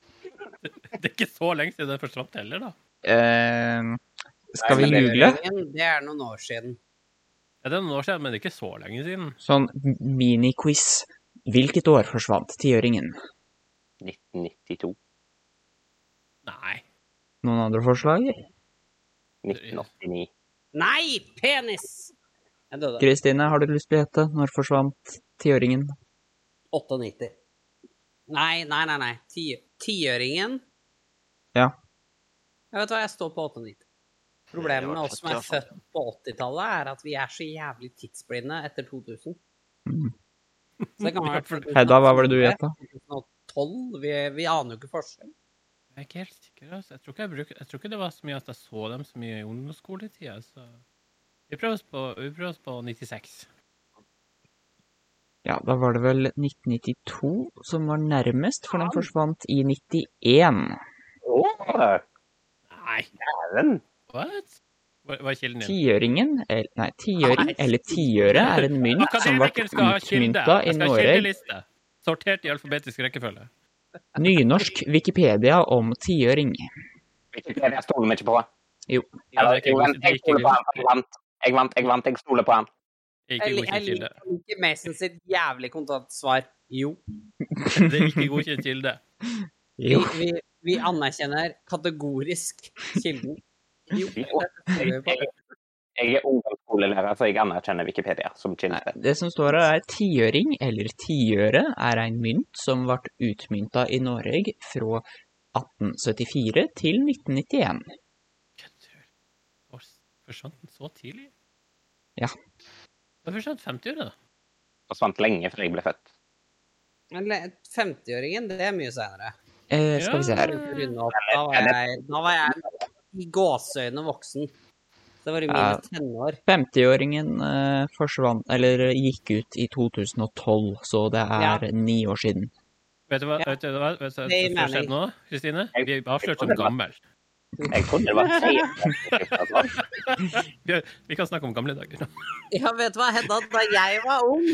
Speaker 6: Det, det er ikke så lenge siden den forsvant heller, da.
Speaker 4: Eh, skal vi
Speaker 2: Nei, men det-
Speaker 4: google?
Speaker 3: Ingen, Det er noen år siden.
Speaker 6: Ja, det er noen år siden, men det er ikke så lenge siden.
Speaker 4: Sånn mini-quiz. Hvilket år forsvant tiøringen?
Speaker 2: 1992.
Speaker 6: Nei.
Speaker 4: Noen andre forslag?
Speaker 2: 1989.
Speaker 3: Nei, penis! Jeg døde.
Speaker 4: Kristine, har du lyst til å gjette? Når forsvant tiøringen?
Speaker 3: 98. Nei, nei, nei. nei. Ti- Tiøringen.
Speaker 4: Ja.
Speaker 3: Jeg vet hva, jeg står på 98. Problemet med oss som er
Speaker 5: Det var
Speaker 3: født på 80-tallet, er at vi er så jævlig tidsblinde etter 2000.
Speaker 4: Mm.
Speaker 3: Så det kan være
Speaker 4: Hedda, hva var det du gjetta?
Speaker 3: 2012, vi, vi aner jo ikke forskjell.
Speaker 6: Jeg er ikke helt sikker. Altså. Jeg, tror ikke jeg, bruker, jeg tror ikke det var så mye at jeg så dem så mye i ungdomsskoletida. Så. Vi prøver oss på, vi prøver oss på 96.
Speaker 4: Ja, da var det vel 1992 som var nærmest, for den forsvant i 91.
Speaker 2: Åh,
Speaker 6: Nei,
Speaker 2: Dæven!
Speaker 6: what? Hva hva er kilden din?
Speaker 4: Tiøringen, el- nei, tiøring eller tiøre er en mynt som ble
Speaker 6: Akademikeren skal ha kilde.
Speaker 4: utmynta i
Speaker 6: Jeg skal ha
Speaker 4: Norge.
Speaker 6: kildeliste. Sortert i alfabetisk rekkefølge.
Speaker 4: Nynorsk Wikipedia om tiøring.
Speaker 2: Wikipedia stoler vi ikke på.
Speaker 6: Ja, det
Speaker 2: Eller,
Speaker 6: er ikke
Speaker 2: jo,
Speaker 6: god-
Speaker 2: jeg
Speaker 6: det er
Speaker 2: jeg
Speaker 6: ikke
Speaker 2: stoler på han. for Jeg
Speaker 6: god-
Speaker 2: vant, jeg vant, jeg vant, jeg stoler på han.
Speaker 6: det er
Speaker 3: Jeg,
Speaker 6: ikke
Speaker 3: jeg
Speaker 6: godkjent kilde.
Speaker 3: liker ikke Mason sitt jævlig kontante svar. Jo.
Speaker 6: Det er ikke godkjent kilde.
Speaker 3: Vi,
Speaker 4: Jo,
Speaker 3: vi, vi anerkjenner kategorisk kilden.
Speaker 2: Jo.
Speaker 3: Jo. dette tror vi på.
Speaker 2: Jeg er ungdomsskolelærer, så jeg anerkjenner Wikipedia som
Speaker 4: nei,
Speaker 2: kilde.
Speaker 4: det som står her er tiøring eller tiøre er en mynt som ble utmynta i Norge fra 1874 til 1991.
Speaker 6: Kødder du? Hvor s- Forsvant den så tidlig?
Speaker 4: Ja.
Speaker 6: Den forsvant 50-åra, da.
Speaker 2: Forsvant lenge før jeg ble født.
Speaker 3: Men le- 50-åringen, det er mye seinere.
Speaker 4: Eh, skal vi se her.
Speaker 3: Runde opp. Da var jeg, da var jeg i gåseøyne voksen. Det var i
Speaker 4: Ja.
Speaker 3: mine tenår.
Speaker 4: 50-åringen eh, forsvant, eller gikk ut i 2012, så det er
Speaker 3: Ja.
Speaker 4: ni år siden.
Speaker 6: Vet du hva,
Speaker 3: Ja.
Speaker 6: vet du hva, vet du hva
Speaker 3: Det
Speaker 6: som har
Speaker 3: mener
Speaker 6: skjedd
Speaker 3: jeg.
Speaker 6: nå, Kristine?
Speaker 2: Jeg-
Speaker 6: Vi er avslørt som
Speaker 2: jeg-
Speaker 6: gammel.
Speaker 4: Mm.
Speaker 2: Jeg trodde det var seier.
Speaker 6: Vi, er, vi kan snakke om gamle dager.
Speaker 3: Ja, vet du hva, Hedda, da jeg var ung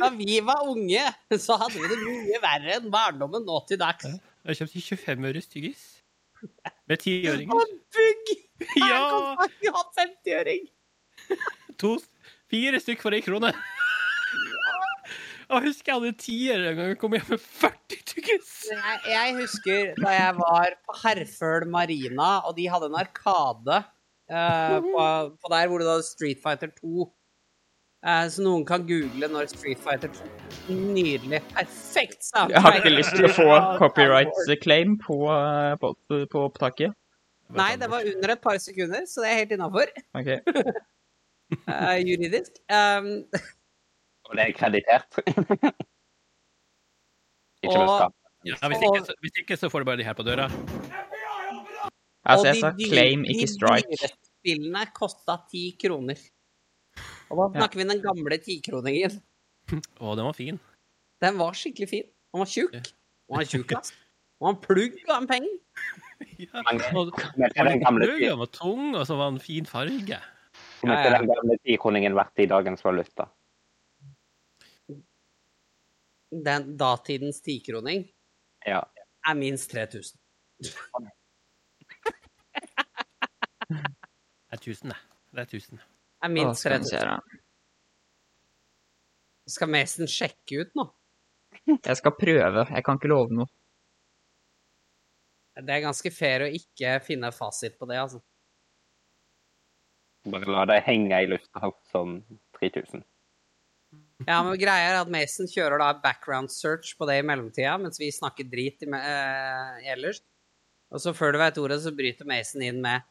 Speaker 3: Da vi var unge, så hadde vi det mye verre enn barndommen nå til dags.
Speaker 6: Jeg har kjøpt 25 øres tyggis. Med tiåringer.
Speaker 3: Bugg! Her
Speaker 6: Ja!
Speaker 3: kan vi ha 50-øring!
Speaker 6: To, fire stykk for ei krone. Jeg husker jeg hadde tiere en gang jeg kom hjem med 40 tyggis.
Speaker 3: Jeg, jeg husker da jeg var på Herføl Marina, og de hadde en arkade eh, på, på der hvor det var Street Fighter 2. Eh, så noen kan google når Street Fighter 2 Nydelig. Perfekt soundtrack.
Speaker 4: Jeg har ikke lyst til å få copyright-claim på, eh, på, på opptaket.
Speaker 3: Nei, det var under et par sekunder, så det er helt innafor.
Speaker 4: Ok.
Speaker 3: eh, juridisk. Um,
Speaker 2: Og det er kreditert. Ikke
Speaker 3: Og-
Speaker 2: noe skam.
Speaker 6: Ja, hvis, ikke, så, hvis ikke, så får du bare de her på døra.
Speaker 4: Altså, jeg
Speaker 3: de
Speaker 4: sa
Speaker 3: dyre-
Speaker 4: claim, ikke strike.
Speaker 3: De dyre spillene kosta ti kroner. Og da snakker vi den gamle tikroningen.
Speaker 6: Å, den var fin.
Speaker 3: Den var skikkelig fin. Den var tjukk. Den var tjukk, ass. Den var en plugg av en penge.
Speaker 6: Ja.
Speaker 2: Mange-
Speaker 6: Og,
Speaker 2: Men er den gamle,
Speaker 6: Rød, den var tung, og så var den fin farge.
Speaker 2: men er den gamle tikroningen verdt i dagens valuta?
Speaker 3: Den datidens tikroning
Speaker 2: Ja.
Speaker 3: er minst 3000.
Speaker 6: Det er 1000, det. Det er 1000.
Speaker 3: Er
Speaker 4: Å,
Speaker 3: minst
Speaker 4: skal vi se
Speaker 3: 3000.
Speaker 4: da.
Speaker 3: Skal Mason sjekke ut nå?
Speaker 4: Jeg skal prøve. Jeg kan ikke love noe.
Speaker 3: Det er ganske fair å ikke finne fasit på det, altså.
Speaker 2: Bare la det henge i lufta som 3000.
Speaker 3: Ja, men greia er at Mason kjører da background search på det i mellomtida, mens vi snakker drit i, me- eh, ellers. Og så før du veit ordet, så bryter Mason inn med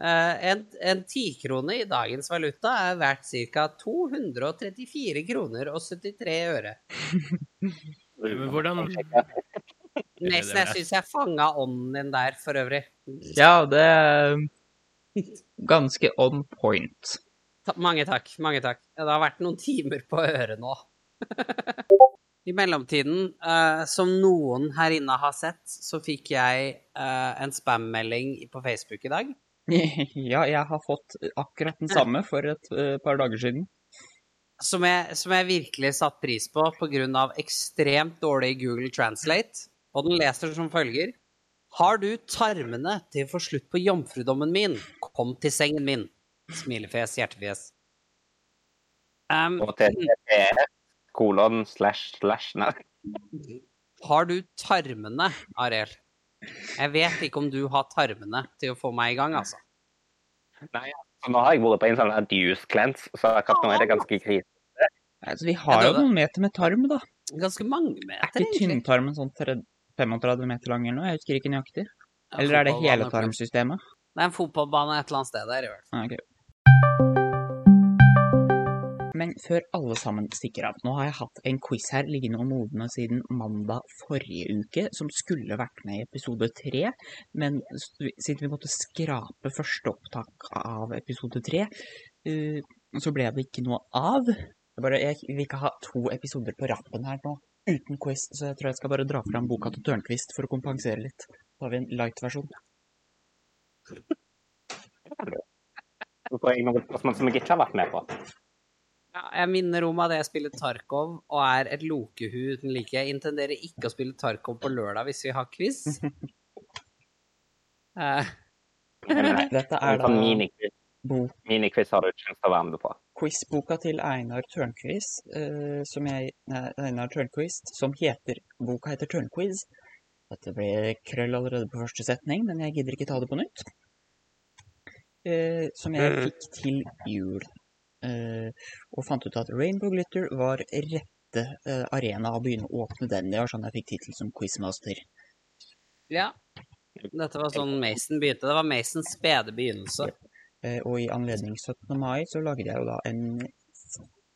Speaker 3: eh, en, en tikrone i dagens valuta er verdt ca. 234 kroner og 73 øre.
Speaker 6: Men hvordan det er
Speaker 3: Mason, jeg
Speaker 6: det.
Speaker 3: syns jeg fanga ånden din der, for øvrig.
Speaker 4: Ja, det er ganske on point.
Speaker 3: Ta mange takk, mange takk. Det har vært noen timer på øret nå. I mellomtiden, eh, som noen her inne har sett, så fikk jeg eh, en spam-melding på Facebook i dag.
Speaker 4: Ja, jeg har fått akkurat den samme for et eh, par dager siden.
Speaker 3: Som jeg, som jeg virkelig satte pris på pga. ekstremt dårlig Google Translate. Og den leser som følger. Har du tarmene til å få slutt på jomfrudommen min? Kom til sengen min. Smilefjes, hjertefjes. Um,
Speaker 2: Og til TTR, kolon slash slash nei.
Speaker 3: Har du tarmene, Ariel? Jeg vet ikke om du har tarmene til å få meg i gang, altså.
Speaker 2: Så nå har jeg vært på en sånn juice cleanse, så akkurat nå er det ganske krise.
Speaker 4: Altså, vi har
Speaker 3: Ja,
Speaker 4: jo
Speaker 3: det-
Speaker 4: noen meter med tarm, da.
Speaker 3: Ganske mange
Speaker 4: Er
Speaker 3: meter,
Speaker 4: ikke
Speaker 3: egentlig.
Speaker 4: tynntarmen sånn tre- 35 meter lang eller noe? Jeg husker ikke nøyaktig. Eller er det
Speaker 3: Fotballbane,
Speaker 4: hele tarmsystemet?
Speaker 3: Det er en fotballbane et eller annet sted der, i hvert fall.
Speaker 4: Ah, ok. Men før alle sammen stikker av, nå har jeg hatt en quiz her liggende og modne siden mandag forrige uke, som skulle vært med i episode tre, men s- siden vi måtte skrape første opptak av episode tre, eh, så ble det ikke noe av. Jeg, bare, jeg vil ikke ha to episoder på rappen her nå uten quiz, så jeg tror jeg skal bare dra fram boka til Tørnquist for å kompensere litt. Da har vi en light-versjon.
Speaker 2: Så får jeg noen spørsmål som jeg ikke har vært med på.
Speaker 3: Ja, jeg minner om at jeg spiller Tarkov og er et lokehu uten like. Jeg intenderer ikke å spille Tarkov på lørdag hvis vi har quiz. Eh,
Speaker 2: Men
Speaker 4: Dette
Speaker 2: En
Speaker 4: er da
Speaker 2: sånn miniquiz
Speaker 4: bok
Speaker 2: miniquiz har du ikke lyst til å være med på.
Speaker 4: quizboka til Einar Tørnquist, eh, som jeg Nei, Einar Tørnquist, som heter Boka heter Tørnquiz. Dette ble krøll allerede på første setning, men jeg gidder ikke ta det på nytt. Eh, som jeg fikk til jul. Eh, og fant ut at Rainbow Glitter var rette eh, arena å begynne å åpne den. Det var sånn jeg fikk tittel som quizmaster.
Speaker 3: ja. Dette var sånn Mason begynte. Det var Masons spede begynnelse.
Speaker 4: Eh, Og i anledning 17. mai så lagde jeg jo da en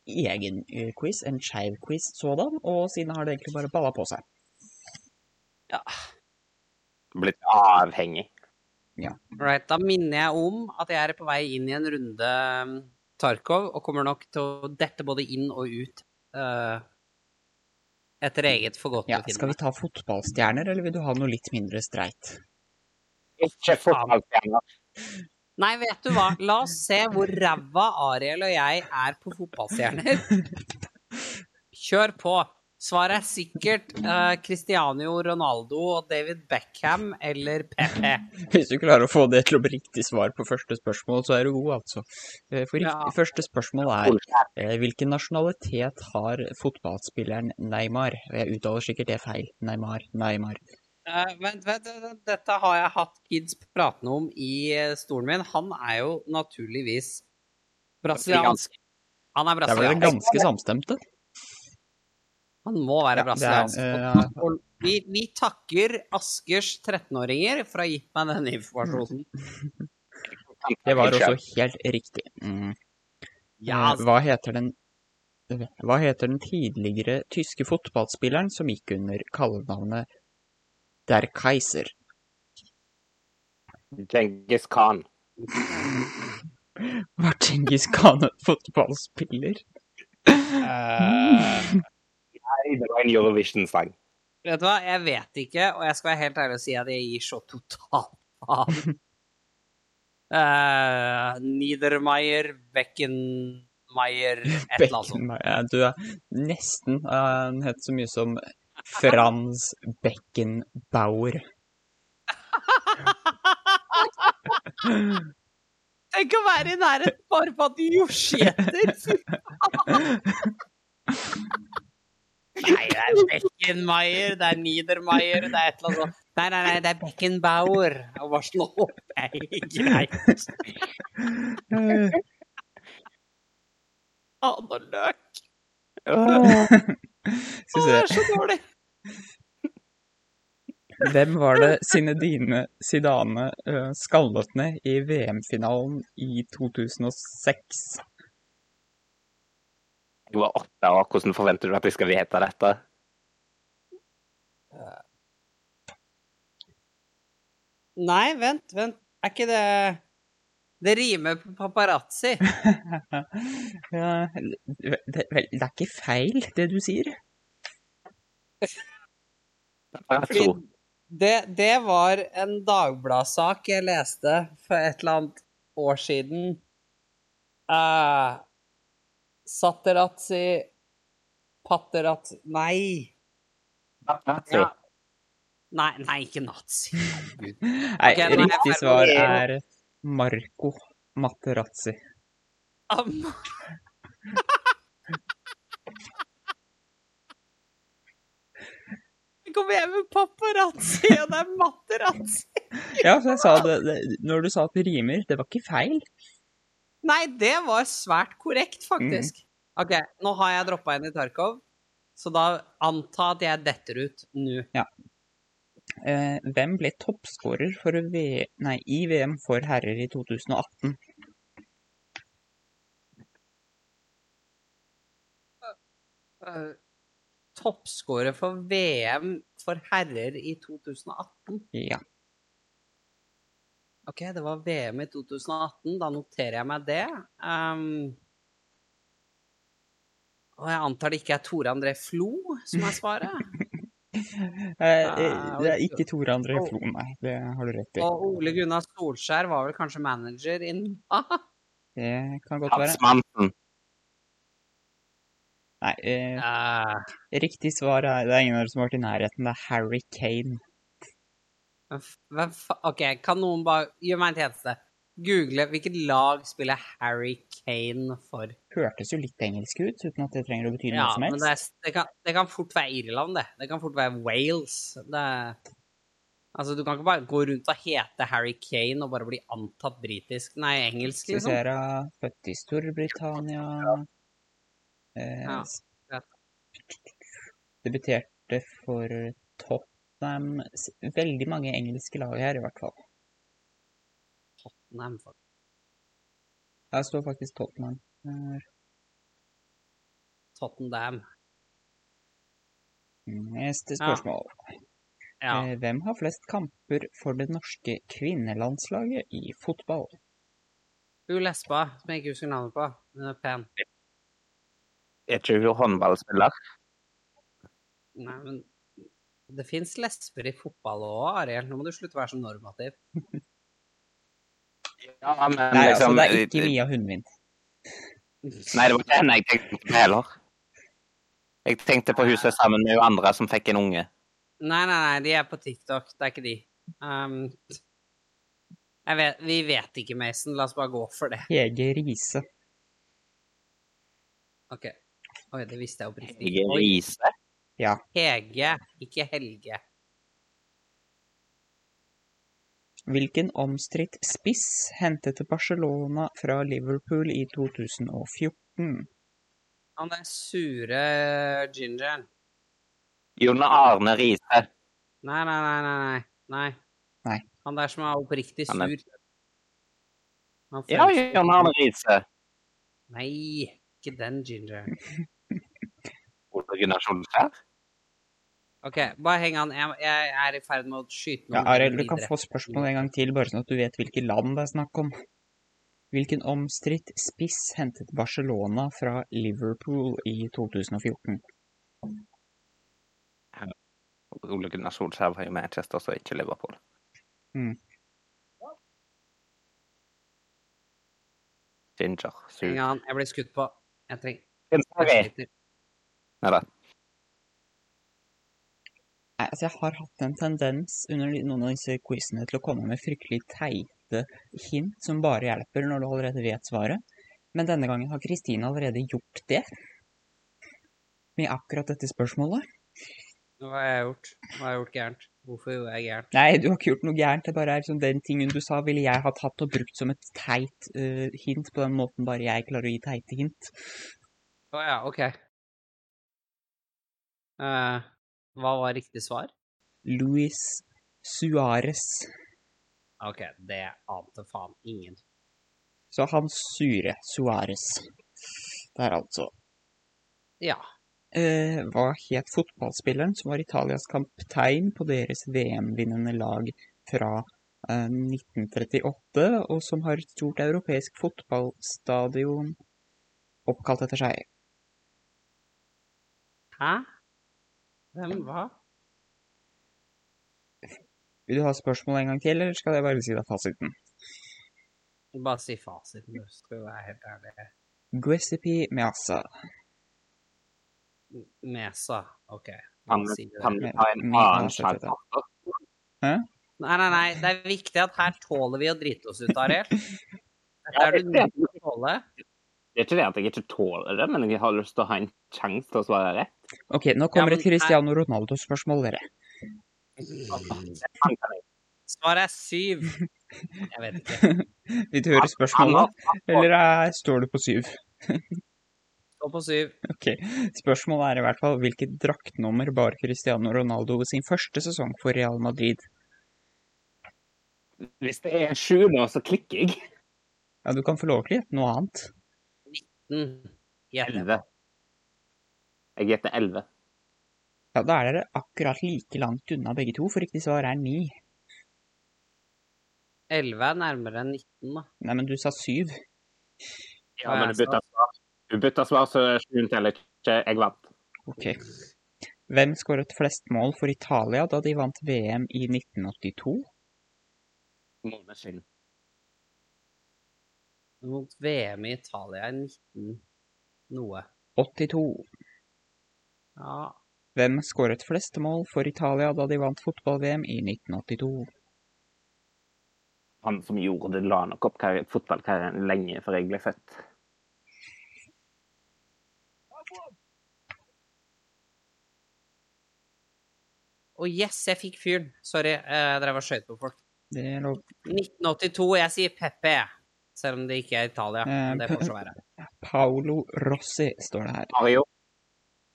Speaker 4: egen eh, quiz, en skeiv quiz sådan, og siden har det egentlig bare balla på seg.
Speaker 2: Blitt avhengig.
Speaker 3: Right, da minner jeg om at jeg er på vei inn i en runde um, Tarkov, og kommer nok til å dette både inn og ut eh, etter
Speaker 4: Ja,
Speaker 3: eget
Speaker 4: skal
Speaker 3: forgodtbefinnende.
Speaker 4: vi ta fotballstjerner, eller vil du ha noe litt mindre streit?
Speaker 2: Ikke fotballstjerner.
Speaker 3: Nei, vet du hva? La oss se hvor ræva Ariel og jeg er på fotballstjerner. Kjør på. Svaret er sikkert eh, Cristiano Ronaldo og David Beckham eller Pepe.
Speaker 4: Hvis du klarer å få det til å bli riktig svar på første spørsmål, så er du god, altså. Eh, For riktig,
Speaker 3: Ja.
Speaker 4: første spørsmål er eh, hvilken nasjonalitet har fotballspilleren Neymar? Og Jeg uttaler sikkert det feil. Neymar, Neymar.
Speaker 3: Eh, vent, vent, vent, vent, dette har jeg hatt kids pratende om i eh, stolen min. Han er jo naturligvis brasiliansk. Han er
Speaker 4: Der ble det
Speaker 3: brasiliansk.
Speaker 4: ganske samstemte.
Speaker 3: Han må
Speaker 4: Ja, det
Speaker 3: være
Speaker 4: er-
Speaker 3: brasiliansk.
Speaker 4: eh,
Speaker 3: Og- og vi, vi takker Askers 13-åringer for å ha gitt meg denne informasjonen.
Speaker 4: Det var også helt riktig. Mm.
Speaker 3: Ja, altså.
Speaker 4: Eh, Hva heter den Hva heter den tidligere tyske fotballspilleren som gikk under kallenavnet Der Kaiser?
Speaker 2: Genghis Khan.
Speaker 4: Var Djengis Khan en fotballspiller?
Speaker 3: Eh,
Speaker 2: Nei, det var en Eurovision-sang.
Speaker 3: vet du hva, jeg vet ikke, og jeg skal være helt ærlig og si at jeg gir så totalt faen. Eh, Niedermeyer, Beckenmeyer, et eller annet sånt.
Speaker 4: Beckenmeier. Du er nesten. eh, Han het så mye som Frans Beckenbauer.
Speaker 3: Tenk å være i nærheten bare på at de jorseter! Nei, det er Beckenmeier, det er Niedermeier, det er et eller annet sånt. Nei, nei, nei, det er Beckenbauer. Og bare slå opp. Nei, greit.
Speaker 4: Eh,
Speaker 3: Faen og løk. Å,
Speaker 4: Skal
Speaker 3: det
Speaker 4: vi
Speaker 3: er så dårlig.
Speaker 4: se Hvem var det Sinedine Sidane eh, skallet ned i VM-finalen i 2006?
Speaker 2: Jeg var åtte år, hvordan forventer du at jeg skal vite dette?
Speaker 3: Nei, vent, vent. Er ikke det Det rimer på paparazzi.
Speaker 4: Ja, det, det- vel, det er ikke feil, det du sier.
Speaker 2: Paparazzo.
Speaker 3: Fordi det, det var en Dagbladsak jeg leste for et eller annet år siden. Uh, Saterazzi Paterazzi Nei.
Speaker 2: Paparazzo.
Speaker 3: Ja. Nei, nei, ikke nazi.
Speaker 4: Nei,
Speaker 3: Ok, nå er jeg
Speaker 4: riktig
Speaker 3: ferdig.
Speaker 4: svar er Marco Materazzi.
Speaker 3: Am- Jeg kom hjem med paparazzi, og det er materazzi.
Speaker 4: Ja, så jeg sa det, det Når du sa at det rimer, det var ikke feil.
Speaker 3: Nei, det var svært korrekt, faktisk. OK, nå har jeg droppa inn i Tarkov, så da anta at jeg detter ut nå.
Speaker 4: Eh, hvem ble toppskårer for v nei, i VM for herrer i 2018?
Speaker 3: Eh, Toppskårer for VM for herrer i 2018.
Speaker 4: Ja.
Speaker 3: OK, det var VM i 2018. Da noterer jeg meg det. Ehm, og jeg antar det ikke er Tore André Flo som er svaret.
Speaker 4: Eh,
Speaker 3: Ah,
Speaker 4: eh, det er ikke Tore André
Speaker 3: Oh.
Speaker 4: Flo, nei. Det har du rett i.
Speaker 3: Og Ole Gunnar Solskjær var vel kanskje manager innen ah,
Speaker 4: Det kan godt
Speaker 2: Hans
Speaker 4: være.
Speaker 2: Mansen.
Speaker 4: Nei, eh,
Speaker 3: eh,
Speaker 4: riktig svar er Det er ingen av dere som har vært i nærheten. Det er Harry Kane.
Speaker 3: hvem f- hvem fa OK, kan noen bare gjøre meg en tjeneste? Google hvilket lag spiller Harry Kane for?
Speaker 4: Hørtes jo litt engelsk ut, uten at det trenger å bety noe
Speaker 3: Ja,
Speaker 4: som
Speaker 3: men
Speaker 4: helst.
Speaker 3: det, er, det, kan, det kan fort være Irland, det. Det kan fort være Wales. Det, er- altså, du kan ikke bare gå rundt og hete Harry Kane og bare bli antatt britisk. Nei, engelsk,
Speaker 4: Skal vi se
Speaker 3: liksom.
Speaker 4: her, da. Født i Storbritannia eh,
Speaker 3: Ja,
Speaker 4: s-
Speaker 3: ja.
Speaker 4: Debuterte for Tottenham S- Veldig mange engelske lag her, i hvert fall.
Speaker 3: Nei, men fuck.
Speaker 4: Her står faktisk Tottenham. Her.
Speaker 3: Tottenham.
Speaker 4: Neste
Speaker 3: Ja.
Speaker 4: spørsmål.
Speaker 3: Ja.
Speaker 4: Eh, Hvem har flest kamper for det norske kvinnelandslaget i fotball?
Speaker 3: Hun lesba, som jeg ikke husker navnet på. Hun er pen.
Speaker 2: Er ikke hun håndballspiller?
Speaker 3: Nei, men det fins lesber i fotball òg, Ariel. Nå må du slutte å være så normativ.
Speaker 2: Ja, men
Speaker 4: Nei, altså,
Speaker 2: liksom
Speaker 4: det er ikke Mia Hundvin.
Speaker 2: Nei, det var ikke henne jeg tenkte på heller. Jeg tenkte på hun som er sammen med hun andre som fikk en unge.
Speaker 3: Nei, nei, nei, de er på TikTok. Det er ikke de. Um, jeg vet, vi vet ikke, Mason. La oss bare gå for det.
Speaker 4: Hege Riise.
Speaker 3: OK. Oi, det visste jeg oppriktig
Speaker 2: Hege
Speaker 3: ikke. Oi,
Speaker 2: Riise.
Speaker 3: Hege, ikke Helge.
Speaker 4: Hvilken omstridt spiss hentet Barcelona fra Liverpool i 2014?
Speaker 3: Han der sure gingeren.
Speaker 2: Jon Arne Riise.
Speaker 3: Nei, nei, nei, nei, nei. nei.
Speaker 4: Nei.
Speaker 3: Han der som er oppriktig
Speaker 2: Han er-
Speaker 3: sur. Han
Speaker 2: Ja,
Speaker 3: føles-
Speaker 2: Jon Arne Riise.
Speaker 3: Nei, ikke den gingeren.
Speaker 2: Ole Gunnar Solskjær?
Speaker 3: OK, bare heng an. Jeg, jeg er i ferd med å skyte
Speaker 4: Ja,
Speaker 3: noen
Speaker 4: Arild, du kan
Speaker 3: videre.
Speaker 4: få spørsmålet en gang til, bare sånn at du vet hvilke land det er snakk om. Hvilken omstridt spiss hentet Barcelona fra Liverpool i 2014?
Speaker 2: Ole Gunnar Solskjær var jo Manchester, så ikke Liverpool.
Speaker 4: Mm.
Speaker 2: Ginger. Sur.
Speaker 3: Heng an. Jeg blir skutt på. Jeg trenger
Speaker 2: Ginger
Speaker 3: jeg
Speaker 2: er-
Speaker 3: sliter.
Speaker 2: Nei da.
Speaker 4: Nei, altså jeg har hatt en tendens under de- noen av disse quizene til å komme med fryktelig teite hint som bare hjelper når du allerede vet svaret. Men denne gangen har Kristine allerede gjort det. Med akkurat dette spørsmålet.
Speaker 3: Hva har jeg gjort? Hva har jeg gjort gærent? Hvorfor gjorde jeg gærent?
Speaker 4: Nei, du har ikke gjort noe gærent. Det bare er sånn den tingen du sa, ville jeg ha tatt og brukt som et teit eh, hint, på den måten bare jeg klarer å gi teite hint.
Speaker 3: Å ja, OK. Eh, hva var riktig svar?
Speaker 4: Luis Suárez.
Speaker 3: OK, det ante faen ingen.
Speaker 4: Så han sure Suárez. Det er altså
Speaker 3: Ja.
Speaker 4: eh, hva het fotballspilleren som var Italias kaptein på deres VM-vinnende lag fra eh, 1938, og som har et stort europeisk fotballstadion oppkalt etter seg?
Speaker 3: Hæ? Hvem hva?
Speaker 4: Vil du ha spørsmålet en gang til, eller skal jeg bare si deg fasiten?
Speaker 3: Bare si fasiten, du. Skal vi være helt ærlig.
Speaker 4: Guessipi Meazza.
Speaker 3: Mesa. OK.
Speaker 2: Kan
Speaker 3: Hva sier du?
Speaker 2: kan vi ta en
Speaker 4: Min
Speaker 2: annen
Speaker 4: ansatte,
Speaker 2: sjanse?
Speaker 4: da.
Speaker 3: Nei, nei, nei. Det er viktig at her tåler vi å drite oss ut, Ariel. Dette
Speaker 2: Ja,
Speaker 3: er
Speaker 2: det
Speaker 3: du
Speaker 2: er
Speaker 3: nødt til å tåle.
Speaker 2: Det er ikke det at jeg ikke tåler det, men jeg har lyst til å ha en sjanse til å svare rett.
Speaker 4: Ok, nå kommer
Speaker 3: men
Speaker 4: et Cristiano Ronaldo-spørsmål, dere.
Speaker 2: Han kan jeg.
Speaker 3: Svaret er syv. Jeg vet ikke.
Speaker 4: Vil du høre
Speaker 2: Han har
Speaker 4: spørsmålet, eller eh, står du på syv?
Speaker 3: Stå på syv.
Speaker 4: Ok, Spørsmålet er i hvert fall hvilket draktnummer bar Cristiano Ronaldo i sin første sesong for Real Madrid?
Speaker 2: Hvis det er sju nå, så klikker jeg.
Speaker 4: Ja, Du kan få lov til å gjette noe annet.
Speaker 3: Mm. Gjett.
Speaker 2: Elleve. Jeg gjetter elleve.
Speaker 4: Ja, Da er dere akkurat like langt unna begge to, for riktig svar er ni.
Speaker 3: Elleve er nærmere enn 19, da.
Speaker 4: Nei, men du sa syv.
Speaker 2: Ja, men du
Speaker 3: jeg
Speaker 2: bytta svar. Du bytta svar, så sjuende teller ikke. Jeg vant.
Speaker 4: Ok. Hvem skåret flest mål for Italia da de vant VM i 1982?
Speaker 2: Måneskinn.
Speaker 3: sa altså mot VM i Italia i 19 noe.
Speaker 4: 82.
Speaker 3: Ja.
Speaker 4: Hvem skåret flest mål for Italia da de vant fotball-VM i 1982?
Speaker 2: Han som gjorde det, la nok opp karri- fotballkarrieren lenge før jeg ble født.
Speaker 3: Og yes, jeg fikk fyren. Sorry, jeg drev og skøyt på folk.
Speaker 4: Det er lov.
Speaker 3: 1982. Jeg sier Peppe, jeg. Selv om det ikke er Italia. Men det får så være.
Speaker 4: Paolo Rossi står det her.
Speaker 2: Mario.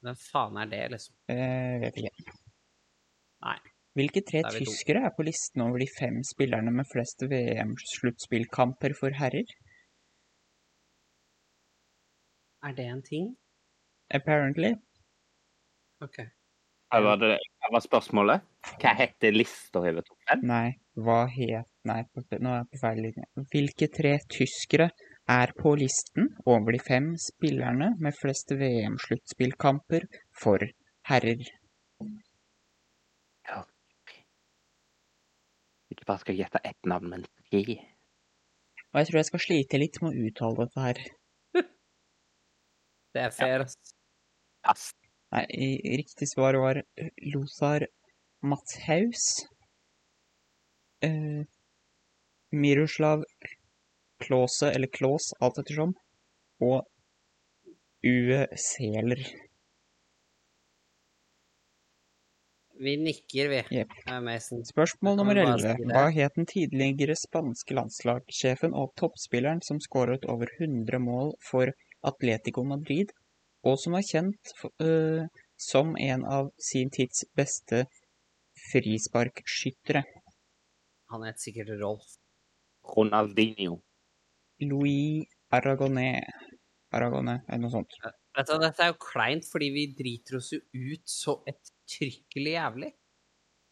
Speaker 3: Hvem faen er det, liksom?
Speaker 4: Eh, vet ikke.
Speaker 3: Nei.
Speaker 4: Hvilke tre
Speaker 3: Da er vi to.
Speaker 4: tyskere er på listen over de fem spillerne med flest VM-sluttspillkamper for herrer?
Speaker 3: Er det en ting?
Speaker 4: Apparently.
Speaker 3: OK.
Speaker 2: Her var, det, her var spørsmålet. Hva heter lista over topp fem?
Speaker 4: Nei, hva het Nei, på- nå er jeg på feil linje. Hvilke tre tyskere er på listen over de fem spillerne med flest VM-sluttspillkamper for herrer?
Speaker 2: Ikke bare skal jeg gjette ett navn, men tre.
Speaker 4: Og jeg tror jeg skal slite litt med å uttale dette her.
Speaker 3: Det er fair. ass.
Speaker 2: Pass.
Speaker 4: Nei, i- riktig svar var Lothar Matthaus. Eh, Miroslav Klause, eller Klaus, alt ettersom. Og Ue Seler.
Speaker 3: Vi nikker, vi.
Speaker 4: Jepp.
Speaker 3: Eh, Mason.
Speaker 4: Spørsmål
Speaker 3: Det kan
Speaker 4: nummer
Speaker 3: man bare
Speaker 4: 11.
Speaker 3: si det.
Speaker 4: Hva het den tidligere spanske landslagssjefen og toppspilleren som skåret over 100 mål for Atletico Madrid, og som er kjent for, øh, som en av sin tids beste frisparkskyttere?
Speaker 3: Han het sikkert Rolf.
Speaker 2: Ronaldinho.
Speaker 4: Louis Aragonés. Aragonés, eller noe sånt.
Speaker 3: Vet du, hva, dette er jo kleint, fordi vi driter oss jo ut så ettertrykkelig jævlig.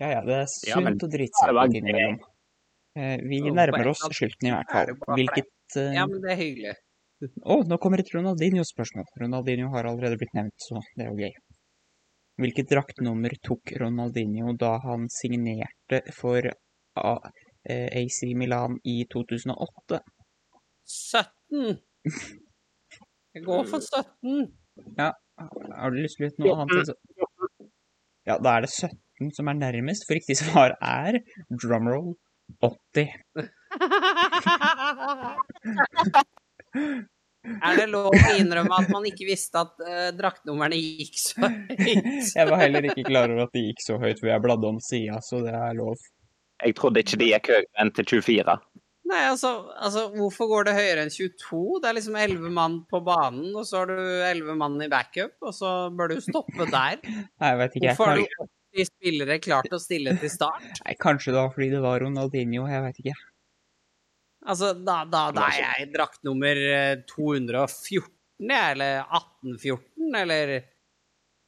Speaker 4: Ja, ja, det er
Speaker 2: Ja, men-
Speaker 4: sunt å drite
Speaker 2: Ja,
Speaker 4: seg
Speaker 2: det var
Speaker 4: ut innimellom. Eh, Vi
Speaker 3: Jo, på en
Speaker 4: nærmer oss
Speaker 3: måte.
Speaker 4: slutten i hvert
Speaker 3: Er
Speaker 4: fall.
Speaker 3: det bare
Speaker 4: Hvilket eh,
Speaker 3: Ja, men det er hyggelig.
Speaker 4: Å, nå kommer et Ronaldinho-spørsmål. Ronaldinho har allerede blitt nevnt, så det er jo gøy. Hvilket draktnummer tok Ronaldinho da han signerte for A eh, AC Milan i 2008?
Speaker 3: 17! Jeg går for 17.
Speaker 4: Har du lyst til å vite noe annet? enn så- Ja, da er det 17 som er nærmest, for riktig svar er drumroll 80.
Speaker 3: Er det lov å innrømme at man ikke visste at eh, draktnumrene gikk så høyt?
Speaker 4: Jeg var heller ikke klar over at det gikk så høyt, for jeg bladde om sida, så det er lov.
Speaker 2: Jeg trodde ikke de gikk høyere enn til 24.
Speaker 3: Nei, altså, altså, hvorfor går det høyere enn 22? Det er liksom 11 mann på banen, og så har du 11 mann i backup, og så bør du stoppe der.
Speaker 4: Nei, jeg vet ikke. Jeg
Speaker 3: Hvorfor har
Speaker 4: kan-
Speaker 3: du 80 spillere klart å stille til start?
Speaker 4: Nei, kanskje det var fordi det var Ronaldinho, jeg veit ikke.
Speaker 3: Altså, da, da, da er jeg draktnummer eh, 214, jeg, eller 1814, eller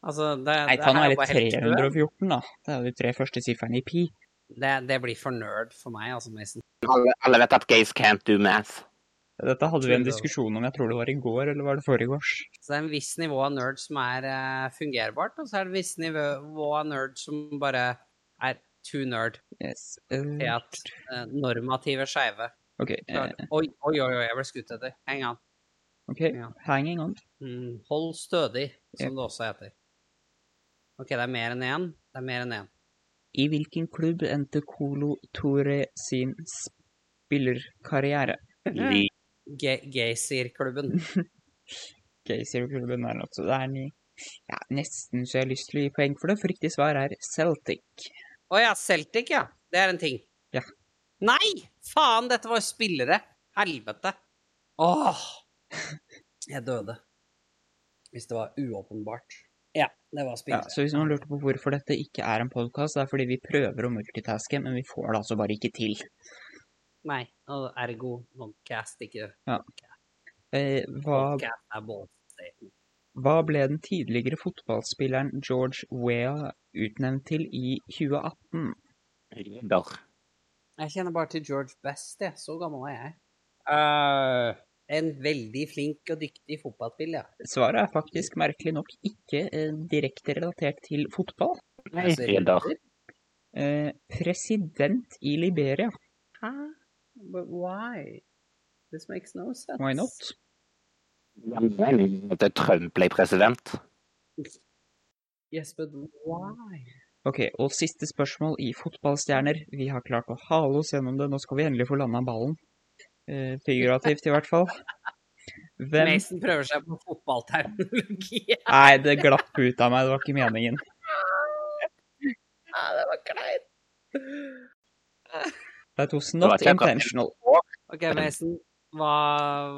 Speaker 3: Altså, det,
Speaker 4: Nei,
Speaker 3: det
Speaker 4: ta nå
Speaker 3: her er
Speaker 4: hele
Speaker 3: bare helt død.
Speaker 4: 314, da. Det er jo de tre første sifrene i pi.
Speaker 3: Det, det blir for nerd for meg, altså, Mason.
Speaker 2: Alle, alle vet at gays can't do math.
Speaker 4: Dette hadde vi en
Speaker 3: Tror jeg.
Speaker 4: diskusjon om, jeg tror det var i går, eller var det forrige års?
Speaker 3: Så det er en viss nivå av nerd som er eh, fungerbart, og så er det en viss nivå av nerd som bare er too nerd.
Speaker 4: Yes. eh,
Speaker 3: Det at eh, normative skeive.
Speaker 4: ok, eh,
Speaker 3: Klart. Oi, oi, oi, oi, jeg ble skutt etter. Heng an.
Speaker 4: ok,
Speaker 3: Ja.
Speaker 4: hanging on.
Speaker 3: Mm, hold stødig, som det også heter. OK, det er mer enn én. Det er mer enn én.
Speaker 4: I hvilken klubb endte Colo Tore sin spillerkarriere?
Speaker 2: Li-
Speaker 3: Ga- Gaysir-klubben.
Speaker 4: Okay, sier du klubben der, altså. Det er ni. Ja, nesten så jeg har lyst til å gi poeng for det, for riktig svar er Celtic.
Speaker 3: Å ja, Celtic, ja. Det er en ting.
Speaker 4: Ja.
Speaker 3: Nei! Faen, dette var jo spillere. Helvete. Åh. Jeg døde. Hvis det var uåpenbart. Ja, det var
Speaker 4: Ja,
Speaker 3: spillere.
Speaker 4: så hvis noen lurte på hvorfor dette ikke er en podkast, det er fordi vi prøver å multitaske, men vi får det altså bare ikke til.
Speaker 3: Nei, og ergo podcast, ikke
Speaker 4: Ja. Eh, hva
Speaker 3: podcast er båtstaten.
Speaker 4: Hva ble den tidligere fotballspilleren George Weah utnevnt til i 2018?
Speaker 2: Ridder.
Speaker 3: Jeg kjenner bare til George Best, jeg. Så gammel er jeg. Eh, en veldig flink og dyktig fotballspiller, ja.
Speaker 4: Svaret er faktisk merkelig nok ikke eh, direkte relatert til fotball.
Speaker 3: Altså,
Speaker 2: Ridder.
Speaker 4: Eh, president i Liberia,
Speaker 3: Hæ? But why? This makes no sense.
Speaker 4: why not?
Speaker 2: Jeg mener At Trump ble president.
Speaker 3: Yes, but why?
Speaker 4: Ok, og siste spørsmål i fotballstjerner. Vi har klart å hale oss gjennom det, nå skal vi endelig få landa ballen. Eh, figurativt, i hvert fall. Hvem
Speaker 3: Mason prøver seg på fotballterminologi.
Speaker 4: Nei, det glapp ut av meg, det var ikke meningen.
Speaker 3: Ja, det var kleint.
Speaker 4: That was
Speaker 2: var
Speaker 4: not
Speaker 2: ikke akkurat-
Speaker 4: intentional.
Speaker 3: OK, Mason. Hva,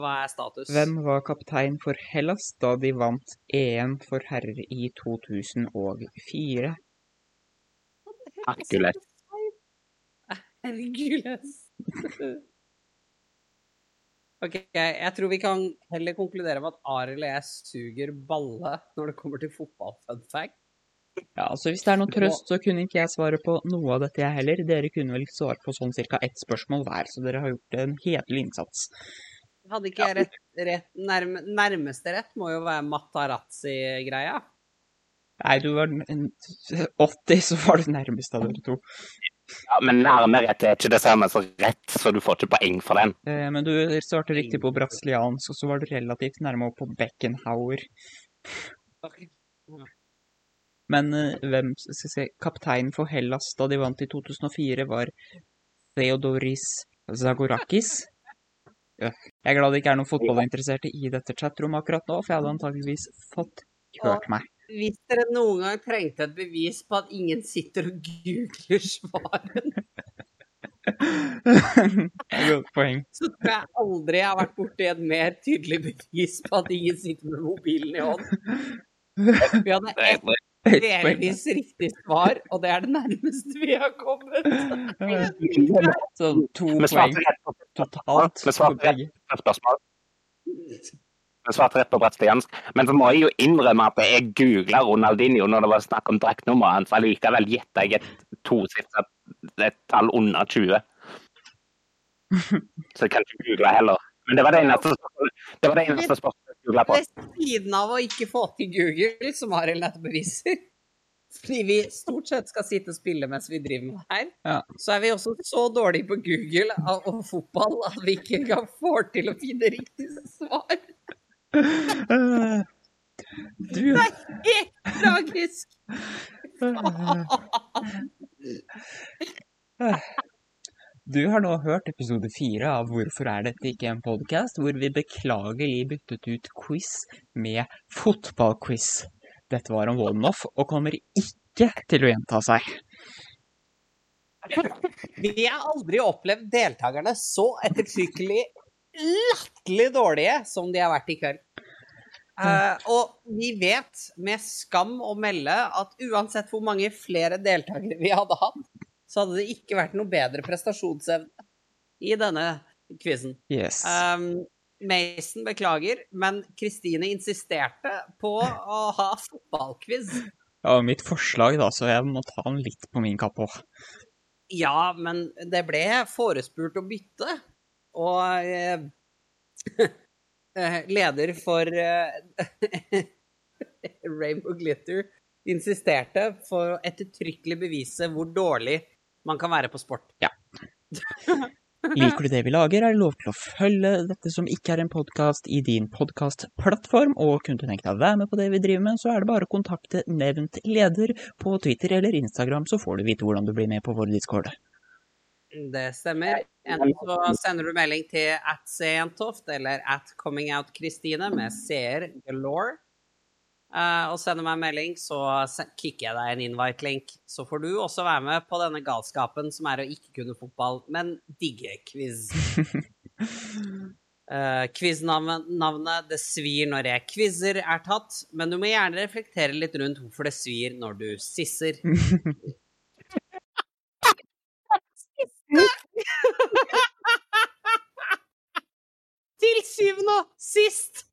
Speaker 3: hva er status?
Speaker 4: Hvem var kaptein for Hellas da de vant EM for herrer i 2004?
Speaker 2: Hercules.
Speaker 3: Hercules. OK, jeg tror vi kan heller konkludere med at Arild og jeg suger balle når det kommer til fotball-funfact.
Speaker 4: Ja, altså Hvis det er noen trøst, så kunne ikke jeg svare på noe av dette, jeg heller. Dere kunne vel svare på sånn ca. ett spørsmål hver, så dere har gjort en hederlig innsats.
Speaker 3: Hadde ikke jeg rett, rett nærme, Nærmeste rett må jo være Matarazzi-greia.
Speaker 4: Nei, du var n- n- 80, så var du nærmest av dere to.
Speaker 2: Ja, men nærme rett er ikke det samme som rett, så du får ikke poeng for den.
Speaker 4: Eh, Men du svarte riktig på brasiliansk, og så var du relativt nærme opp på Beckenhauer.
Speaker 3: Ok.
Speaker 4: Men eh, hvem skal jeg se, kapteinen for Hellas da de vant i 2004, var Theodoris Zagorakis. Ja. Jeg er glad det ikke er noen fotballinteresserte i dette chatrommet akkurat nå, for jeg hadde antakeligvis fått hørt meg.
Speaker 3: Hvis dere noen gang trengte et bevis på at ingen sitter og googler svaret,
Speaker 4: Godt poeng.
Speaker 3: så tror jeg aldri jeg har vært borti et mer tydelig bevis på at ingen sitter med mobilen i hånd. Vi hadde ett
Speaker 4: Høyt poeng.
Speaker 3: delvis riktig svar, og det er det nærmeste vi har kommet.
Speaker 4: Så to
Speaker 2: Vi
Speaker 4: poeng
Speaker 2: svarte rett på
Speaker 4: totalt
Speaker 2: Vi
Speaker 4: for
Speaker 2: svarte rett
Speaker 4: begge.
Speaker 2: på spørsmål. med svart rett på brasiliansk. Men så må jeg jo innrømme at jeg googla Ronaldinho når det var snakk om draktnummeret hans. Allikevel gjetta jeg et tosifra et tall under 20. Så jeg kan ikke google heller. Men det var det eneste, det var det eneste spørsmålet jeg googla på.
Speaker 3: Ved siden av å ikke få til Google, som Arild dette beviser Fordi vi stort sett skal sitte og spille mens vi driver med det her,
Speaker 8: Ja.
Speaker 3: så er vi også så dårlige på Google og og fotball at vi ikke engang får til å finne riktig svar.
Speaker 4: Eh, Du
Speaker 3: Helt tragisk!
Speaker 4: Du har nå hørt episode fire av Hvorfor er dette ikke en podkast, hvor vi beklagelig byttet ut quiz med fotballquiz. Dette var en one-off og kommer ikke til å gjenta seg.
Speaker 3: Vi har aldri opplevd deltakerne så ettertrykkelig latterlig dårlige som de har vært i kveld. Eh, og vi vet med skam å melde at uansett hvor mange flere deltakere vi hadde hatt, så hadde det ikke vært noe bedre prestasjonsevne i denne quizen.
Speaker 4: Yes.
Speaker 3: Um, Mason beklager, men Kristine insisterte på å ha fotballquiz.
Speaker 4: Det var mitt forslag, da, så jeg må ta den litt på min kappe òg.
Speaker 3: Ja, men det ble forespurt å bytte, og eh, eh, leder for eh, Rainbow Glitter insisterte for å ettertrykkelig bevise hvor dårlig man kan være på sport.
Speaker 4: Liker du det vi lager, er det lov til å følge dette som ikke er en podkast, i din podkastplattform, og kunne du tenke deg å være med på det vi driver med, så er det bare å kontakte nevnt leder på Twitter eller Instagram, så får du vite hvordan du blir med på vår discord.
Speaker 3: Det stemmer. Enten så sender du melding til at Sentoft eller at comingoutkristine med seer galore. Eh, og sender meg en melding, så se- kicker jeg deg en invite-link. Så får du også være med på denne galskapen som er å ikke kunne fotball, men digge quiz. Uh, Quiznavnet 'Det svir når jeg quizer' er tatt, men du må gjerne reflektere litt rundt hvorfor det svir når du sisser. Til syvende og sist